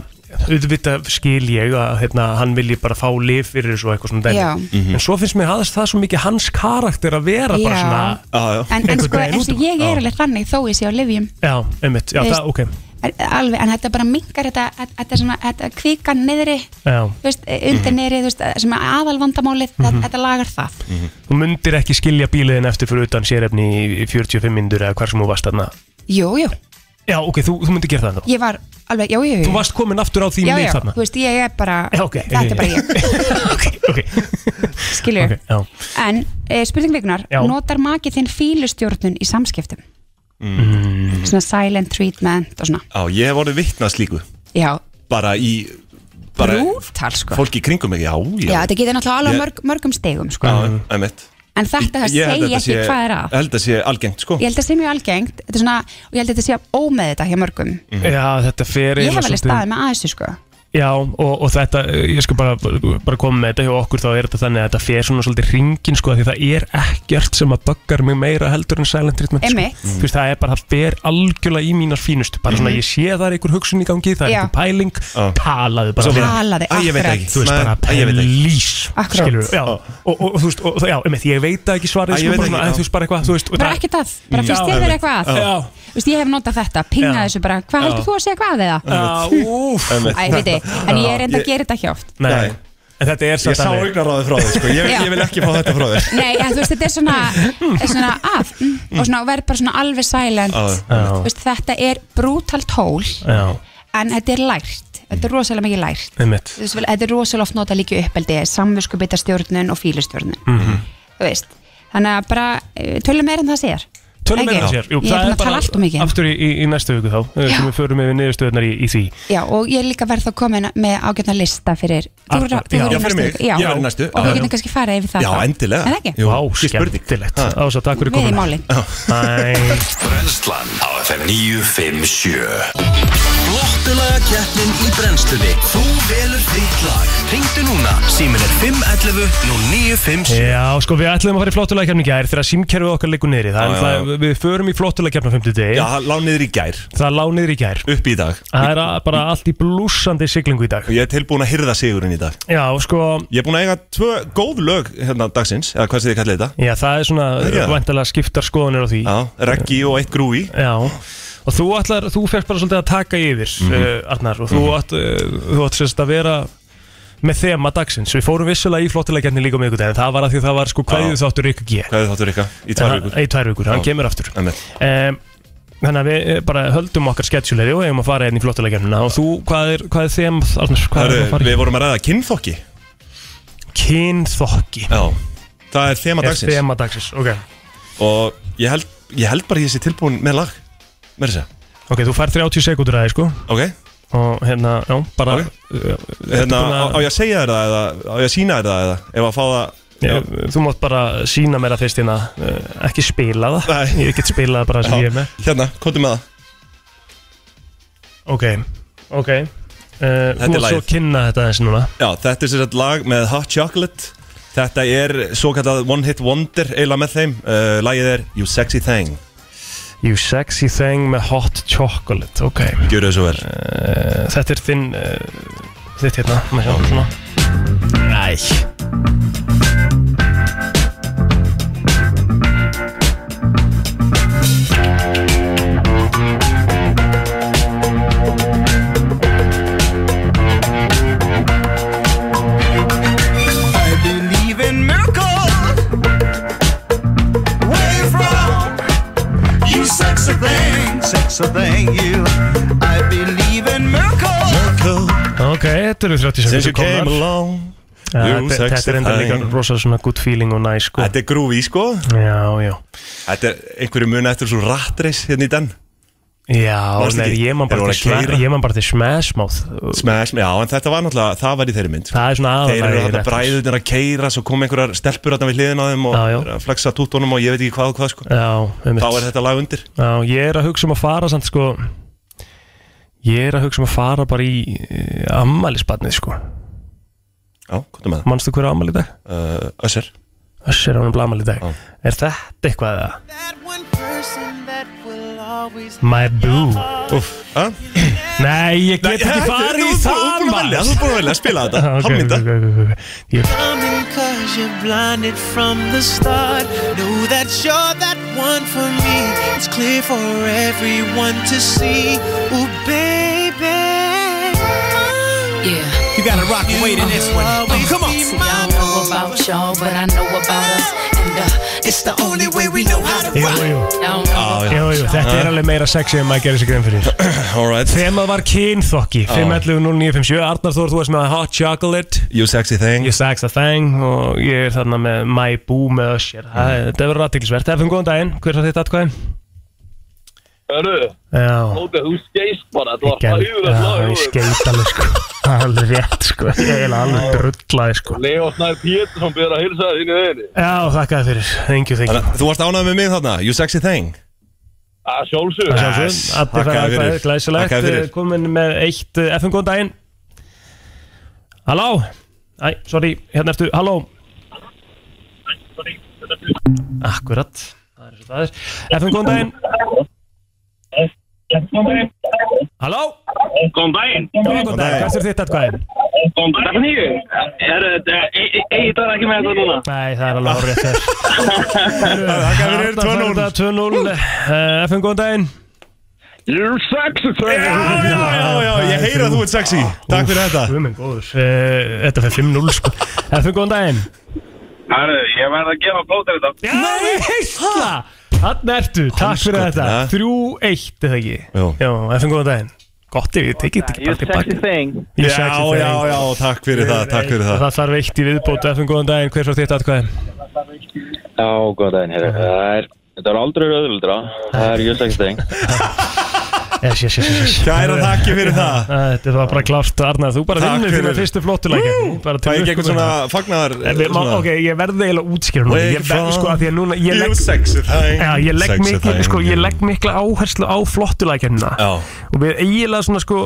auðvitað skil ég að hérna, hann vilji bara fá lif fyrir þessu og eitthvað svona
Já.
dæmi. en svo finnst mér aðeins það svo mikið hans karakter að vera bara
Já.
svona
en, en
einhvern
sko,
veginn
eins
út
og
úr.
ég er alveg þannig þó ég sé á livjum
Já, einmitt, já,
Þú
það,
veist-
ok
En- alveg, en þetta bara mingar þetta, þetta, þetta, svona, þetta kvikan niðri
Já.
þú veist, eh, undir niðri, þú veist, sem er aðalvandamálið mm
Mhm.
þetta lagar það
Þú myndir ekki skilja bíliðin eftir fyrir utan sérefni í 45 myndur eða hvar sem þú varst þarna
Jú, jú,
Já, ok, þú, þú myndir gera það ennþá
ég var alveg, jú, jú, jú
Þú varst komin aftur á því
já,
leið
já,
þarna
þú veist, ég er bara
ok.
þetta er bara ég skilur
Ok, já.
en e, spurning vikunar,
Já.
notar makið þinn fílustjórnun í samskiptum
Mm.
svona silent treatment og svona
Já, ég hef orðið vitnað slíku
já,
Bara í bara
Brútal, sko
Fólki í kringum mig, já, já
já þetta getur náttúrulega alveg
Ég-
mörg, mörgum stegum sko.
Já, einmitt
en þetta
Ég held að
segja
þetta
ekki
sé-
hvað er að
Ég held að sé algengt, sko
ég held að það sé mjög algengt þetta er svona, og ég held að þetta sé ómeð þetta hjá mörgum
Já, þetta fer
ég
eiginlega
hef alveg
svolítið-
staðið með aðeinsu sko
Já, og, og þetta, eh, ég skal bara, bara koma með þetta hjá okkur þá er þetta þannig að þetta fer svona svolítið ringin sko af því það er ekkert sem að buggar mig meira heldur en silent treatment sko.
Einmitt.
Þú veist, það er bara, það fer algjörlega í mínar fínustu bara svona,
Mhm.
ég sé það er einhver hugsun í gangi það er
Já.
einhver pæling, talaðu bara
Svo bara, Talaðu, "Æ, ég veit akkurat. ekki.
Þú veist,
Nei,
bara
"Æ, ég veit ekki."
pelís
Akkurat.
Já, og, og, og þú veist, og, já, einmitt, ég veit það ekki svarið
"Æ,
sko,
ég veit
bara
ekki,
svona,
já.
æ, þú veist, bara eitthvað, þú veist og
bara
það- Mm.
ekki það, bara
Já,
finnst þið verið
einmitt.
eitthvað að
Já.
Þú veist, ég hef notað þetta, pinga
Já.
þessu bara hvað
Já.
heldur þú að segja hvað eða?
Já, úff.
Æ, veit ég, en ég er enda að gera þetta ekki oft
Nei, en þetta er
Ég sá augnaráðið frá þér, sko ég,
Já.
ég vil ekki fá þetta frá þér
Nei, en, þú veist, þetta er svona, er svona að mm, og svona, og verður bara svona alveg silent
Já,
já.
Þú veist, þetta er brútal tól
Já,
en þetta er lært, þetta er rosalega mikið lært
einmitt
Þú veist, vel, þetta er rosalega oft notað líka í uppeldi samviskubitastjórnun og fílustjórnun
Mhm.
þú veist, þannig að bara eh, tölum meira en það sér
Tölum
Ekki?
meira sér Jú,
Ég er
það
búin að tala allt um mikið
Aftur í, í, í næstu viku þá eh, sem við förum yfir niðurstöðunar í, í því
Já, og ég er líka verð þá komin með ágætna lista fyrir Þú
Akkurat,
verður þú verður í
já. Já, fyrir
næstu
mig.
viku, já.
Ég verð í næstu,
Og
já,
við
já.
getum kannski farið yfir það
Já,
þá.
endilega.
Er það ekki?
Jú, Vá, ekki spurning. skemmtilegt. Ása, takk fyrir
Við í
komuna.
málin.
Æ
Brennslan á FM 957 Flottulaga keppnin í brennslunni Þú velur þitt lag Ringdu núna, símin er 511 0957
Já, sko við ætlum að fara í flottulega kemni gær þegar símkerfið okkar liggur niðri
Já,
það,
já,
já,
já.
Við förum í flottulega kemna 50 degi
Já, það lá niður í gær
Það lá niður í gær
Upp í dag
Það er að, bara allt í blúsandi siglingu í dag
Ég er tilbúin að hyrða sigurinn í dag
Já, sko
Ég er búin að eiga tvö góð lög hérna dagsins Eða hvað sem þið kallið þetta
Já, það er svona
Já.
væntalega skiptar skoðanir á því
Já, reggi og eitt grúi
Já, og þú ætlar, þú fyrst bara svolítið að taka yfir mm
Mhm.
Arnar og þú ætt, uh, þú ætt sérst að vera með þema dagsins, við fórum vissulega í flottilega kemni líka um ykkur en það var að því að það var sko kvæðið þáttur ykkur G
Hvað er þáttur ykkar? Í tvær
Hann-
vikur
í tvær vikur, hann kemur aftur.
Einmitt.
um, Þannig að við eh, bara höldum okkar sketsjulegri og eigum að fara einn í flottilega kemna og þú, hvað er, hvað er þema Arnar, hvað er
Hörru,
það að fara í?
Við vorum að ræða kynþokki
Kynþokki
Já, það er þema
Er
dagsins
þema dagsins, ok
Og ég held, ég held bara að ég sé tilbúin með lag Mér þess að
Ok, þú fær 30 sekundur aðeins sko
Ok,
og hérna, já, bara
Ok.
uh,
hérna,
ertu búin
á, á ég að segja þér það eða Á ég að sína þér það eða Ef að fá það
Já, þú mátt bara sína mér að fyrst hérna uh, ekki spila það, ég get spilað bara sem
Já.
ég er með
Hérna, kóttu með það
Ok, ok uh, Þú
Þetta er
mátt svo
lagið.
kynna þetta eins núna
Já, þetta er sér sagt lag með Hot Chocolate Þetta er svo kallað One Hit Wonder eiginlega með þeim uh, Lagið er You Sexy Thing
You sexy thing með hot chocolate Ok,
Gjör þau svo vel
uh, þetta er þinn uh, þitt hérna, maður sjá svona Æ
I believe in miracles. Where you from? You sexy thing, sexy thing, you. I believe in miracles.
Ok, þetta eru 30
Since
sekundur
you came along
Ja,
you
þetta,
sexy
þetta er enda líka
thing.
rosa svona good feeling og nice sko
Þetta er groovy sko
Já, já
Þetta er einhverju muna eftir svo rattreis hérna í den
Já,
Manstu
nei,
ekki?
ég man bara
Þeir voru
til
að
sma-
keyra.
ég man bara til smashmouth
Smash, já, en þetta var náttúrulega, það var í þeirri mynd sko.
Það er svona
Þeir eru
aðalagið
þarna
rétt.
bræðunir að keira, svo kom einhverjar stelpur þarna við hliðin á þeim og
Já, já.
eru að flexa tútunum og ég veit ekki hvað og hvað sko
Já, einmitt.
Þá er þetta lag undir
Já, ég er að hugsa um að fara samt sko Ég er að hugsa um að fara bara í uh, ammælisbarnið sko
Já, hvað er með það?
Manstu hverja ámali í dag?
Uh, Össer
Össer á hann blamali í dag Er þetta eitthvað eða? My boo
Uff, að?
Nei, ég
Nei,
get ekki
þetta-
farið í
þú- þú-
það
þú búin að velja, þú búin að velja að spila þetta, hálf mínúta.
Ég
Coming cause you're blinded from the start. Know that you're that one for me. It's clear for everyone to see. Ooh, baby. Yeah.
You gotta rock and wait in this one. Uh, come on. See, I don't know about y'all, but I know about us. And uh, it's the only way we know how to
Jú,
rock.
jú.
Down,
Já, já.
Jú, jú, þetta er alveg meira sexy en maður gerir sér grein fyrir
Alright
Þemað var kynþokki
Já.
5.11.09.57 Arnar Þór, þú varst með Hot Chocolate
You sexy thing
Ég sex a thing og ég er þarna með My Boo með Usher Það
Mm.
er- Þetta verður aðtiklisvert, FM góðan daginn, hver er þetta atkvæðin?
Hörru,
Já,
nóta, þú skeist bara, þú var
gerð,
hægur að slá
já, ég skeit alveg sko Alveg rétt sko, ég er eiginlega alveg drullaði sko
Leo Snær Pétursson byrður að hilsa þínu veginni.
Já, þakkaði fyrir, thank you, thank you
Þannig, að þú varst ánægð með mig þarna, you sexy thing
Að sjálfsög.
Það sjálfsögum, Addi fæði aðkvæði, glæsilegt eh, Komin með eitt eh, FM góðan daginn Halló Æ, sorry, hérna ertu, halló Akkurat Það er eins og það er. FM góðan daginn Halló
Mhm. Góðan daginn.
Góðan daginn, hvað er þitt aðkvæði?
Góðan daginn. Stefán Híu, er þetta,
e-
eigið það ekki með þetta núna?
Nei, það er alveg hárið þess Þakka fyrir, 2-0 2-0, Eh, FM góðan daginn
You're sexy
Já, já, já, ég heyra að þú ert sexy Takk fyrir þetta
Guð minn góður, Eh, þetta fyrir 5-0 sko FM góðan daginn
Hörru, ég verð að gefa blóð til þetta.
Já, ég heistla Þannig ertu, takk fyrir þetta
Hanskotinn,
3-1 eða ekki
Jú.
Já, eftir góðan daginn Gott ef ég tekið þetta ekki bara tilbaka
thing.
Ég
Já,
sexy thing.
já, já, takk fyrir það, takk fyrir það.
Það þarf eitt í viðbót eftir góðan daginn, hver frá þitt atkvæði?
Já, góðan daginn, herru. Það er, þetta er aldrei rauðvöldra. Það er you're sexy thing.
Yes, yes, yes, yes
Kæra þakki fyrir það.
Þetta var bara klárt, Arnar, þú bara
Takk
vinnur
fyrir.
þína fyrstu flottuleika
Fæ ég ekki eitthvað svona fagnar
eh,
Ok, ég verði eiginlega útskýra núna Ég verði sko að því að núna ég legg-
You sexy thing
Já, ég legg,
Sexy
mikil,
thing.
sko, ég legg mikla áherslu á flottulækjarnina
Já.
og við eiginlega svona sko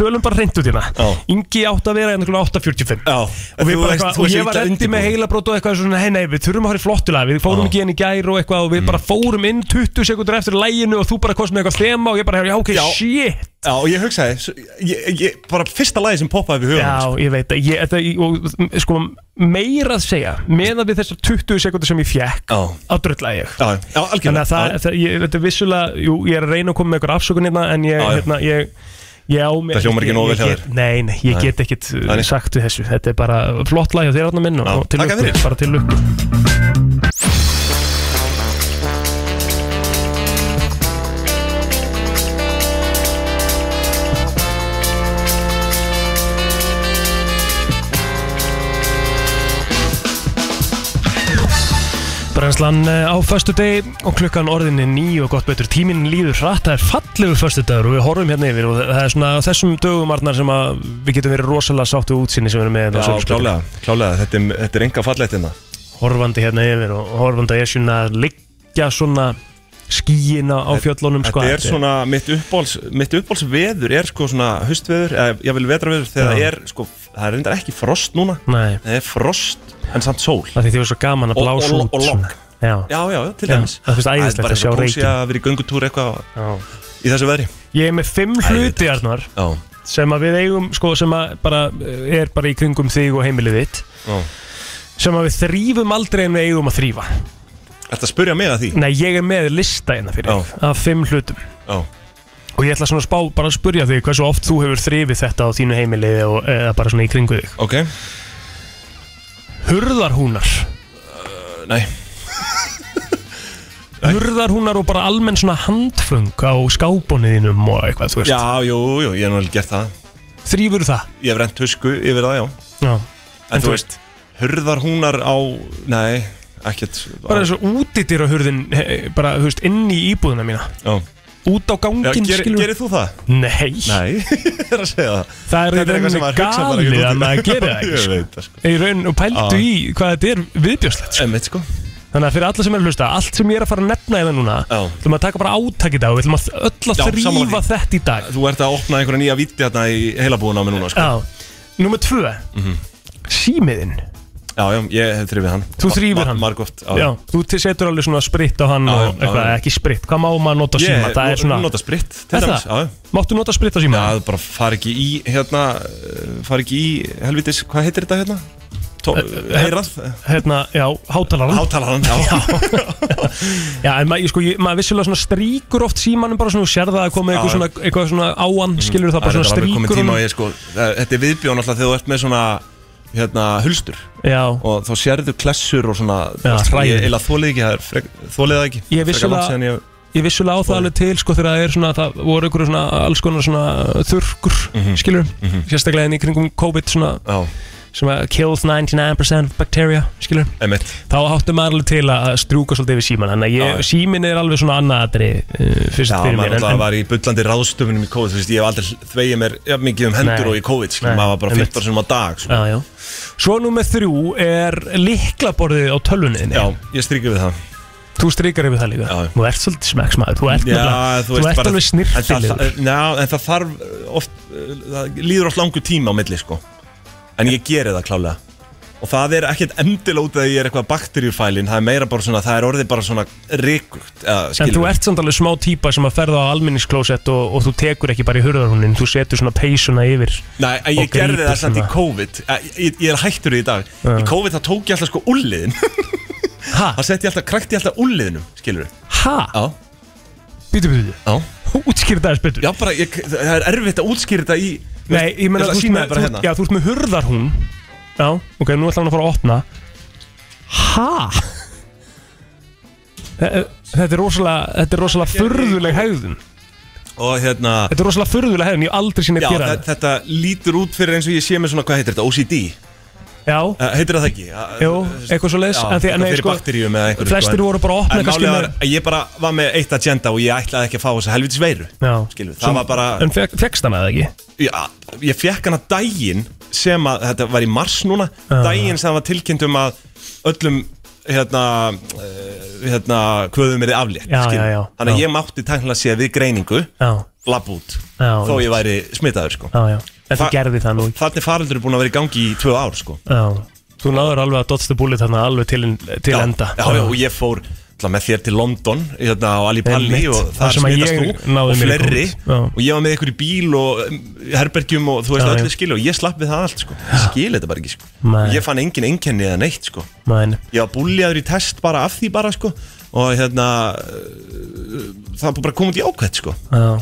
tölum bara hreint út hérna Ingi átt að vera hérna klukkan 8.45
Já,
og, við
Þú
bara
veist-
eitthvað,
þú
og
veist
ég var
ekki
endi með
undirbúin.
heilabrót og eitthvað svona hei nei, við þurfum að fara í flottulag við fórum ekki henni í gær og eitthvað og
Mm.
við bara fórum inn 20 sekundur eftir læginu og þú bara kost með eitthvað þema og ég bara, já ok,
Já.
shit
Já, og ég hugsaði, svo- ég, ég, bara fyrsta lagi sem poppaði upp í hugan
Já, ég veit að ég, þetta, og, sko, meira að segja meðan við þessar 20 sekundur sem ég fjekk
sko. Já.
á drölla ég
Já, já, algjörlega.
Þannig að það,
Já.
það ég, þetta er vissulega, jú, ég er að reyna að koma með einhver afsökun hérna en ég,
Já, já.
hérna, ég Já, mér,
Það hljómar ekki
ég-
nógu
ég
vel hjá
get-
þér.
Nei, nei, ég
Nei.
get ekkit uh,
Þannig.
sagt við þessu Þetta er bara flott lag hjá þér hérna minn og, og til
takk
lukku,
fyrir.
bara til lukku Brænslan uh, á föstu degi og klukkan orðinni nýju og gott betur tíminn líður hratt, það er fallegur föstu dagur og við horfum hérna yfir og það er svona á þessum dögum Arnar sem að við getum verið rosalega sáttu útsinni sem við erum með hérna á
Já,
Söluspilinu.
klálega, klálega, þetta er, þetta er enga fallegt hérna
horfandi hérna yfir og horfandi að ég svona að liggja svona skíina á fjöllunum sko.
Þetta er svona, mitt uppbóls, mitt uppbóls veður er sko svona höstveður, eða ég vil vetraveður þegar
Já.
það er sko, það er reyndar ekki frost núna
Nei.
Það er frost, en samt sól
Það því því var svo gaman að
Og-
blása
og-
út
og
svona.
logg.
Já.
Já, já, já, til
Já,
dæmis
það finnst æðislegt
bara
að sjá
eitthvað kósí
reykinn.
að vera í göngutúr eitthvað
Já.
í þessu veðri
Ég er með fimm hluti Arnar
Já.
sem að við eigum sko, sem að bara eh, er bara í kringum þig og heimilið þitt
Já.
sem að við þrýfum aldrei en við eigum að þrýfa
Þetta spurja mig að því
Nei, ég er með lista hérna fyrir
Já.
þig af fimm hlutum
Já.
og ég ætla svona að spá, bara að spurja þig hversu oft þú hefur þrýfið þetta á þínu heimilið og, eða bara svona í kringu þig
Ok
Hurðarhúnar
Uh, Nei
Hurðarhúnar og bara almenn svona handfung á skábóniðinum og eitthvað, þú veist
Já, jú, jú, ég hef náttúrulega gert það
Þrýfur það?
Ég hef rent tusku yfir það, já
Já
En, þú veist, hurðar húnar á, nei, ekkert
Bara þessu útidýra hurðin, bara, þú veist, inn í íbúðuna mína
Já
Út á
Já,
gangin,
gerir, gerir þú það?
Nei
Nei, ég er að segja það
Það er í
Þetta eitthvað
rauninni
sem maður hugsar
galið
bara
að
ekkert út í.
maður gerir það ekki,
Ég
sko.
veit það sko
Í raun og pældu
Já.
í hvað þetta er viðbjóðslegt sko.
Emmett sko
Þannig að fyrir alla sem er að hlusta, allt sem ég er að fara að nefna í það núna Þú ætlum að taka bara átak í dag og við ætlum að öll að
Já, sammála
þrýfa
því.
þetta í dag
sko. Þú ert að opna einhverja nýja viti hérna í heilabúin á mig núna sko
Já, nummer tvö
Mhm.
símiðinn
Já, já, ég hef þrifið hann
Þú þrífur hann?
Margótt
Já, þú til- setur alveg svona spritt á hann
Já,
og
já,
eitthvað,
já.
ekki spritt, hvað má maður nota á síma? Það er svona
Nota spritt til
Er
dæmis,
það?
já, já.
Máttu nota spritt á síma?
Já, það bara far ekki í hérna eh, far ekki í helvitis, hvað heitir þetta hérna? Tó- Heyrað
Eh, Hérna, já, hátalaran
Hátalaran, já
Já, en maður, sko, ég- maður vissulega svona stríkur oft símanum bara svona, þú sér það að koma
Já, Mm.
eitthvað svona, eitthvað svona áan, skilur Mhm. það bara svona
er alveg
stríkur
komið tíma og
honum.
ég sko eh, Þetta er viðbjón alltaf þegar þú ert með svona hérna hulstur
Já
og þá sérðu klessur og svona
Já, hræðilegt.
Ég eila þólið ekki, það er frek- þolið það ekki
Ég
Frekar langt síðan
vissulega,
ég-
ég vissulega á það alveg til sko þegar það er svona, það voru einhverju svona alls konar svona þurrkur, mm -hmm. skilur sérstaklega inn í kringum COVID svona
Mhm. Já.
sem að kills 99% of bacteria, skilur
Einmitt.
þá áttu maður alveg til að strjúka svolítið yfir síman, þannig að ég, símin er alveg svona annað aðri uh, fyrst
Já,
fyrir mér
maður alltaf var í bullandi ráðstöfunum í COVID, þú veist, ég hef aldrei þvegið mér jafn mikið um hendur
Nei.
og í COVID, skilur,
Nei,
maður var bara
einmitt.
15 sinum á dag, sko.
Já, já. Svo nummer þrjú er liklaborðið á tölvunniðinni
Já, ég strykja við það
Þú strykar yfir það líka já. Þú ert svolítið smekksmaður Þú ert, nefnilega- þú ert alveg snirtilegur
Já, en það þarf eh, oft, það líður oft langur tíma á milli, sko En ég geri það klálega Og það er ekkert endilótið að ég er eitthvað bakterjufælin Það er meira bara svona, það er orðið bara svona ríkugt
En þú ert samt alveg smá típa sem að ferða á alminningsklósett og, og þú tekur ekki bara í hurðarhúnin Þú setur svona peysuna yfir
Nei, en
og
ég gerði
grípur
það samt í
svona. Uh-huh.
COVID Eh, Ég, ég er hættur í dag Í COVID það tók ég alltaf sko ulliðin Það setti ég alltaf, krækti ég alltaf ulliðinum, skilur
Ha?
Já
Býtu, býtu,
Já
Útskýrði það spytur
Já, bara, ég, það er erfitt að útskýra þetta í
Nei, ég meina þú
ætla að
ert
sína
með,
þér bara
þú,
hérna.
já, þú ert með hurðarhún Já, ok, nú ætla hann að fara að opna Ha? Þe- eh, Þetta er rosalega, þetta er rosalega furðuleg hegðun
Og hérna
Þetta er rosalega furðulega hegðun, ég hef aldrei sinni
Já,
að gera
þetta, þetta lítur út fyrir eins og ég sé með svona, hvað heitir þetta, OCD?
Já
Eh, Heitir það ekki? eh,
Jú, eitthvað svo leiðis
Já, eitthvað fyrir bakteríum eða einhverju
sko, Flestir
sko, en-
voru bara að opna
En
kannski
málið var
með-
að ég bara var með eitt agenda og ég ætlaði ekki að fá þessa helvitis veiru
Já,
Skilur,
Sem-
það var bara
En fekk, fekkst hann eða ekki?
Já, ég fekk hana daginn sem að, þetta var í mars núna
Já.
daginn sem var tilkynnt um að öllum hérna uh, hérna, kvöðum er þið aflétt
Já,
skilur.
já, já,
þannig að
já.
ég mátti tæknilega sé við greiningu
Já,
labb út,
Já,
þó
já.
ég væri smitaður sko.
já, já En þú gerði það nú ekki
Þannig faraldur er búin að vera í gangi í tvö ár sko.
Já, þú náður alveg að dotsta búlið þarna alveg til, til
já,
enda
já, já, og ég fór alltaf, með þér til London hérna, á Ali Palli
Einmitt.
og
Þar
það
sem að ég
smittast þú
náði
og
mér í
fleiri
COVID. Já.
og ég var með ykkur í bíl og um, herbergjum og þú veist
Já, já.
öllu skil og ég slapp við það allt sko. Ég skil þetta bara ekki sko.
Nei.
ég fann engin enkenni eða neitt sko.
Mæn,
ég var búljaður í test bara af því bara sko. og hérna uh, það var bara komið í ákvæmt sko.
já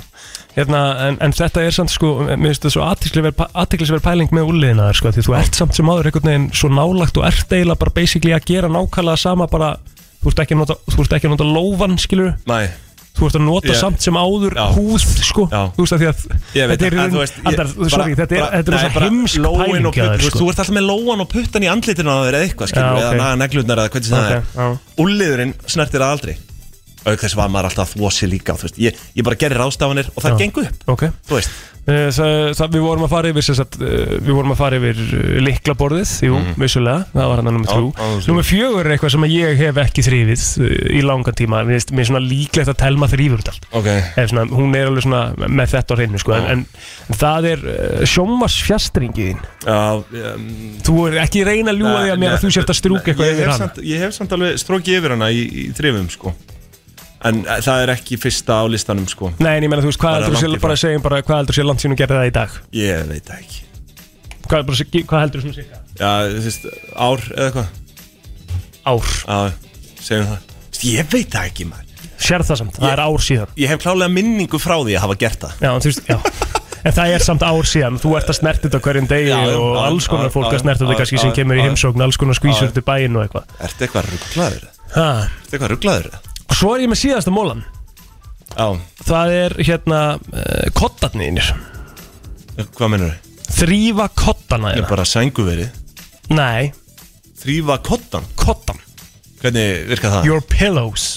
Hérna, en, en þetta er samt sko, mér finnst þetta svo athyglisverð- athyglisverð pæling með úliðina þar sko, því þú ert samt sem áður einhvern veginn svo nálagt og ert eiginlega bara basically að gera nákvæmlega sama bara, þú ert ekki að nota, þú ert ekki að nota lófan, skilur
Nei.
Þú ert að nota
Ég-
samt sem áður
Já.
húð, sko,
Já.
þú veist að því að
Ég veit
þetta er, um-
það, en þú
Andar,
veist, ég- bara-
sorry, þetta er,
bara-
þetta er
nei,
þessa
bara
heimsk
lóin og
pæling
putt-
hjá þér,
þú veist, Þú ert alltaf með lóan og puttan í andlitinu að það verið eitthvað
Já,
skilur, eða
ok.
naga neglurnar eða hvernig sem
Ok,
það er Úlliðurinn snertir það aldrei auk þess var maður alltaf að þvó sig líka þú veist, ég, ég bara gerir ráðstafanir og það
Já.
gengur upp
Ok
Þú veist
Eh, Það, það, við vorum að fara yfir, sem sagt, eh, við vorum að fara yfir eh, lyklaborðið, jú, vissulega, það var hann nummer
Mm. Já,
þrjú.
já, þú sér.
Nummer fjögur er eitthvað sem ég hef ekki þrýfið í langan tíma, mér finnst- mér er svona líklegt að telma þrýfur þetta. allt.
Ok.
Eða svona, hún er alveg svona með þetta á hreinu, sko, en, en það er eh, sjómas fjastringiðin.
Já, um,
Þú er ekki að reyna að ljúa því að mér að þú sért að strúka eitthvað
ég
yfir
hef,
hann.
samt, ég hef samt alveg strókið yfir hana í, í þrifum sko en eh, það er ekki fyrsta á listanum sko
Nei, en ég meina, þú veist,
Bara
hvað heldur þú
langt
sé,
í frá.
bara segjum bara, hvað heldur þú sé langt síðan hún gerði það í dag?
ég veit það ekki
Hvað, bara, hvað heldur þú svona cirka?
já, þú veist, ár eða eitthvað
ár
já, segjum það Þú veist, ég veit það ekki maður
Sér það samt, það er ár síðan
Ég hef klálega minningu frá því að hafa gert það
Já, en þú veist, já En það er samt ár síðan, þú ert að snerta þetta á hverjum degi
Já, já,
og
já,
alls
já,
konar fólk
já,
að snerta
já,
þetta kannski
já,
sem
já,
kemur í
já, já.
heimsókn, alls konar
Já,
skvísur
já.
til bæinn og eitthvað
Ertu eitthvað rugglaður?
Ha.
Ertu eitthvað rugglaður?
Og svo er ég með síðasta mólan
Já,
Það er hérna uh, koddarnir
Eh, hvað mennur þau?
Þrýfa koddana
Ég er
þeirra
bara sænguverið
Nei,
Þrýfa koddan?
Koddan?
Hvernig virka það?
your pillows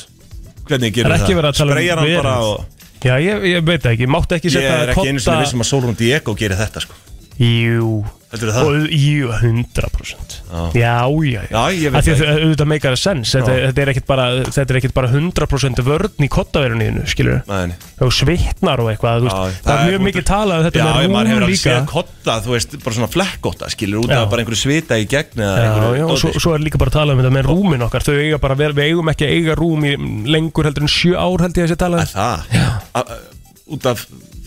Hvernig
Það
gerir
er
það?
ekki verið að tala um
Spreyjar hann
veröld.
bara og
Já, ég, ég veit það ekki, máttu ekki
Ég
setja
er ekki einu um
kodda-
sinni vissum að Solrún Diego gerir þetta sko
Jú
Heldurðu það?
Og, jú, 100% Já, já, já
Já, ég veit
Af því
það
að Auðvitað meikar að sens þetta,
Já.
þetta, er ekkit bara, þetta er ekkit bara 100% vörn í kottaverunniðinu, skilur
Nei
Og svitnar og eitthvað, þú veist Það er mjög mikið talað um þetta
Já,
með
ég,
rúm
maður hefur alveg
líka
séð kotta, þú veist, bara svona flekkotta skilur út
Já.
af bara einhverju svita í gegn eða
Já,
einhverju
já, og
dóti,
svo, svo er líka bara að tala um þetta með rúmin okkar Þau eiga bara, að vera- við eigum ekki að eiga rúm í lengur heldur en sjö ár held ég að sé talað um.
Það, A- a- út af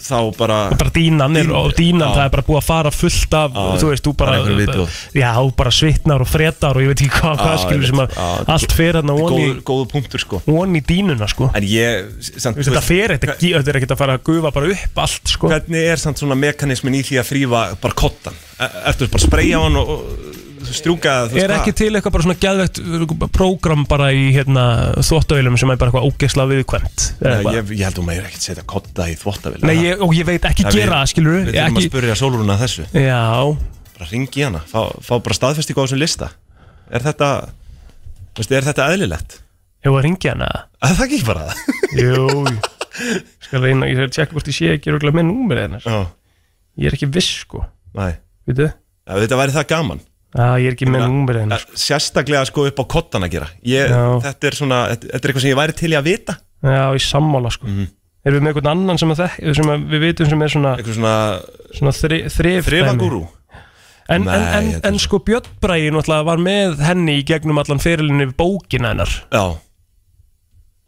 þá bara
bara dínan er, og dínan það er bara búið að fara fullt af,
Já,
þú veist, þú
bara
bara
einhver viðbjóð.
já, þú bara svitnar og fretar og ég veit ekki hvað, hvað skilur sem að allt fer hérna von í,
góð, Góðu punktur sko
von í dínuna sko
En ég, samt,
Þú veist, þetta fer, þetta, ekki- þetta er ekkert að fara að gufa bara upp allt sko
Hvernig er samt svona mekanismin í því að þrýfa bara kottan? E- Ertu bara að spreyja hann og, og strjúka það, þú
Er ekki til eitthvað bara svona gæðvegt prógram bara í hérna þvóttavélum sem er bara eitthvað ógeðsla viðkvæmt eða
Nei,
eitthvað?
ég, ég held að maður ekkert setja kotta í þvottavél
Nei, ég, og ég veit ekki
Það við-
gera það, skilur
Við þurfum að spurja sóluruna að þessu
Já
Bara ringi hana, fá, fá bara staðfestingu á þessum lista Er þetta, veistu, er þetta eðlilegt?
Hefur að ringja hana?
Að það ekki bara það
Jú, ég skal reyna, ég skal tjekka hvort ég sé ekki röglega með númerið hennar
Já.
Ég er ekki viss sko
Nei
Veitu?
Já, þetta væri það gaman
Já, ég er ekki með númerið hennar
sko. Sérstaklega sko upp á kottan að gera ég,
Já.
Þetta er svona, þetta, þetta er eitthvað sem ég væri til í að vita
Já, í sammála sko
Mhm.
Erum við með einhvern annan sem, að þek, sem að við vitum sem er svona
Eitthvað svona,
svona þri, þrif
Þrifagúrú?
En, en,
Nei,
en,
þetta
en sko Björn Bræði náttúrulega var með henni í gegnum allan fyrirlinni við bókina hennar
Já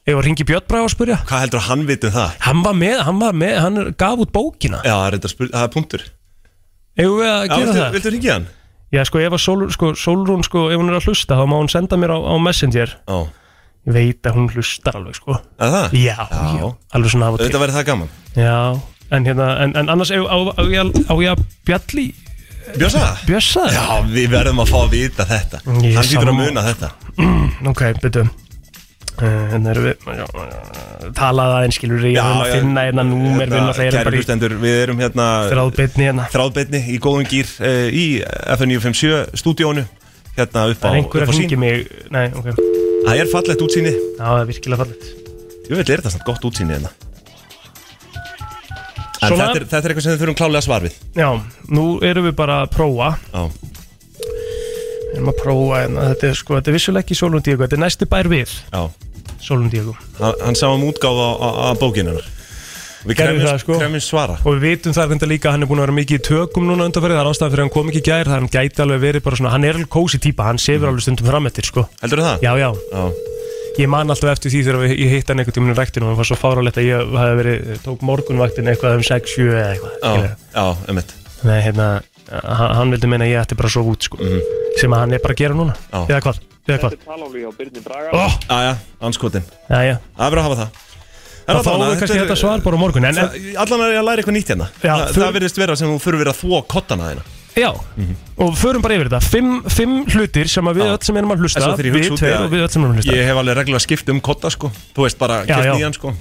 Ég var að ringi Björn Bræði og spyrja
Hvað heldur að hann viti um það?
Hann var með, hann var með, hann er- gaf út bókina
Já, það er, þetta spyr, það er punktur
Eigum við að
Já,
gera
viltu-
það?
Viltu ringið hann?
Já, sko, ef að Sól, sko, Sólrún, sko, ef hún er að hlusta þá má hún senda mér á, á Messenger
Já
Ég veit að hún hlustar alveg, sko
Að það?
Já,
Já.
já, alveg svona af og
Þetta væri það gaman
Já, en hérna, en, en annars á, á, á, ég að- á ég að bjalli
Bjössa?
Bjössa?
Já, við verðum að fá að vita þetta
Ég er
Hann lítur að
sammála.
muna þetta
Ok, betu En erum við já, já, já, Talað aðeins, skilur við, ég er að finna hérna númer Við náttúrulega erum
Kæri
bara í
hlustendur, við erum hérna
Þráðbeinni hérna
Þráðbeinni í góðum gýr uh, í FN957 stúdíónu Hérna upp á,
Það er einhver
upp á
að hringi
sín
mig Nei, ok Já,
Það er fallegt útsýni
það er virkilega fallegt
Jú, þetta er þetta samt gott útsýni hérna En
Svona.
þetta er, þetta er eitthvað sem við þurfum klálega svar við
Já, nú erum við bara að prófa
Já
Við erum að prófa hérna Þetta er sko, þetta er vissulega ekki Solund Diego Þetta er næsti bær við
Já
Solund Diego
Hann, hann sá um útgáð á, á, á bókinu hennar Við
Gerðum
krefjumst-
það, sko.
krefjumst svara
Og við vitum það reynda líka að hann er búin að vera mikið í tökum núna undanferðið, það er ástæðan fyrir að hann kom ekki í gær, það hann gæti alveg verið bara svona, hann er alveg kósi típa, hann sefur alveg stundum fram eftir, sko.
Heldur Mm. það?
Já, já.
Já
Ég man alltaf eftir því þegar við- ég hitt hann einhvern tímun í ræktinu og hann var svo fáralegt að ég hafi verið, tók morgunvaktin eitthvað um 6-7 eða eitthvað.
Já,
skilurðu.
já, emitt
Nei, hérna, hann, hann vildi meina að ég ætti bara að sofa út, sko. Sem að hann er bara að gera núna.
Mhm. Já.
Eða hvað? Eða hvað?
Találi á Byrni Braga
Oh,
Æja, anskotin
já, já.
Það er bara að hafa það
Þá fáum við kannski þetta svar bara á morgun, en, en
Allan er ég að læra eitthvað nýtt hérna
Já,
Það,
þú-
það verðist vera sem þú fyrir verið að þvó kottana þeina
Já,
Mhm.
og förum bara yfir þetta Fimm, fimm hlutir sem að við öll sem erum að hlusta Við tveir og við öll sem erum að hlusta
Ég hef alveg reglulega skipt um kotta sko Þú veist bara,
Já,
kert
já.
nýjan sko Mm.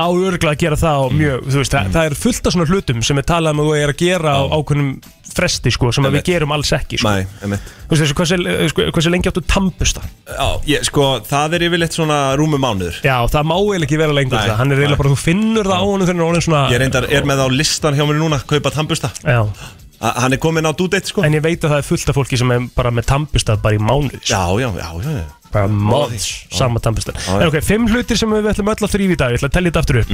Það á örgulega að gera það á mjög þú veist, það, það er fullt af svona hlutum sem er talað um að þú er að gera á ákveðnum fresti sko, sem að við
Einmitt.
gerum alls ekki sko.
Nei, emitt
Þú veist þessu, hversu, sko, hversu lengi áttu tampusta
Já, ég, sko, það er yfirleitt svona rúmum mánuður
Já, það má eiginlega ekki vera lengur
Nei,
það. Hann er eiginlega bara, þú finnur það á honum þegar hann er orðin svona
Ég reyndar, er með á listan hjá mér núna, kaupa tambusta
Já,
A- Hann er komin á dúdeitt sko
en ég veit að það er fullt af fólki sem er bara með tampustað bara í mánuði sko.
Já, já, já, já, já.
bara móðs sama tampustað
Já, já.
En ok, fimm hlutir sem við ætlum öll að þrýfa í dag Ég ætla að tellja þetta aftur upp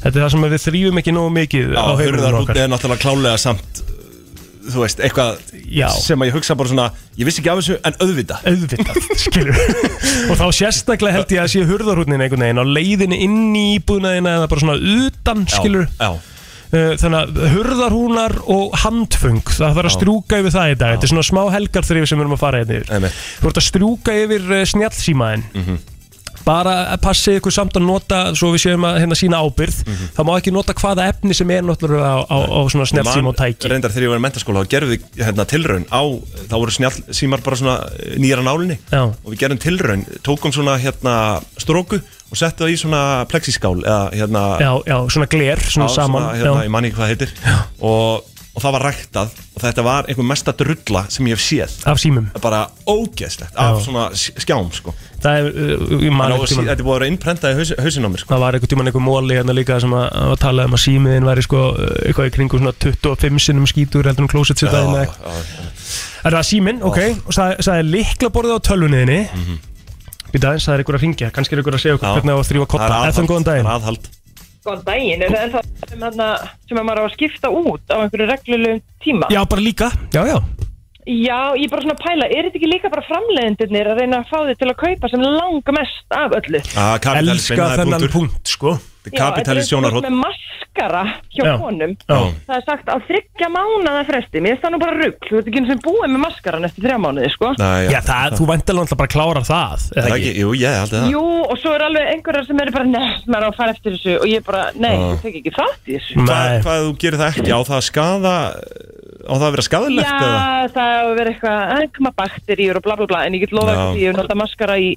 Þetta er það sem við þrýfum ekki nógu mikið
Já,
á heimilunum
hurðarhúti
okkar
er náttúrulega klálega samt uh, Þú veist, eitthvað
Já.
sem að ég hugsa bara svona Ég vissi ekki af þessu, en auðvita
auðvitað, skilur og þá sérstaklega held ég að sé hurðarhúnin einhvern veginn á leiðinni inn í íbúðnaðina eða bara svona utan, skilur
Já,
Uh, þannig að hurðarhúnar og handfung það þarf að strjúka yfir það í dag þetta er svona smá helgarþrif sem við erum að fara hérna yfir
Einmitt. Mhm.
þú ert að strjúka yfir uh, snjallsímaðin bara að passið ykkur samt að nota svo við séum að hérna sína ábyrð
Mhm.
það má ekki nota hvaða efni sem er náttúrulega á, á, á svona snjallsíma
Man,
og tæki
reyndar þegar ég var í mentaskóla og gerði hérna, tilraun á, þá voru snjall símar bara svona nýjara nálinni
Já.
og við gerðum tilraun, tókum svona hérna stróku og settum það í svona plexiskál eða hérna,
já, já, svona gler, svona
á,
saman
hérna,
já.
ég manni hvað það heitir og, og og það var ræktað og þetta var einhver mesta drulla sem ég hef séð
Af símum
bara ógeðslegt af
Já.
svona s- skjám sko
Það er, uh, ég man
Þannig að
einhvern
sí-
tímann-
þetta er búið að vera innprentað í hausinn á mér sko.
Það var einhvern tíman einhver móli hérna líka sem að, að tala um að símiðin væri sko uh, eitthvað í kringum svona 25 sinnum skítur heldur en klósett sér daginn eða- Er það síminn, ok, og það, það er líkla borðið á tölvunniðinni mm
Mhm.
-hmm. Í dag, það er einhver að ringja, kannski er einhver að segja okkur hvernig það var að þrýfa
Það
kotta
er
Efum góðan daginn
aðhald
Góðan daginn, er það það sem, hana, sem að maður á að skipta út á einhverju reglulegum tíma?
Já, bara líka, já, já
Já, ég er bara svona að pæla, er þetta ekki líka bara framleiðindirnir að reyna að fá þið til að kaupa sem langa mest af öllu?
Ah, kapitalismin,
Elska
það er
þennan
punktur.
punkt, sko
Kapitalist
Já, þetta er eins og þú ert
sjónarhótt
með maskara hjá
Já,
konum.
já.
Það er sagt á þryggja mánaða fresti, mér er það nú bara rugg, þú ert ekki eins og búið með maskaran eftir þrjá mánuði, sko.
Já, það, þú væntalega alltaf bara að klára það
Það ekki, jú, ég held að
Jú, og svo er alveg einhverjar sem eru bara, nei, maður á að fara eftir þessu og ég bara, nei,
Já.
ég tek ekki þátt í þessu.
Hvað, hvað ef þú gerir það ekki, á það að skada á það að vera skadalegt eða?
Já, það hefur verið eitthvað engma bakteríur og bla bla bla en ég get lofa
Já.
ekki því ég hef notað maskara í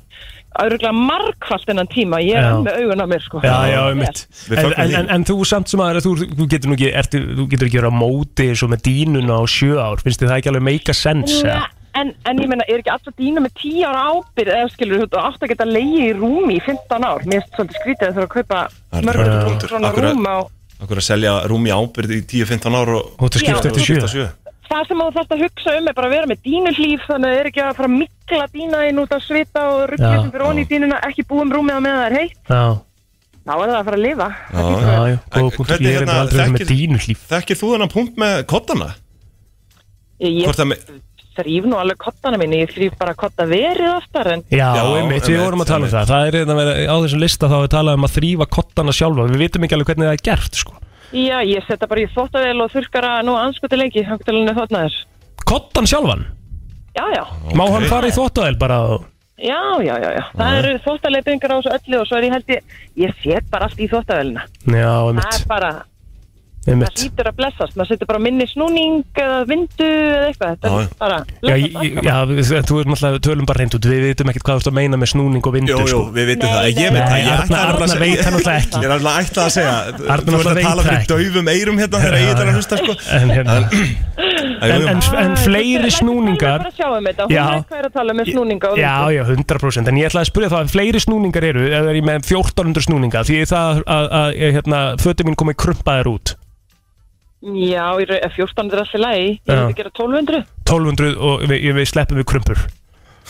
öruglega margfalt þennan tíma ég
Já.
er með augun á mér sko
Já, já, um mitt
Við
en,
fögnum
en,
því.
en, en þú samt sem aðra, þú, þú getur nú ekki ertu, Þú getur ekki verið á móti svo með dínuna á sjö ár Finnst þið það ekki alveg make a sense?
en,
eða?
en, en ég meina, er ekki alltaf dýna með 10 ára ábyrð eða skilur þú átt að geta leiði í rúmi í 15 ár mér er svolítið skrítið að það þarf að kaupa mörgur svona
Akkur að-
rúm á
Akkur að selja rúm í ábyrð í 10-15 ár og
Þú ert að skipta Já. eftir sjö.
það sem þú þarft að hugsa um er bara að vera með dínuhlýf þannig að það er ekki að fara að mikla dína inn út að svita og ruggja
Já.
sem fyrir onni í dínuna ekki búum rúmið á meðan það er heitt
Já,
þá er það að fara að lifa
Já,
já, já, góða punkt Ég er hérna aldrei verið með dínu hlýf
Þekkir þú þennan punkt með kottana?
Ég
Hvort að með
þrýf nú alveg kottana minni, ég þrýf bara kotta verið oftar en
Já, einmitt, við vorum að tala um það Það er hérna verið á þessum lista þá við talað um að þrýfa kottana sjálfa Við vitum ekki alveg hvernig það er gert, sko
Já, ég setja bara í þóttavel og þurrkara nú anskoti lengi, hann getur alveg þóttnaður
Kottan sjálfan,
Já, já,
má hann fara í þvóttaðel bara og-
já, já, já, já. það eru þóttaleitingar á þessu öllu og svo er ég held ég ég set bara allt í þóttavelina
Já,
það
einmitt,
er bara, það
einmitt
lítur að blessast maður setur bara minni snúning eða vindu eða eitthvað, þetta
Já, já.
er bara
Já, ég- ég- já við, en þú er náttúrulega, við tölum bara reynd út Við vitum ekkert hvað þú ert að meina með snúning og vindur sko.
Jú, jú, við vitum það Ég veit það, ég ætla
Arna, Arna veit það náttúrulega ekki
Ég er alltaf ætlað að segja
Arnar
Þú ert
náttúrulega
að
veit
tala
það
fyrir
ekki.
daufum eyrum hérna Þegar eigið er að hlusta sko
En hérna En, en, en fleiri
bara
snúningar
sjáum þetta, hún
Já.
veit hvað er að tala um með snúninga og
Já, já, 100% En ég ætla að spyrja það að fleiri snúningar eru Ef það er ég með 1400 snúninga Því það að, að, að ég, hérna, fötum mín komið krumpaðir út
vindu. já, í raun- ef 14 er allir lægi ég
Já.
veit að gera 1200
1200 og við, við sleppum við krumpur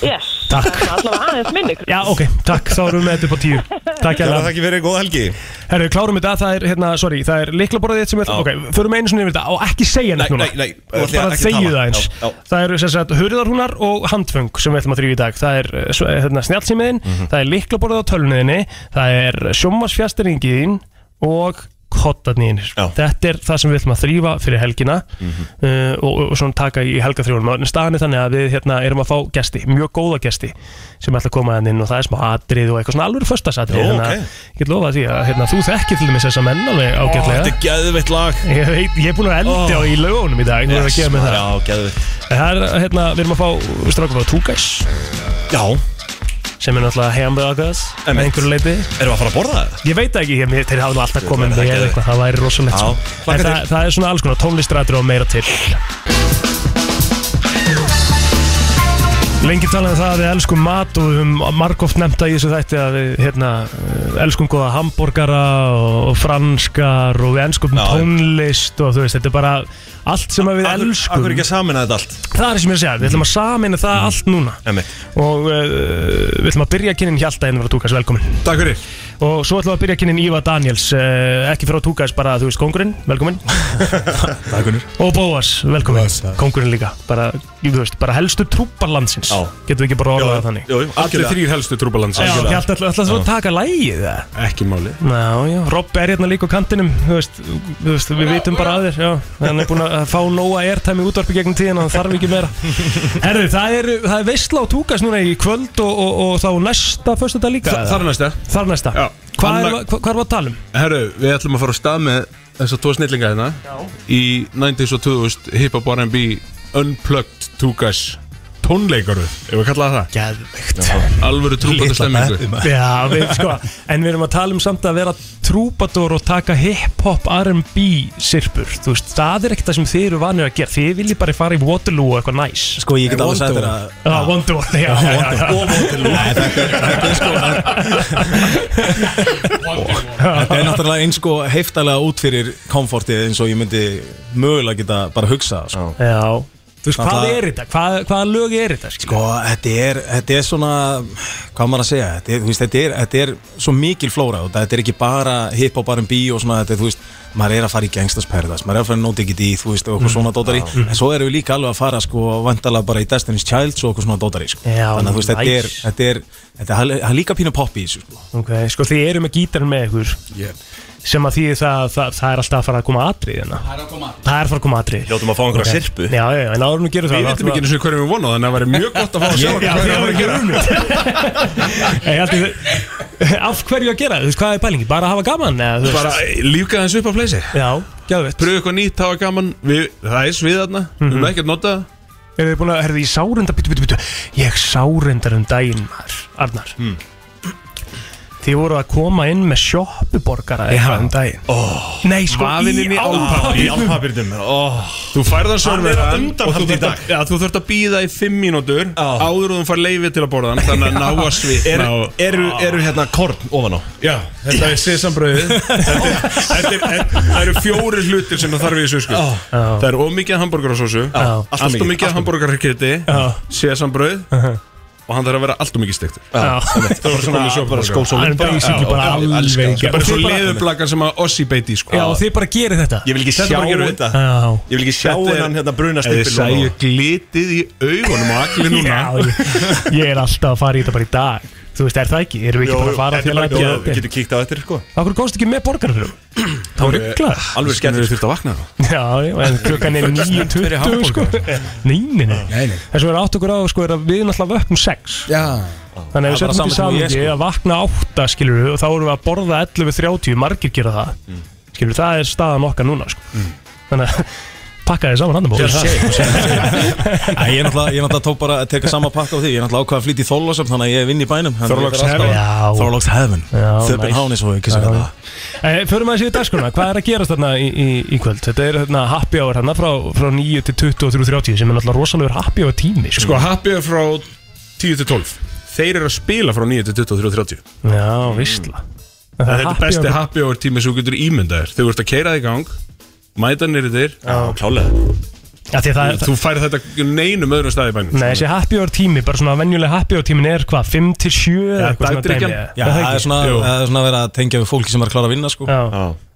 Yes,
Takk.
það er allavega aðeins minni
Já, ok, takk, þá erum við með þetta upp á tíu Takk
Kæra þakki fyrir, góða helgi
Herru, klárum þetta, það er, hérna, sorry, það er liklaborðið þitt sem við, ok, förum einu sinni yfir þetta og ekki segja neitt
Nei,
núna
nei, nei,
Þú ert
ætla ég
bara
ekki
að
að
þegju
tala.
það eins
Já, já.
Það eru sem sagt hurðarhúnar og handföng sem við ætlum að þrjú í dag Það er, eh, svo- hérna, snjálfsímiðin,
Mhm.
það er liklaborðið á tölunniðinni Það er sjómasfjastiringiðin og kottarniðinir Þetta er það sem við ætlum að þrýfa fyrir helgina
Mhm.
uh, og, og, og svona taka í helgaþrjónum en staðan er þannig að við hérna, erum að fá gesti mjög góða gesti sem ætla að koma hann inn og það er smá atrið og eitthvað svona alveg föstasatrið
Jó,
þannig að
ok.
ég get lofa því að hérna, þú þekkir til dæmis þessa menn alveg ágætlega
Þetta er geðveitt lag
Ég, veit, ég er búin að eldi á í lögunum í dag yes, að gefa mig það.
Já, geðveitt
En það er, hérna, við erum að fá strákum á Tugais
Já
sem er náttúrulega hamburgers með
Einmitt.
einhverju leiti
Erum við að fara að borða það?
Ég veit það ekki, ég, þeir hafa nú alltaf
Ég
komið
verð
með
ekki að-
eitthvað, það væri rosalegt
Já,
sko.
hlakka
En
til.
það, það er svona alls konar tónlistrættur og meira til Lengi talað um það að við elskum mat og við höfum margóft nefnt að í þessu þætti að við hérna, eh, elskum góða hambúrgara og, og franskar og við elskum tónlist og þú veist, þetta er bara allt sem að við elskum
Akkur ekki að samina þetta allt
Það er það sem ég er að segja, við ætlum að samina það allt núna
Einmitt.
og uh, við ætlum að byrja kynnin Hjalta en vera Túkas, velkomin
Takk fyrir
Og svo ætlum við að byrja kynnin Íva Daniels, uh, ekki fyrir að Túkas bara þú veist kongurinn, velkomin
Takk unnur
Og Bóas, velkomin, kongurinn líka, bara, þú veist, bara helstu trúpar landsins Já Getum við ekki bara orðað það þannig
Allir þrýr helstu trúbalands
Já, Hjalta, ætla, ætla þú að taka lægið það?
Ekki máli
Já, já, Rob er hérna líka á kantinum þú veist, þú veist, við vitum bara að þér já. hann er búin að fá nóga airtime í útvarpi gegnum tíðin og hann þarf ekki meira Herru, það er, það er veistla og túkast núna í kvöld og, og, og þá næsta fyrstu dag líka
Þa- þar næsta.
Þar næsta Hvað er, hva, hvað er að tala um?
Herru, við ætlum að fara á stað með þessar tvo snillinga hérna Í 90s og 2000 hip-hop R&B Unplugged 2 guys tónleikaru Ef við kallaði það
Geðveikt
Alvöru trúbættu stemmingu
Já, við, sko, en við erum að tala um samt að vera trúbador og taka hip-hop R&B sirpur, þú veist, það er ekkert það sem þið eru vanir að gera, þið viljið bara fara í Waterloo og eitthvað næs
Sko, ég get alveg sagt þér að-
Já, Wonderwall, já, já, já, já.
Þetta er náttúrulega eins sko heiftalega út fyrir komfortið eins og ég myndi mögulega geta bara hugsa sko.
Já Þú veist, hvað
Náttúrulega-
er þetta? Hvað, hvaða lög er þetta? Sko,
þetta er, þetta er svona hvað á maður að segja, þetta er, þú veist, þetta, er, þetta er svo mikil flóra og þetta er ekki bara hip-hop, R&B og svona, þetta er, þú veist maður er að fara í Gangsters Paradise, maður er að fara í No Diggy D þú veist, og okkur
Mm,
svona dótari,
já.
en svo erum við líka alveg að fara sko, vandalega bara í Destiny's Child og okkur svona dótari, sko,
Já,
þannig að þú veist, þetta er,
nice.
þetta er, þetta er, þetta er líka pínu popp í þessu, sko
Ok, sko, þið eru með gítarinn með ykkur
Yep.
sem að því það, það, það er alltaf að fara að koma atrið hérna Það er að koma atrið Það er að fara að koma atrið
Hljótum að fá einhverja syrpu.
Já, já, já, en áður nú gerum það
Við
þá
veitum
ætlum
ekki
að-
eins og hverjum við vonað Þannig að það væri mjög gott að fá að sjá
Já,
hvað
þið
er
voru
að
ekki
gera.
Ég held að þið- Af hverju að gera? Þú veist hvað er pælingi? Bara að hafa gaman? Eða, þú veist?
Bara lífga þessu upp á pleysi
Já, gæðvett
Pröfu eitthvað nýtt, það var gaman við, Það er svið þarna, við
Mhm.
erum ekki að nota það
Eru þið búin að, herðu, ég sárendar, bitu, bitu, bitu Ég sárendar um daginn, maður, Arnar Þið voru að koma inn með sjoppuborgara eitthvað um daginn oh, Nei, sko,
Vaðinn inn í
álpappírnum.
álpappírnum. Í álpappírnum, Þú færðan
Hann
sorgverða
er að undanhalda í dag.
Já, þú þurft að býða í fimm mínútur Áður og þú fær leifi til að borða hann Þannig að ná að svitna
Eru-
og-
eru- Eru hérna korn ofan á
Já, þetta er sesambröðið Þetta er- þetta er- þetta- Það eru fjóri hlutir sem það þarf í þessu sko.
Já.
Það er ómikið hamburgerarsósu
Já. Allt
Allt
of
og
mikið,
mikið
allt of
hamburgerarkjöti
Já.
Sesambröð Og hann þarf að vera allt og mikið stektur
Já.
Það
Bara
er
svona- bara skósóli. Hann er basically bara alveg-
sko. Bara svo
Og þið bara-
leðublakan sem að Ossi beiti sko.
Já, og þið bara gerir þetta
Ég vil ekki
Þetta
sjá
bara gerir
þetta.
Já.
Ég vil ekki sjá
Þetta er-
hennan hérna bruna
Ef þið sæju glitið í augunum og allir núna
Já, ég, ég er alltaf að fara í þetta bara í dag Þú veist, er það ekki? Erum við ekki bara að fara til að
Jó, við getum kíkt á þetta sko
Akkur komst ekki með borgarfjörum? Það var rugglaður
Alveg skemmt Við þurftum að vakna þá
Já, já, en klukkan er
Snemmt fyrir
9.20 sko Nei, nei, nei Þess að við erum átt okkur á sko er að við náttúrulega vöknum 6
Já
Þannig að við
Það er bara
setjum til
sama tíma ég,
samingi
sko.
að vakna 8 skilur við og þá erum við að borða 11.30 margir gera það mm. skilur við, það er staðan okkar núna sko.
Mm.
Þannig að pakka þið saman hann
Sér það. Æ, Ég er náttúrulega, ég er náttúrulega tók bara að teka sama pakka á því Ég er náttúrulega ákvað að flytja í Þorlósöfn Þannig að ég er vinn í bænum þannig að ég
Þorláks
er alltaf-
heaven. Já.
Þorláks heaven Þöppin
nice.
hánis og ekki sem
Já.
þetta
Eh, Förum að séu dagskona, hvað er að gerast þarna í, í, í kvöld? Þetta er hérna happy hour hérna frá, frá 9 til 23.30 sem er náttúrulega rosalegur happy hour tími
Sko, Happy er frá 10 til 12 Þeir eru að spila frá 9 til 23 30
Já, vissla
Þetta er
happy
besti
hour-
happy hour tími sem þú getur ímyndaðir Þau ert að keira þig í gang Mæta nýri þér
Já,
klálega
Já, því að það er-
Þú færi þetta í neinum öðrum staði í bænum sko.
Nei, þessi happy hour tími, bara svona venjulega happy hour tímin er hvað, 5 til 7 eða
Já,
eitthvað svona
dagdrykkjan.
dæmi, eða?
Já, það er svona, það er svona að vera að tengja við fólki sem er að klára að vinna sko
Já.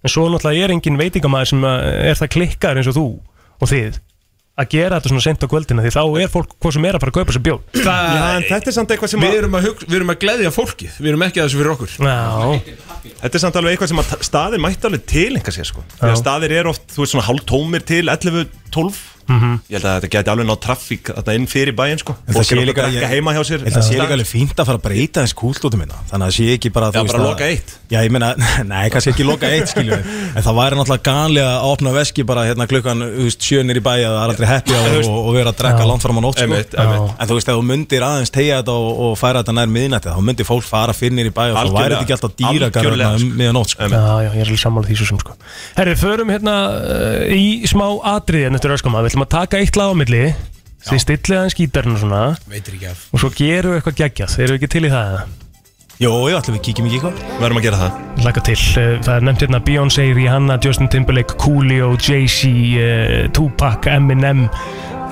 En svo náttúrulega er engin veitingamæður sem að- er það klikkar eins og þú og þið að gera þetta svona sent á kvöldina því þá er fólk hvað sem er að fara að kaupa sér bjór
Það-
Já, en þetta er samt eitthvað sem
Við erum að, hugsa, við erum að gleðja fólkið Við erum ekki að þessu fyrir okkur
Já
Þetta er samt alveg eitthvað sem að ta- staðir mætti alveg til einhvers ég sko Þegar staðir eru oft, þú veist svona hálf tómir til 11, 12
Mhm.
Ég held að þetta geti alveg náð traffík þarna inn fyrir bæinn sko
En
Og
það sé
sér okkur
líka-
að drekka
ég-
heima hjá sér
En það sé líka alveg fínt að fara að breyta eins kúltóti minna hérna. Þannig að það sé ekki bara
Já,
þú veist,
bara
að-
loka eitt.
Já, ég meina, nei, kannski ekki loka eitt skilju En það væri náttúrulega ganlega að opna veski bara hérna klukkan þú veist, sjönir í bæ að það er aldrei happy
En þú
hour
veist-
og, og vera að drekka
Já.
langt fram á nótt sko.
Einmitt, einmitt.
En þú veist, ef þú myndir aðeins tegja þetta og, og færa þetta nær miðnætti þá myndir fólk fara fyrir nýr í bæ og þá væri þetta ekki alltaf dýra
Algjörlega,
garðarna um miðan nótt sko.
Já, já, ég er alveg sammála því svo sem sko Herri, förum hérna uh, í smá atriði en þetta er öskama, við ætlum að taka eitt lag á milli þið stillið aðeins gítarinn og svona
Veitir ekki af.
og svo gerum við eitthvað geggjað, erum við ekki til í það?
Jó, já, ætlum við kíkjum ekki eitthvað
Verðum að gera það
Laka til, uh, það er nefnt hérna Beyoncé, Rihanna, Justin Timberlake, Coolio, Jay-Z, uh, Tupac, Eminem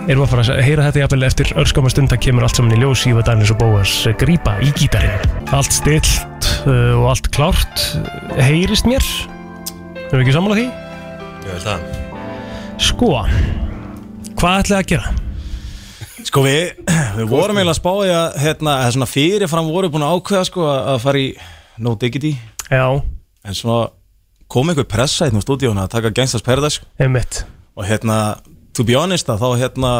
Erum við að fara að heyra þetta jafnvel eftir örskama stund að kemur allt saman í ljós Ívar Danis og Bóas uh, grípa í gítarinn Allt stillt uh, og allt klárt uh, heyrist mér Erum við ekki sammála því?
Ég held það
Sko, hvað ætlaði að gera?
Sko við, við vorum eiginlega að spáði að hérna, eða svona fyrirfram vorum við búin að ákveða sko að að fara í No Diggity
Já
En svona kom einhver pressa hérna úr stúdíónu að taka Gangstars Paradise sko.
Einmitt
Og hérna, to be honest að þá hérna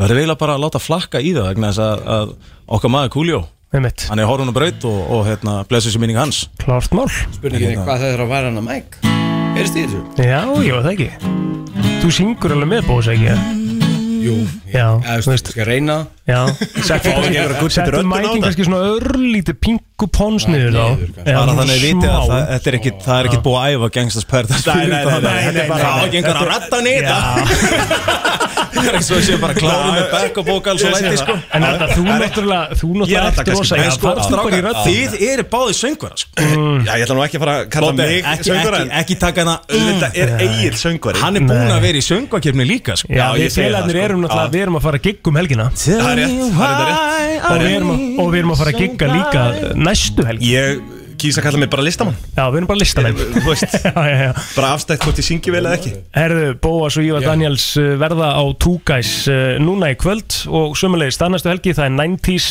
verður eiginlega bara að láta flakka í það vegna þess að, að okkar maður Kúljó
Einmitt
Hann er horfun og braut og, og hérna, blessu sér minning hans
Klárt mál
Spurningin
Hérna.
er hvað það er að vara hann að mæk Erist þið þessu?
Já, ég var það ekki Þú syngur alveg með Bóas ekki, ja?
Jú,
já,
þú veist Skal reyna
Já,
Fá ekki að vera gull í
settu
röddina á
mækin
þetta.
kannski svona örlítið pingu pons niður þá Eða
bara
svona
þannig að viti að
smá.
það, þetta er ekkit, það er ekkit búið að æfa Gangsters Paradise
Nei, nei, nei, nei, nei,
þetta
nei,
er bara
nei,
það
nei.
er ekki einhver að ratta nýta það er ekki svo að séu bara kláru með back og bókals og
Ég sé
læti
það.
sko
En þetta, þú náttúrulega, þú
Ég
náttúrulega
ratta
ert
kannski
rosa
bara,
Já,
sko,
farstu bara í
strákar,
röddina.
Þið eru báði söngvara sko.
Mm.
Já, ég ætla nú ekki að fara að kalla
Lobbi,
mig
ekki-
söngvara
ekki- ekki taka hana
Þetta er
Mm.
Egil söngvari
Hann er búinn að vera í söngvakefni líka sko.
Já, við félagarnir erum náttúrulega, við erum að fara að gigga um helgina
Það er rétt,
það er
rétt Og við erum að, og við erum að fara að gigga líka næstu helgi
Ég kýs að kalla mig bara listamann
Já, við erum bara listamenn
Þú veist, bara afstætt hvort ég syngi vel eða ekki
Herðu, Bóas og Ívar Daniels uh, verða á Two Guys uh, núna í kvöld og sömulegis þannastu helgi, það er 90s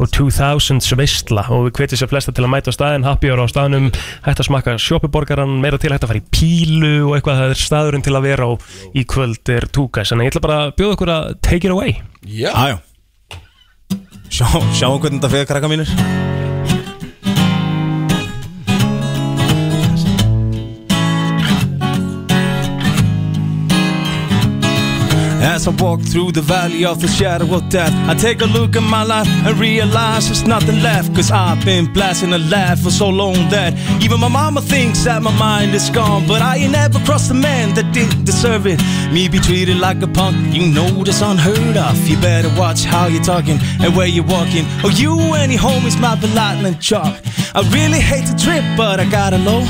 og 2000s veistla og við hvetjum sér flesta til að mæta á staðin, happy hour á staðinum hægt að smakka sjoppuborgaran, meira til hægt að fara í pílu og eitthvað, það er staðurinn til að vera á í kvöld er Two Guys en ég ætla bara að bjóða okkur að take it away
Já, já Sjá, sjáum hvernig þetta fyrir krakka mínir As I walk through the valley of the shadow of death, I take a look at my life and realize there's nothing left. Cause I've been blasting a laugh for so long that even my mama thinks that my mind is gone. But I ain't ever crossed a man that didn't deserve it. Me be treated like a punk, you know that's unheard of. You better watch how you're talking and where you're walking. Or you and your homies might be lightning chalk. I really hate the trip, but I gotta know.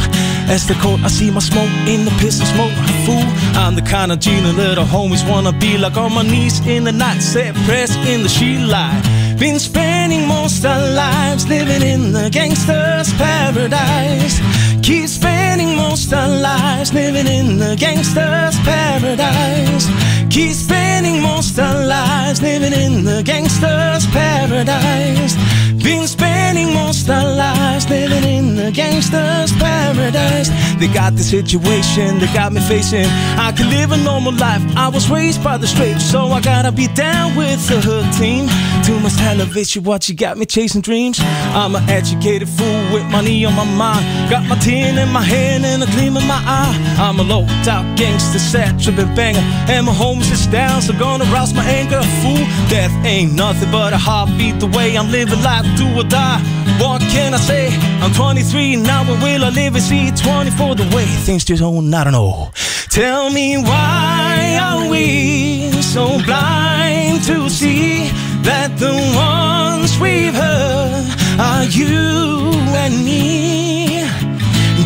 As the cold, I see my smoke in the pistol smoke. Fool, I'm the kind of genie little homies wanna be like on my knees in the night, set press in the sheet light. Been spending most our lives living in the gangster's paradise. Keep spending most our lives living in the gangster's paradise. Keep spending most our lives living in the gangster's paradise. Been spending most our lives living in the gangster's paradise. They got the situation they got me facing. I can live a normal life. I was raised by the straight, so I gotta be down with the hood team. Too much television, what you got me chasing dreams. I'm an educated fool with money on my mind. Got my tin in my hand and a gleam in my eye. I'm a low out gangster, sad tripping banger. And my homes is down, so gonna rouse my anger. Fool, death ain't nothing but a heartbeat. The way I'm living life, do or die. What can I say? I'm 23 now, but will I live and see 24 the way things just own? I don't know. Tell me why are we so blind to see that the ones we've heard are you and me?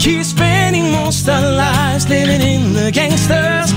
Keep spending most our lives living in the gangster's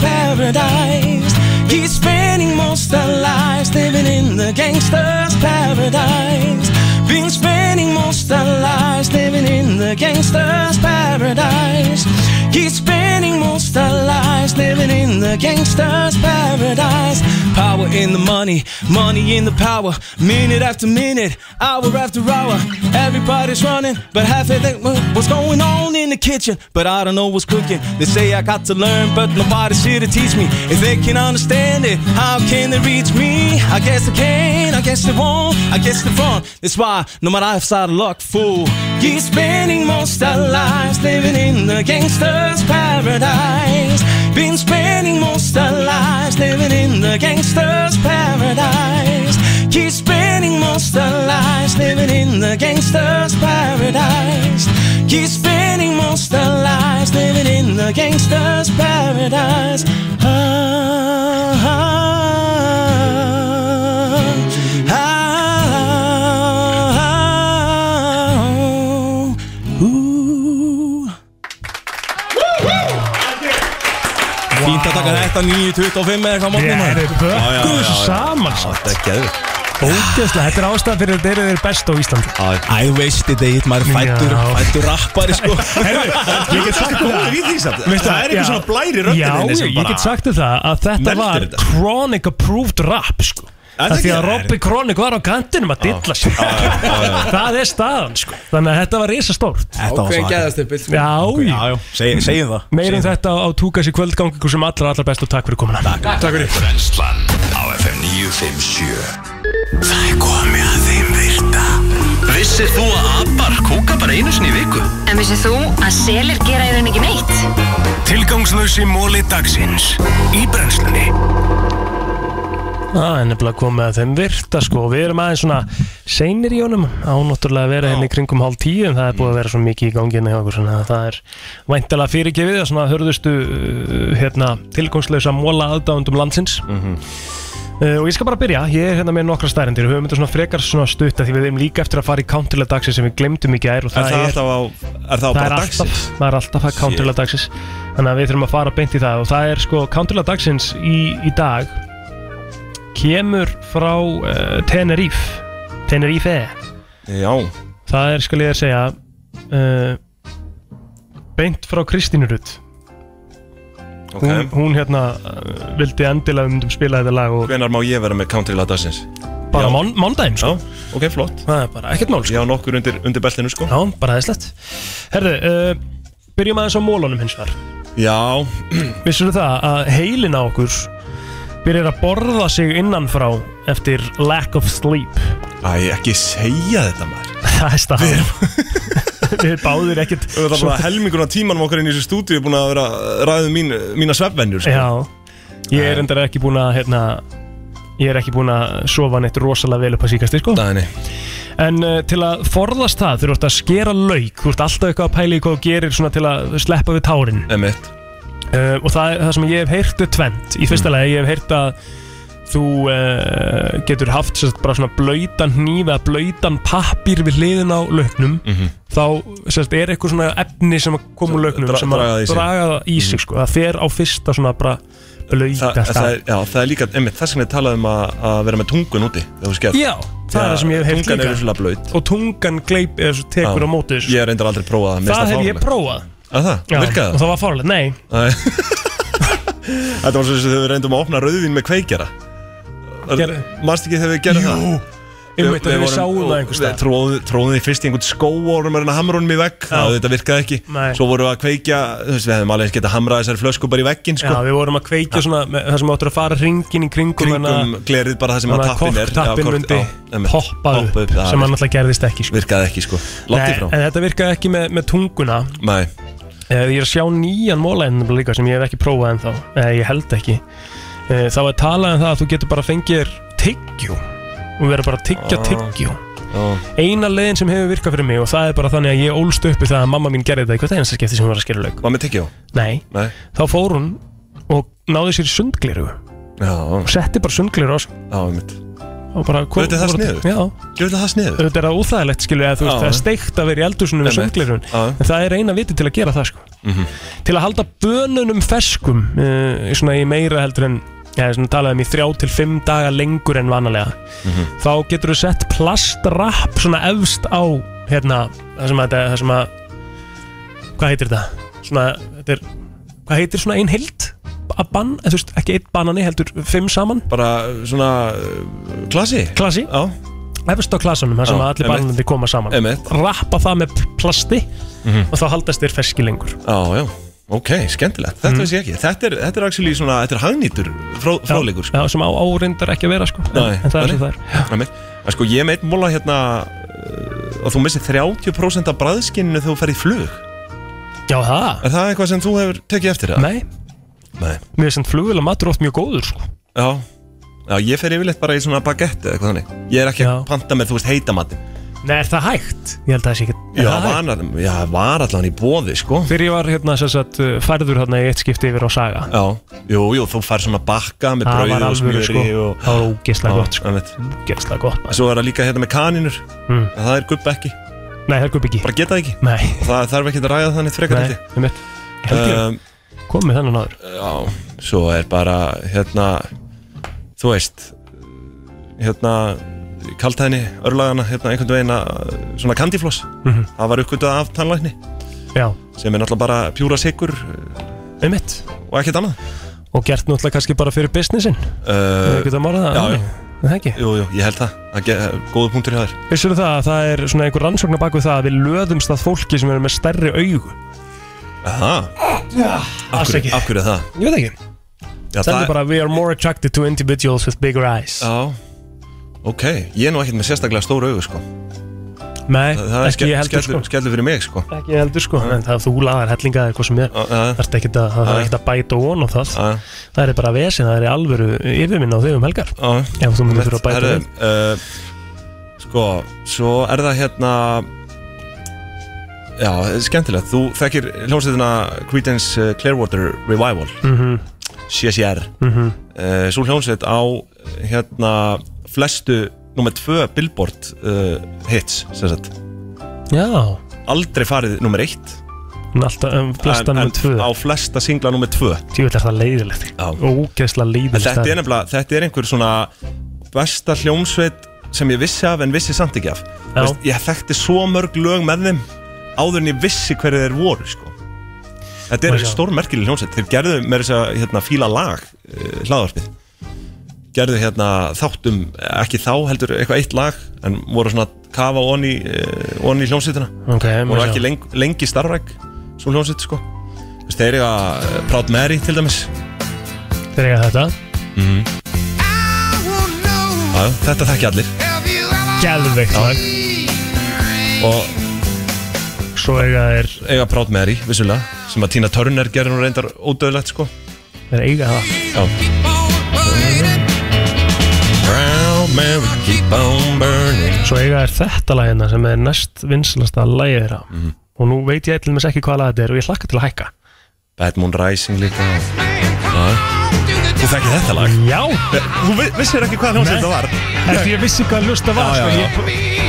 paradise. Keep spending most our lives living in the gangster's paradise. Been spending most our lives living in the gangster's paradise. Keep spending most our lives living in the gangster's paradise. Power in the money, money in the power. Minute after minute, hour after hour. Everybody's running, but half of them what's going on in the kitchen. But I don't know what's cooking. They say I got to learn, but nobody's here to teach me. If they can understand it, how can they reach me? I guess they can, I guess they won't, I guess they won't. That's why no matter how out of luck, fool. Keep spending most our lives living in the gangster's paradise. Been spending most our lives living in the gangster's paradise. Keep spending most our lives living in the gangster's paradise. Keep spending most our lives living in the gangster's paradise. Ah, ah, ah, ah, ooh. Fínt að taka þetta 9.25 eða eitthvað á morgunum
Ég er bökkuð saman sko.
Þetta er geður
Ógeðslega, þetta er ástæða fyrir að þeir eru þeir best á Íslandi
I wasted it, maður er fættur,
Já.
fættur rappari sko
Ég get sagt þér það
Veistu
Það er
já.
eitthvað svona blæri röddinni
Já,
sem
ég
bara-
get sagt þér það að þetta
Meldir
var
þetta.
chronic approved rap sko
Er það
Það því
ekki-
að Robby Chronic var á kantinum að dilla sér Það er staðan sko Þannig að þetta var risastórt
Þetta var Ákveðin svaka. geðastimpill, sko.
Já, já,
já, segjum það
Meirum þetta á Túkas í kvöldgang ykkur sem allra allra best og takk fyrir komuna Takk
Brennslan á FM 957 Það er komið að þeim virta Vissir þú að abar kúka bara einu sinni í viku?
En vissið þú að selir gera í raun ekki neitt?
Tilgangslösi móli dagsins Í brennslunni
Það er nefnilega komið að þeim virta sko og við erum aðeins svona seinir í honum ánótturlega að vera henni kringum hálf tíu en það er búið að vera svo mikið í ganginni hjá okkur svona að það er væntalega fyrirgefið að svona hörðustu uh, hérna, tilgangslösa móla aðdáðundum landsins
Mhm.
Uh, og ég skal bara byrja, ég er hérna með nokkra stærendir Við höfum þetta svona frekar svona stutt af Því við erum líka eftir að fara í counterlega dagsins sem við glemdum í gær og
Er það alltaf á- er það á bara
alltaf-
dagsins?
Það er alltaf að counterlega dagsins Þannig að við þurfum að fara beint í það Og það er sko counterlega dagsins í, í dag Kemur frá uh, Tenerife Tenerife
Já
Það er skal ég að segja uh, Beint frá Kristínurut
Ok.
hún, hún hérna uh, vildi endilega við myndum spila þetta lag og
Hvenar má ég vera með country lag dagsins?
Bara
Já.
mán- mánudaginn, sko.
Já, ok, flott
Það er bara ekkert mál sko
Já, nokkur undir, undir beltinu sko
Já, bara aðeinslegt Herðu, uh, byrjum aðeins á mólunum hins vegar
Já
Vissur það að heilin á okkur byrjar að borða sig innanfrá eftir lack of sleep
Æ, ekki segja þetta maður
Það er stað Við báðir ekkert
Það er bara helmingurna tímanum okkar inn í þessu stúdíu búin að vera að ræða um mín, mína svefvenjur sko.
Já, ég er endara ekki búin að hérna, ég er ekki búin að sofa neitt rosalega vel upp að síkast sko.
Nei, nei.
En uh, til að forðast það þú ert að skera lauk, þú ert alltaf eitthvað að pæla í hvað þú gerir svona til að sleppa við tárin
Emitt
uh, Og það, er- það sem ég hef heyrt er tvent Í
Mm.
fyrsta lagi ég hef heyrt að þú uh, getur haft sérst, bara svona blöytan hníf eða blöytan pappír við hliðin á lauknum
Mhm.
þá sérst, er eitthvað svona efni sem að koma úr lauknum
Dra-
sem að
draga það í sig.
draga það í sig sko. það fer á fyrsta svona bara blöyta
Þa, það, er, já, það er líka, einmitt, þess vegna er talað um að, að vera með tungun úti þegar þú skerð.
Já, það er það sem ég hef heyrt
Tungan
líka.
er vissulega blöyt
og tungan gleip eða svo tekur á móti þessu
Ég er reyndar aldrei prófað mér
það
finnst
hef ég
fáránlegt.
prófað
Að það?
Já,
Virkaði
og það var farlegt, nei
Nei. Þetta var svo sem við reyndum að opna rauðvín með kveikjara Manst ekki þegar við gerðum það?
einmitt, að við
vorum-
sáum það
og
einhvers
við
staðar.
tróðum- Tróðum því fyrst í einhvern skó og vorum að reyna að hamra honum í vegg Það þetta virkaði ekki
Nei.
Svo vorum við að kveikja, þú veist, við hefum alveg getað hamrað þessari flösku bara í vegginn sko.
Já, við vorum að kveikja svona með, það sem áttur að fara ringin í kringum hérna.
Kringum glerið bara það sem að tappinn er. Já,
Tappin
kork-
myndi
já, einmitt.
poppa upp,
Poppa upp, það
sem
er-
hann alltaf gerðist ekki sko.
Virkaði ekki sko Látti frá
En þetta virkaði ekki með, með tunguna
Nei
Eh, Ég er að sjá nýjan mólæðin líka sem ég hef ekki prófað ennþá eh, Ég held ekki Eh, Þá er talað um það að þú getur bara að fengið þér tyggjó og verður bara að tyggja
Ah.
tyggjó
Já.
Eina leiðin sem hefur virkað fyrir mig og það er bara þannig að ég ólst upp við það að mamma mín gerði þetta í hvert einasta skipti sem hún var að skera lauk
Var með tyggjó?
Nei.
Nei.
Þá fór hún og náði sér sundgliru
Já
og setti bara sundgliru á sig
Já, einmitt
og bara kom,
Auðvitað er það sniðugt.
Já
Gjöfðu það sniður
Þetta er það óþægilegt skilur eða þú veist
Já.
það er steikt að vera í eldursunum með
Einmitt.
sundglirun en það er eina viti til að gera það sko
Mhm.
til að halda bönunum ferskum uh, svona í meira heldur en já, svona talaðum í þrjá til fimm daga lengur en vanalega
Mhm.
þá getur þú sett plastrapp svona efst á hérna það sem að, þetta- það sem að hvað heitir þetta svona þetta er hvað heitir svona ein heild að bann, eða þú veist ekki einn banani heldur fimm saman
bara eh, svona uh, klasi
klasi
já
efst á klasanum þar sem
Já,
að allir
einmitt.
bananandi koma saman
Einmitt. Mhm.
rappa það með plasti og þá haldast þér ferski lengur
Já, já, ok, skemmtilegt
Mhm.
Þetta veist ég ekki, þetta er, þetta er actually svona Þetta er hagnýtur frá, fráleikur sko.
já, sem á áreindar ekki að vera sko.
Nei,
en það er sem það er
það er En sko, ég er meitt múla hérna uh, að þú missir 30% af bræðskinninu þegar þú ferð í flug
Já, það
Er það eitthvað sem þú hefur tekið eftir? eða?
Nei,
Nei
mér er sem flugvila matur oft mjög góður sko.
Já, já ég fer yfirleitt bara í svona baguette eða eitthvað þannig Ég er ekki að panta með, þú veist, heita matin
Nei, er það hægt? Ég held að það sé ekki
Já, var, já, var allan í bóði, sko
Þegar ég var hérna, sem sagt, uh, færður hérna í eitt skipti yfir á Saga
Já, jú, jú, þú fær svona bakka með
Það var
brauði og
alvöru
smjöri
sko
og...
Það var ógeðslega gott sko
Gæsla
gott
Svo er það líka hérna með kaninur
Mm.
En Það er gubb ekki
Nei, það er gubb ekki
Bara geta það ekki
Nei
Og Það þarf ekki að ræða þannig frekar
Nei, um mitt Held ég
Um,
Komið þannig náður
Já, svo er bara hérna Þú veist Hérna Kaltæðinni, örlagana, hérna einhvern veginn að Svona kandifloss
Mhm.
Það var uppgötað af tannlækni
Já
Sem er náttúrulega bara pjúra sigur
Um mitt
Og ekkert annað
Og gert náttúrulega kannski bara fyrir businessin
uh,
Við getum orðað það
Já,
þannig.
já
Er Það ekki
Jú, jú, ég held það, það ge- Góðu punktur hjá þér
Vissur það að það er svona einhver rannsókn að baka við það að við löðumst að fólki sem eru með stærri augu
Aha. Af
Alls ekki.
hverju, af hverju er það?
Ég veit ekki
Já,
Stendur
það-
bara We are more attracted to individuals with bigger eyes
Já, ok, ég er nú ekkert með sérstaklega stóru augu sko
Nei,
það, það er
ekki
ske-
ég heldur,
skellur,
sko.
skellur fyrir mig sko
Ekki heldur sko, en það þú lagar hellinga eða hvað sem er Það er ekkert að, það er ekkert að bæta von og það Það er bara vesin, það er í alvöru yfirminn á þau um helgar Ef þú myndir fyrir að bæta
Herðu,
von
uh, Sko, svo er það hérna Já, þetta er skemmtilegt Þú þekkir hljómsveitina Creedence uh, Clearwater Revival
Mhm.
CCR
Mhm.
uh, Svo hljómsveit á hérna flestu nummer tvö Billboard uh, hits sem sagt.
Já,
Aldrei farið nummer eitt
hún er alltaf um, flesta
En- en
nummer tvö
Á flesta singla nummer tvö
Tjóðvill er það leiðilegt Ógeðslega
En
leiðilegt
þetta er nefnilega, þetta er einhver svona besta hljómsveit sem ég vissi af en vissi samt ekki af Þú
Já.
veist, Ég þekkti svo mörg lög með þeim áður en ég vissi hverju þeir voru sko. Þetta er
Má sjá.
stórmerkileg hljómsveit Þeir gerðu með þess að hérna, fíla lag uh, hlaðvarpið gerðu hérna þáttum ekki þá heldur eitthvað eitt lag en voru svona að kafa onni uh, onni hljómsveitina
Ok, má
voru
sjá.
ekki leng, lengi starfræk svo hljómsveit sko Þú veist, þeir eru að Proud Mary til dæmis
Þeir eiga þetta
mm. Já, þetta þekki allir
Gæðveikt lag
Og
Svo eiga þeir
eiga Proud Mary, vissulega Sem að Tina Turner gerir nú reyndar ódöðlegt sko
Þeir eiga það
Já Proud Mary, keep on burning
Svo eiga er þetta lag hérna sem er næst vinsalasta lagið þeirra
Mhm.
Og nú veit ég eitthvað ekki hvað lag þetta er og ég hlakka til að hækka
Bad Moon Rising líka Já Þú þekkið þetta lag?
Já
Þú vi- vissir ekki hvað hljómsveit það var
Þetta ég vissi hvað hljósta var
Já,
sko,
já, já.
ég-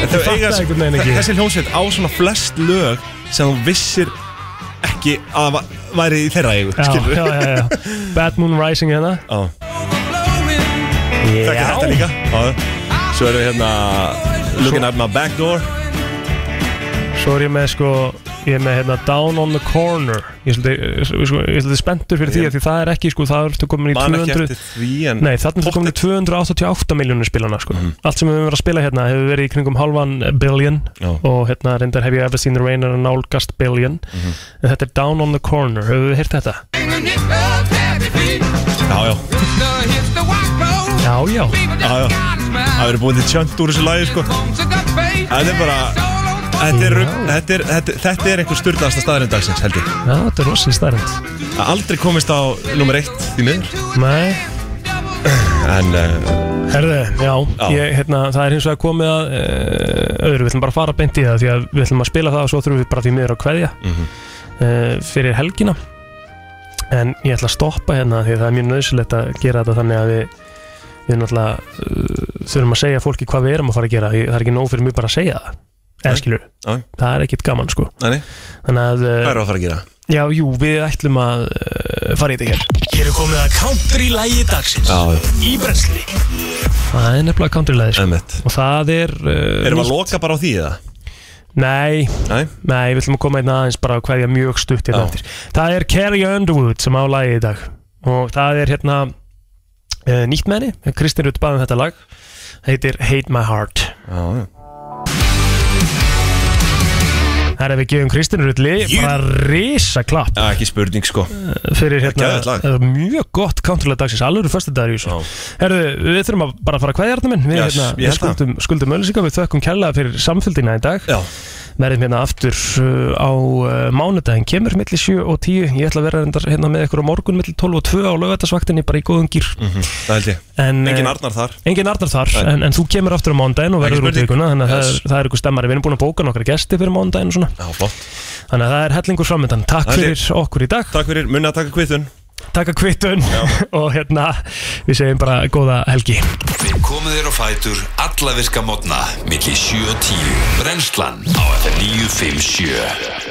Ég
Þau eiga
fattaði
svo-
einhvern veginn ekki
Þessi hljómsveit á svona flest lög sem þú vissir ekki að va- væri í þeirra eigu
Já,
skilurðu?
já, já, já. Bad Moon Rising hérna
Já
Já.
Þekkir þetta líka Já. Svo erum við hérna Looking at my back door
Svo er ég með sko Ég er með hérna Down on the Corner Ég er svolítið, sko, ég er svolítið spenntur fyrir því
Ég-
að Því það er ekki sko Það ertu komin í
Man ekki
200
eftir því en Mhm.
Nei, þarna ertu komin í 288 miljónir spilana sko Allt sem við höfum verið að spila hérna Hefur verið í kringum halvan billion
Já.
Og hérna reyndar Have you ever seen the rain and nálgast billion
Mhm.
En þetta er Down on the Corner Hefur við heyrt þetta?
Já, já
Já, já
Já, já Það verður búin til tjönd úr þessu lagi sko Þetta er bara Þetta er, rugl- þetta er, þetta, þetta er einhver styrlaðasta staðurinn dagsins held ég
Já, þetta er rosalega starrend
Að Aldrei komist á nummer eitt því miður
Nei
En uh,
Herðu, já,
Já.
Ég, hérna, það er hins vegar komið að uh, öðru, við ætlum bara að fara beint í það því að við ætlum að spila það og svo þurfum við bara því miður að kveðja
Mhm.
uh, fyrir helgina en ég ætla að stoppa hérna því að það er mjög nöðsilegt að gera þetta þannig að við við náttúrulega uh, þurfum að segja fólki hvað við erum að fara að gera Ég- það er ekki nóg fyrir mig bara að segja það eða skilur,
já.
það er ekkit gaman sko
Nei, nei.
þannig að uh,
Hvað er að fara að gera?
já, jú, við ætlum að uh, fara í þetta hér
Hér er komið að country lægi dagsins
Já, já.
Í brensli
það er nefnilega countrylæði sko. og það er uh,
Erum við að
nýtt.
loka bara á því eða?
Nei,
nei,
við ætlum að koma einna aðeins bara að hverja mjög stutt hérna
Já.
eftir Það er Carrie Underwood sem á lagi í dag og það er hérna uh, nýtt með henni, Kristín Rutt baðum þetta lag heitir Hate My Heart
Já, já
Það er að við gefum Kristín Rutli bara risa klapp
Já, ekki spurning sko
fyrir
Geðveikt
hérna
lag.
eh, mjög gott countrylað dagsins, alveg eru fyrstu dagar í þessu Herðu, við þurfum að bara fara að kveðja hérna minn við,
Yes,
hérna,
ég
við
held það.
skuldum, skuldum öllisíka, við þökkum kærlega fyrir samfylgdina í dag
Já.
verðum hérna aftur uh, á uh, mánudaginn, kemur milli 7 og 10 ég ætla að vera reyndar hérna með ykkur á morgun milli 12 og 2 á lögatarsvaktinni bara í góðum gýr
Mhm, Það held ég
En,
Engin
eh,
Arnar þar
Engin Arnar þar,
Nei.
en, en þú kemur aftur á mándaginn og
Ekki
verður út í
spurning.
vikuna þannig að
Yes.
það, er, það er ykkur stemmari, við erum búin að bóka nokkra gesti fyrir mándaginn og svona
Já, flott
þannig að það er hellingur framöndan, takk
Það held ég.
fyrir okkur í dag
Takk fyrir, munið að taka kvitun
taka kvittun og hérna við segjum bara góða helgi
Við komum þér á fætur alla virka mótna milli 7 og 10 Brennslan á FM 957